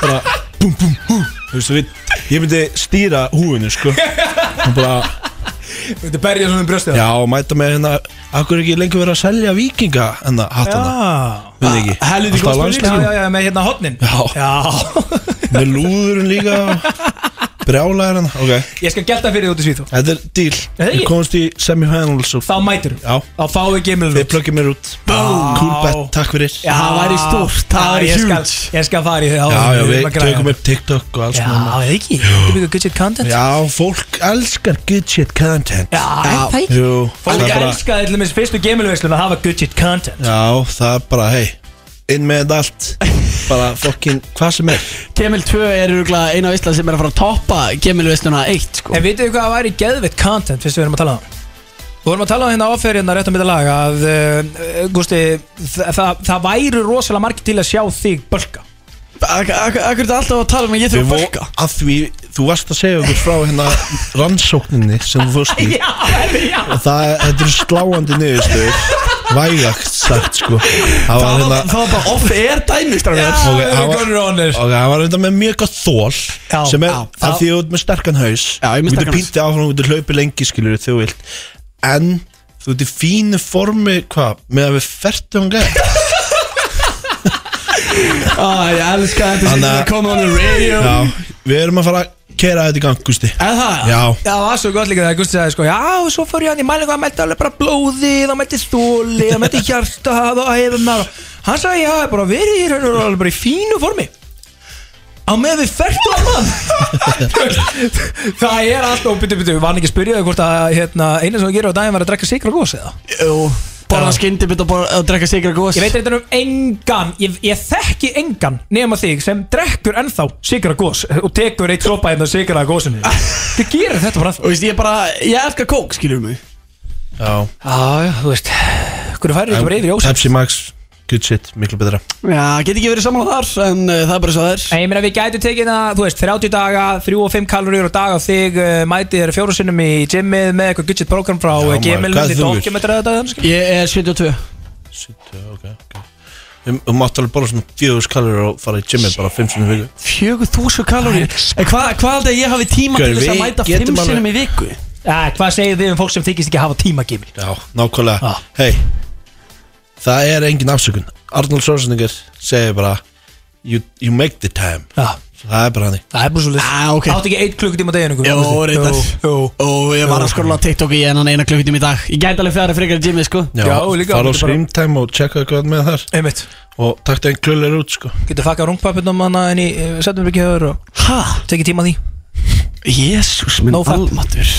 Bara Bum bum bum Þú veist þú veit Ég myndi stýra húinu sko Og bara Þetta berja svona um brjóstið á Já, mæta með hérna Akkur ekki lengur verið að selja vikinga Hérna, hattana Ah. Við ekki Helviti góð Alltaf spurning Já, landsliðum. já, já, með hérna hotnin Já, Með lúðurinn líka Brjálæðir hérna Ok Ég skal gelta fyrir því út í svíþu Þetta er deal það Við ekki? komumst í semifinals og... Þá mætur Já Þá fáum við gemilur Við plöggum mér út Búm. Cool bet, takk fyrir Já, Ah, Já, Ah. ég skal- Ég skal fara í því Já, já, við tökum upp TikTok og alls Já, konar. eða ekki Þetta byggur good shit content Já, fólk elskar good shit content Já, er það ekki? Jú, það Fólk er bara elskaði til dæmis fyrstu gemilveislun að hafa good shit content Já, það er bara, hei Inn með þetta allt Bara fokkin, hvað sem er Kemil 2 er örugglega eina á Ísland sem er að fara að toppa Kemil Vestuna 1 sko En vitið þið hvað væri geðvitt content fyrst við erum að tala um það? Við vorum að tala um hérna áferðina rétt á mitt að laga að, uh, Gústi, það, það, það væri rosalega margir til að sjá þig bölka Akkur er þetta alltaf að tala um að ég Við vo- Að því, þú varst að segja okkur frá hérna rannsókninni sem þú fórst í og það, þetta er sláandi niðurstöður vægagt sagt sko það var hérna Það var bara off-air dæmi strafnir Ok, hann var- ok, hann var þetta með mjög gott þól Já, sem er já, að já. því þú ert með sterkan haus já, ég er með sterkan þú haus. býtti áfram, þú getur hlaupið lengi skilur þú vilt en þú ert í fínu formi hvað, með að við fertum hann gæði ah, ég elska þetta sem Þannig að- er komið on the radio já, við erum að fara að kera þetta í gang, Gusti eða það? já, Já, það var svo gott líka þegar Gústi sagði sko Já, og svo fór ég hann í mælingu að meldi alveg bara blóði Það meldi þóli, það meldi hjartað og æðunar Hann sagði, já, ég hef bara verið hér Hann er alveg bara í fínu formi Á með við ferdu að mann Það er alltaf, byttu, byttu, var hann ekki að spyrja þig hvort að hérna, eina sem þú gerir á daginn var að drekka sigra gósi eða? Jú, borða skyndi byrja að drekka sigra gós Ég veit þetta um engan, ég, ég þekki engan nema þig sem drekkur ennþá sigra gós og tekur eitt sopa hérna sigra gósinu Þið gerir þetta bara ennþá Og veist, ég bara, ég elska kók, skilur mig já Já, já, þú veist Hverju færðu þetta bara yfir í ósætt? Pepsi Max, good shit, miklu betra Já, get ekki verið saman á þar, en uh, það er bara svo það er En ég meina við gætum tekið það, þú veist, 30 daga 3 og 5 kaloríur á dag á þig uh, mætið þér fjóru sinnum í gymmið með eitthvað gudget program frá eh, Já, maður, gemilum hvað til þú vilt? dokumentar þetta þannig Ég er 72 Sittu, ok, ok Þú um, mátt alveg borða svona 4000 kalori og fara í gymið bara 5 sinni í viku 4000 kaloríur En hvað hva aldrei ég hafi tíma Gaur, til þess að við mæta getum 5 alveg- sinum í viku Já, hvað segir þið um fólk sem þykist ekki hafa tíma gemil? Já, nákvæmlega Ah. Hei, það er engin afsökun Arnold Schwarzenegger segir bara You, you make the time Já. Það er bara hann Það er bara svo list ah, okay. Áttu ekki 1 klukkutíma á deginu Jó, reyndar Og ég var Jú. að skrolla á TikTok í enan eina klukkutum í dag Ég gæti alveg fyrir frekar í gymið, sko Fara á screamtime og checka hvað er með þar Einmitt Og takta einn klullir út sko Getur fakkað rungpappinum hana en í setjum við ekki höfur og Hæ? Tekið tíma á því Jésús minn No fap. almatur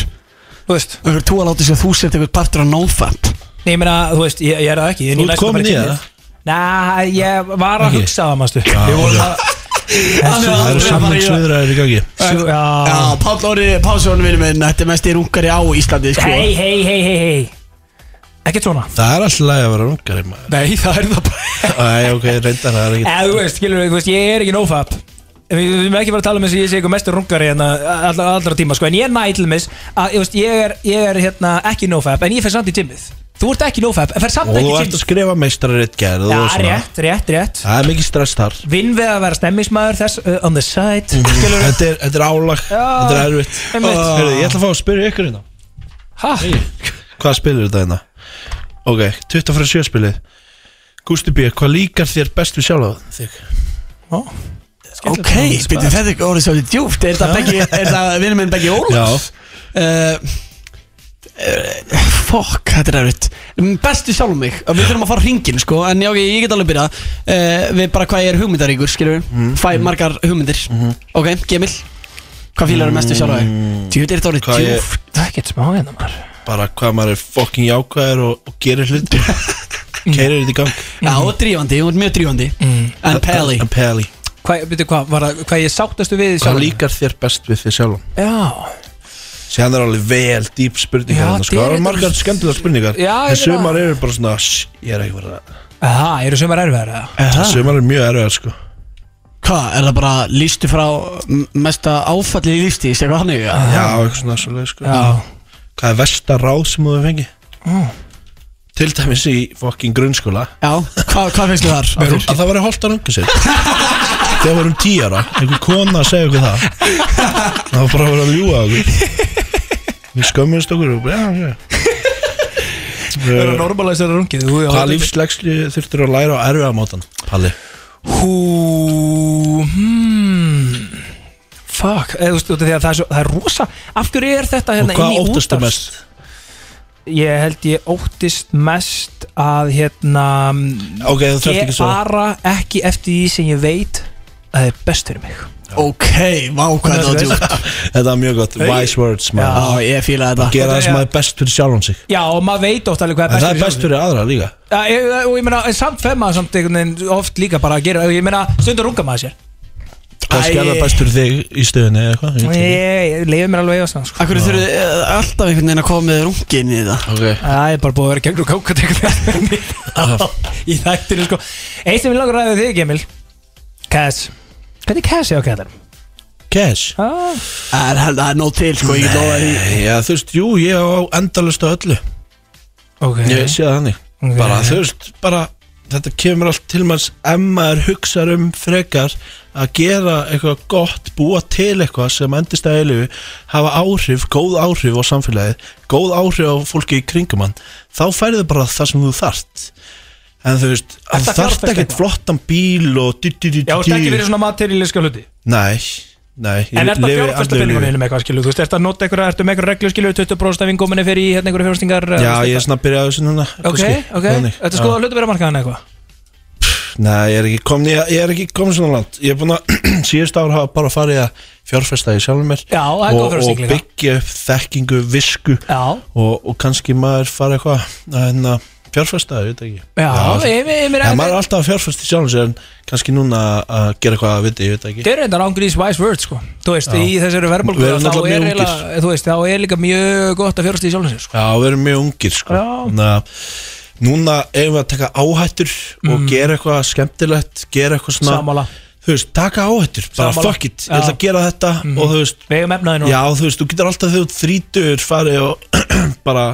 Þú veist Þú er tú að láta þess að þú sért eitthvað partur á nofap Nei, ég meina, þú veist, ég, ég er það ekki en Þú ég ert læst það komin bara í kynnið. það? Næ, ég var að Ekki? hugsa það, mannstu Já, Við vorum já. að Hann er Það eru aldrei að fara í það. samlingsviðræðir í gangi Svo- Já, Já, Páll Óri Pálsson vinur minn Þetta er mest í rungari á Íslandi, sko Hei, hei, hei, hei, hei Ekkert svona Það er alltaf læg að vera rungari maður Nei, það er það bara Æ, ok, reyndar það er ekki Eða, þú veist, skilur, þú veist, ég er ekki nófab Við við erum ekki bara að tala um þess að ég sé eitthvað mestur rungari hérna allra, allra tíma, sko En ég næ til þess að, þú veist, ég er, ég er hérna ekki nófab En ég fer samt í timmið Þú ert ekki nófab, en fer samt Og ekki þú í ert að timmið skrifa meistararit gerð og Já, svona. rétt, rétt, rétt Það er mikið stress þar Vinn við að vera stemmismæður þess uh, on the side Skilur, Þetta er, þetta er álag, þetta er erfitt Ah. einmitt. Heyrðu, Ég ætla að fá að spyrja ykkur hérna ha? Hvað spilir þetta hérna? Ok, 27 spilið Gústi B, hvað líkar þér best við sjálf þig? Ok, byrju þetta er orðið svolítið djúft Er það Beggi- er það vinnum minn Beggi Ólafs? Uh, uh, Fuck, þetta er erfitt Mm, Bestu sjálf mig, við þurfum að fara hringin sko En já, ok, ég get alveg byrja uh, Við bara hvað ég er hugmyndaríkur, skilur við Fæ margar hugmyndir Ok, Gemil, hvað fílar er mestu sjálf þig? Djúft er þetta orðið Hvað ég- djúft Það er ekkert smá hérna maður Bara hvað maður er fucking jákvæður og, og gerir hluti Keirir þetta í gang Já, og drífandi, hún er mjög drífandi En Peli En Peli Hvað, veitu hvað, var það, hvað ég sáttastu við Hvað sjálfan? líkar þér best við þig sjálf? Já, Sér hann er alveg vel dýp spurningar Já, hérna, sko. þetta Það er- eru margar skemmtilega spurningar Já, ég En veit það. sumar eru bara svona "Shh, Ég er ekki verið aha, eru sumar erfiðar eða? að Sumar eru mjög erfiðar sko Hvað, er það bara lístu frá m- mesta áfallið í lífstíð, segja hvað hann er? Já, eitthvað svona svolítið sko Já. Hvað er versta ráð sem þú hefur fengið? Til dæmis í fucking grunnskóla Já, hva, hvað fengstu þar? Að, að það væri holdt að runga sér Þegar við vorum tíara, einhver kona að segja okkur það Það var bara að vera að ljúga okkur Við skömmumst okkur og bara, já, já Það er að normalæsa þetta rungið þú- Hvaða lífslegsli þurftur að læra á erfiða mátan? Palli Hú hmm, Fuck eða, þú veist, út af því að það, er svo, það er rosa Af hverju er þetta hérna Og hvað inn í óttastu útvarps- mest? Ég held ég óttist mest að hérna Ok, þú þarft Ég ekki að svara. bara ekki eftir því sem ég veit að það er best fyrir mig Ok, vá hvað þetta var djúpt Þetta var mjög gott, Hey. wise words maður. Já, ég fíla þetta. Að Gera það sem Já. maður er best fyrir sjálfan sig Já og maður veit oft alveg En hvað er best það er best fyrir aðra líka Já, ég, og ég meina, en samt fer maður samt einhvern veginn oft líka bara að gera, ég meina, stundur runga maður sér Kannski er það best fyrir þig í stöðunni eða eitthvað ég veit ekki. Ég, ég leiði mér alveg í þessan sko. Akkur þurfið eh, alltaf einhvern veginn að koma með rungin í það okay. Það er bara búið að vera gegnur kákat í þættinu sko Eitt sem ég langar að ræða við þig, Emil Cass Hvernig Cass er á kæðar? Cash ah. Það er, það er nóg til sko, ég lofa því Já, þú veist, jú, ég á endalust á öllu Ok Ég sé það þannig Ok. Bara, þú veist, bara Þetta kemur allt til manns ef maður hugsar um frekar að gera eitthvað gott, búa til eitthvað sem endist að eilu hafa áhrif, góð áhrif á samfélagið góð áhrif á fólki í kringum hann þá færðu bara það sem þú þart en þú veist, Ertu þú að þart fjárfesta ekkert eitthvað? flottan bíl og dí, dí, dí, dí, Já, þú ert ekki verið svona materialíska hluti Nei, nei ég En er þetta lifi fjárfæsta andlegu lífi. peningunum með eitthvað skilu? Þú veist, er þetta að nota einhverja, ertu með einhverja reglu skilu 20% af vinguminni fyrir í hérna einhverja fjárfæstingar Já, ég er svona að byrja á þessu núna Ok, kannski, ok, þannig. þetta Já. skoða hlutabæramarkaðan eitthvað Nei, ég er ekki komin, ég, ég er ekki komin svona langt Ég er búin að síðust ár hafa bara farið að fjárfesta í sjálfum mér Já, það er góð og, og fjárfesting líka. byggja upp þekkingu, visku Já. og, og kannski maður fara eitthvað að hérna, fjárfesta, ég veit ekki Já, ég- ég- ég meina- En maður er alltaf að fjárfesta í sjálfum sér en kannski núna að gera eitthvað að viti, ég veit ekki Þetta er reyndar ángrís wise words sko Þú veist, Já. í þessari verðbólgu Við erum þá náttúrulega er mjög eiginlega- þú veist, þá er líka mjög gott að fjárfæsta í sjálfum sér sko Já, við erum mjög ungir sko Þannig að Núna eigum við að taka áhættur Mm. og gera eitthvað skemmtilegt gera eitthvað svona Sammála. Þú veist, taka áhættur, bara Sammála. fuck it Ég ætla Já. að gera þetta og þú veist Vegum efnaði núna Já, þú veist, þú getur alltaf þegar þú þrítur farið og bara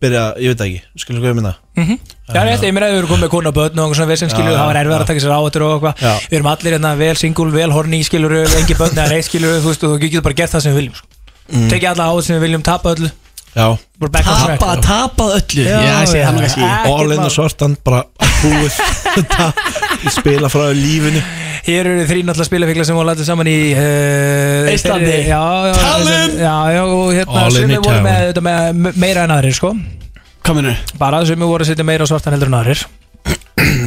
byrja, ég veit það ekki, skilur hvað ég minna Já, rétt, ég meina við erum komið með konu og börn og einhver svona vesen skilur, Já, það var já, erfiðar að taka sér áhættur og Já. eitthvað Við erum allir hérna vel singul, vel horni skilur, engi börn eða neitt skilur, þú veist, og þú getur bara gert það sem við viljum sko. Mm. Tekið alla áhættur sem við viljum, tapa öllu Já, Bara back on track. sko. Tapað, tapað öllu Já, Já, ég sé já. það maður kannski all sko. in og svartan bara að búið þetta, ég spila frá lífinu Hér eru þrín alltaf spilafíkla sem voru látið saman í uh, Íslandi. Já, já, Talinn. Já, já, og hérna um- All in Sumi í voru town. með, þetta með meira en aðrir, sko Kominu Bara að sumi voru að setja meira á svartan heldur en aðrir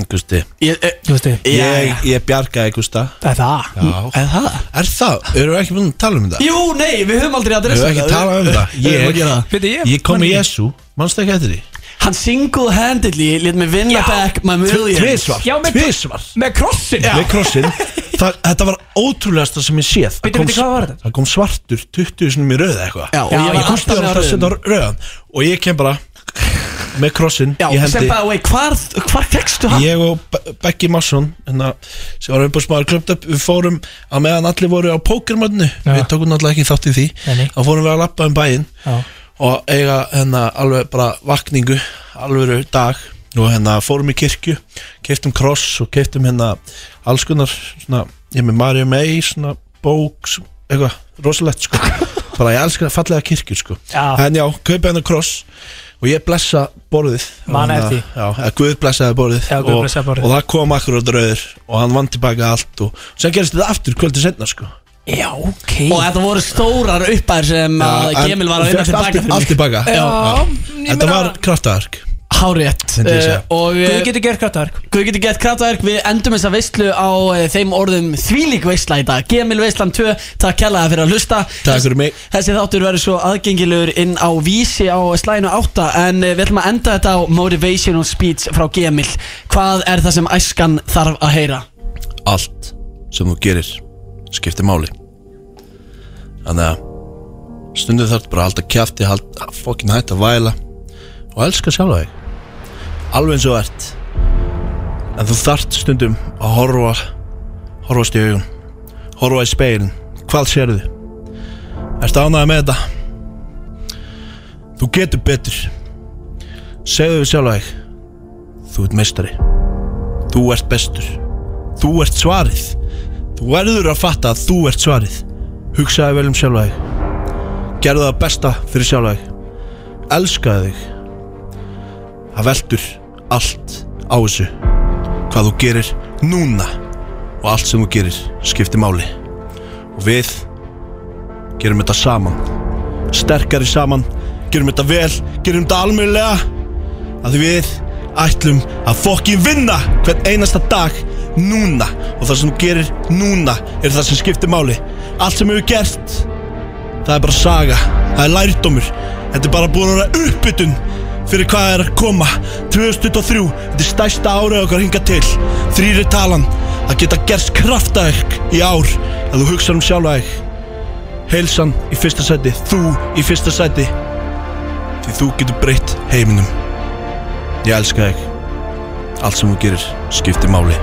Gusti, eh, Þú veist þið, ég, ég bjargaði Gusta það er það Já, Er það? er það, eru við ekki búin að tala um það? Jú, nei, við höfum aldrei að Við höfum ekki talað um það Við höfum að gera það. Ég, Fyrir ég, ég kom í man ekki. Jesu, mannstu ekki eftir því? Hann single-handedly Lét mig vinna Já. back my millions Tvísvar, Já, með- tvísvar Með krossin Við krossin það, Þetta var ótrúlegasta sem ég séð Það Bíddu, kom bíddu, hvað var s- þetta? það kom svartur 20 sinum í röða eitthvað Já, og ég var ég komst alltaf alltaf með á að setja á rauðum. röðan Og ég kem bara með krossin Já, í sem hendi by the way, hvar, hvar fegstu hann? Ég og Be- Beggi Masson hérna, sem var umbúrsmaður klöpt upp við fórum að meðan allir voru á pókermönnu við tókum náttúrulega ekki þátt í því Nei, nei. þá fórum við að lappa um bæinn Já. og eiga hérna, alveg bara vakningu alvöru dag og hérna fórum í kirkju keiftum kross og keiftum hérna alls konar svona, ég er með Mario May svona bók, s- eitthvað rosalegt sko bara ég elskar fallega kirkju sko Já. en já, kaupa hennar kross og ég blessa borðið Man Hérna, eftir. já, eða Guð blessaði borðið Já, Guð og, blessaði borðið. og það kom akkur á dröður og hann vann tilbaka allt og sem gerist þetta aftur kvöldi setna sko Já, ok Og þetta voru stórar uppæðir sem að en- Gemil var og að vinna fékkst tilbaka allt- fyrir mig. allt tilbaka. Já, ég þetta meina- var kraftaverk hárétt Myndi ég Eh, segja. Og Guð eh, getur gert kraftaverk Guð getur gett kraftaverk Við endum þessa veislu á eh, þeim orðum þvílík veisla í dag Gemil veislan 2 Takk kjallaði fyrir að hlusta Takk fyrir mig Þessi þáttur verður svo aðgengilegur inn á vísi á slæðinu 8 En eh, við ætlum að enda þetta á motivational speech frá Gemil Hvað er það sem æskan þarf að heyra? allt sem þú gerir skiptir máli þannig að stundu þarf bara að halda kjafti hald, fokkin hætt að væla og elska sjálfa þig alveg eins og þú ert en þú þarft stundum að horfa horfast í augun horfa í speilin, hvað sérðu ertu ánægð með þetta þú getur betur segðu við sjálfa þig þú ert meistari þú ert bestur Þú ert svarið Þú verður að fatta að þú ert svarið Hugsaði vel um sjálfa þig gerðu það besta fyrir sjálf þig elskaðu þig það veldur allt á þessu hvað þú gerir núna og allt sem þú gerir skiptir máli og við gerum þetta saman sterkari saman gerum þetta vel, gerum þetta almennlega að við ætlum að fokki vinna hvern einasta dag núna og það sem þú gerir núna er það sem skiptir máli allt sem hefur gert það er bara saga, það er lærdómur þetta er bara búin að vera uppbytun fyrir hvað er að koma 2023, þetta er stærsta árið okkar hinga til þrýri talan að geta gerst kraftaverk í ár að þú hugsa um sjálfa þig heilsan í fyrsta sæti þú í fyrsta sæti því þú getur breytt heiminum ég elska þig allt sem þú gerir skiptir máli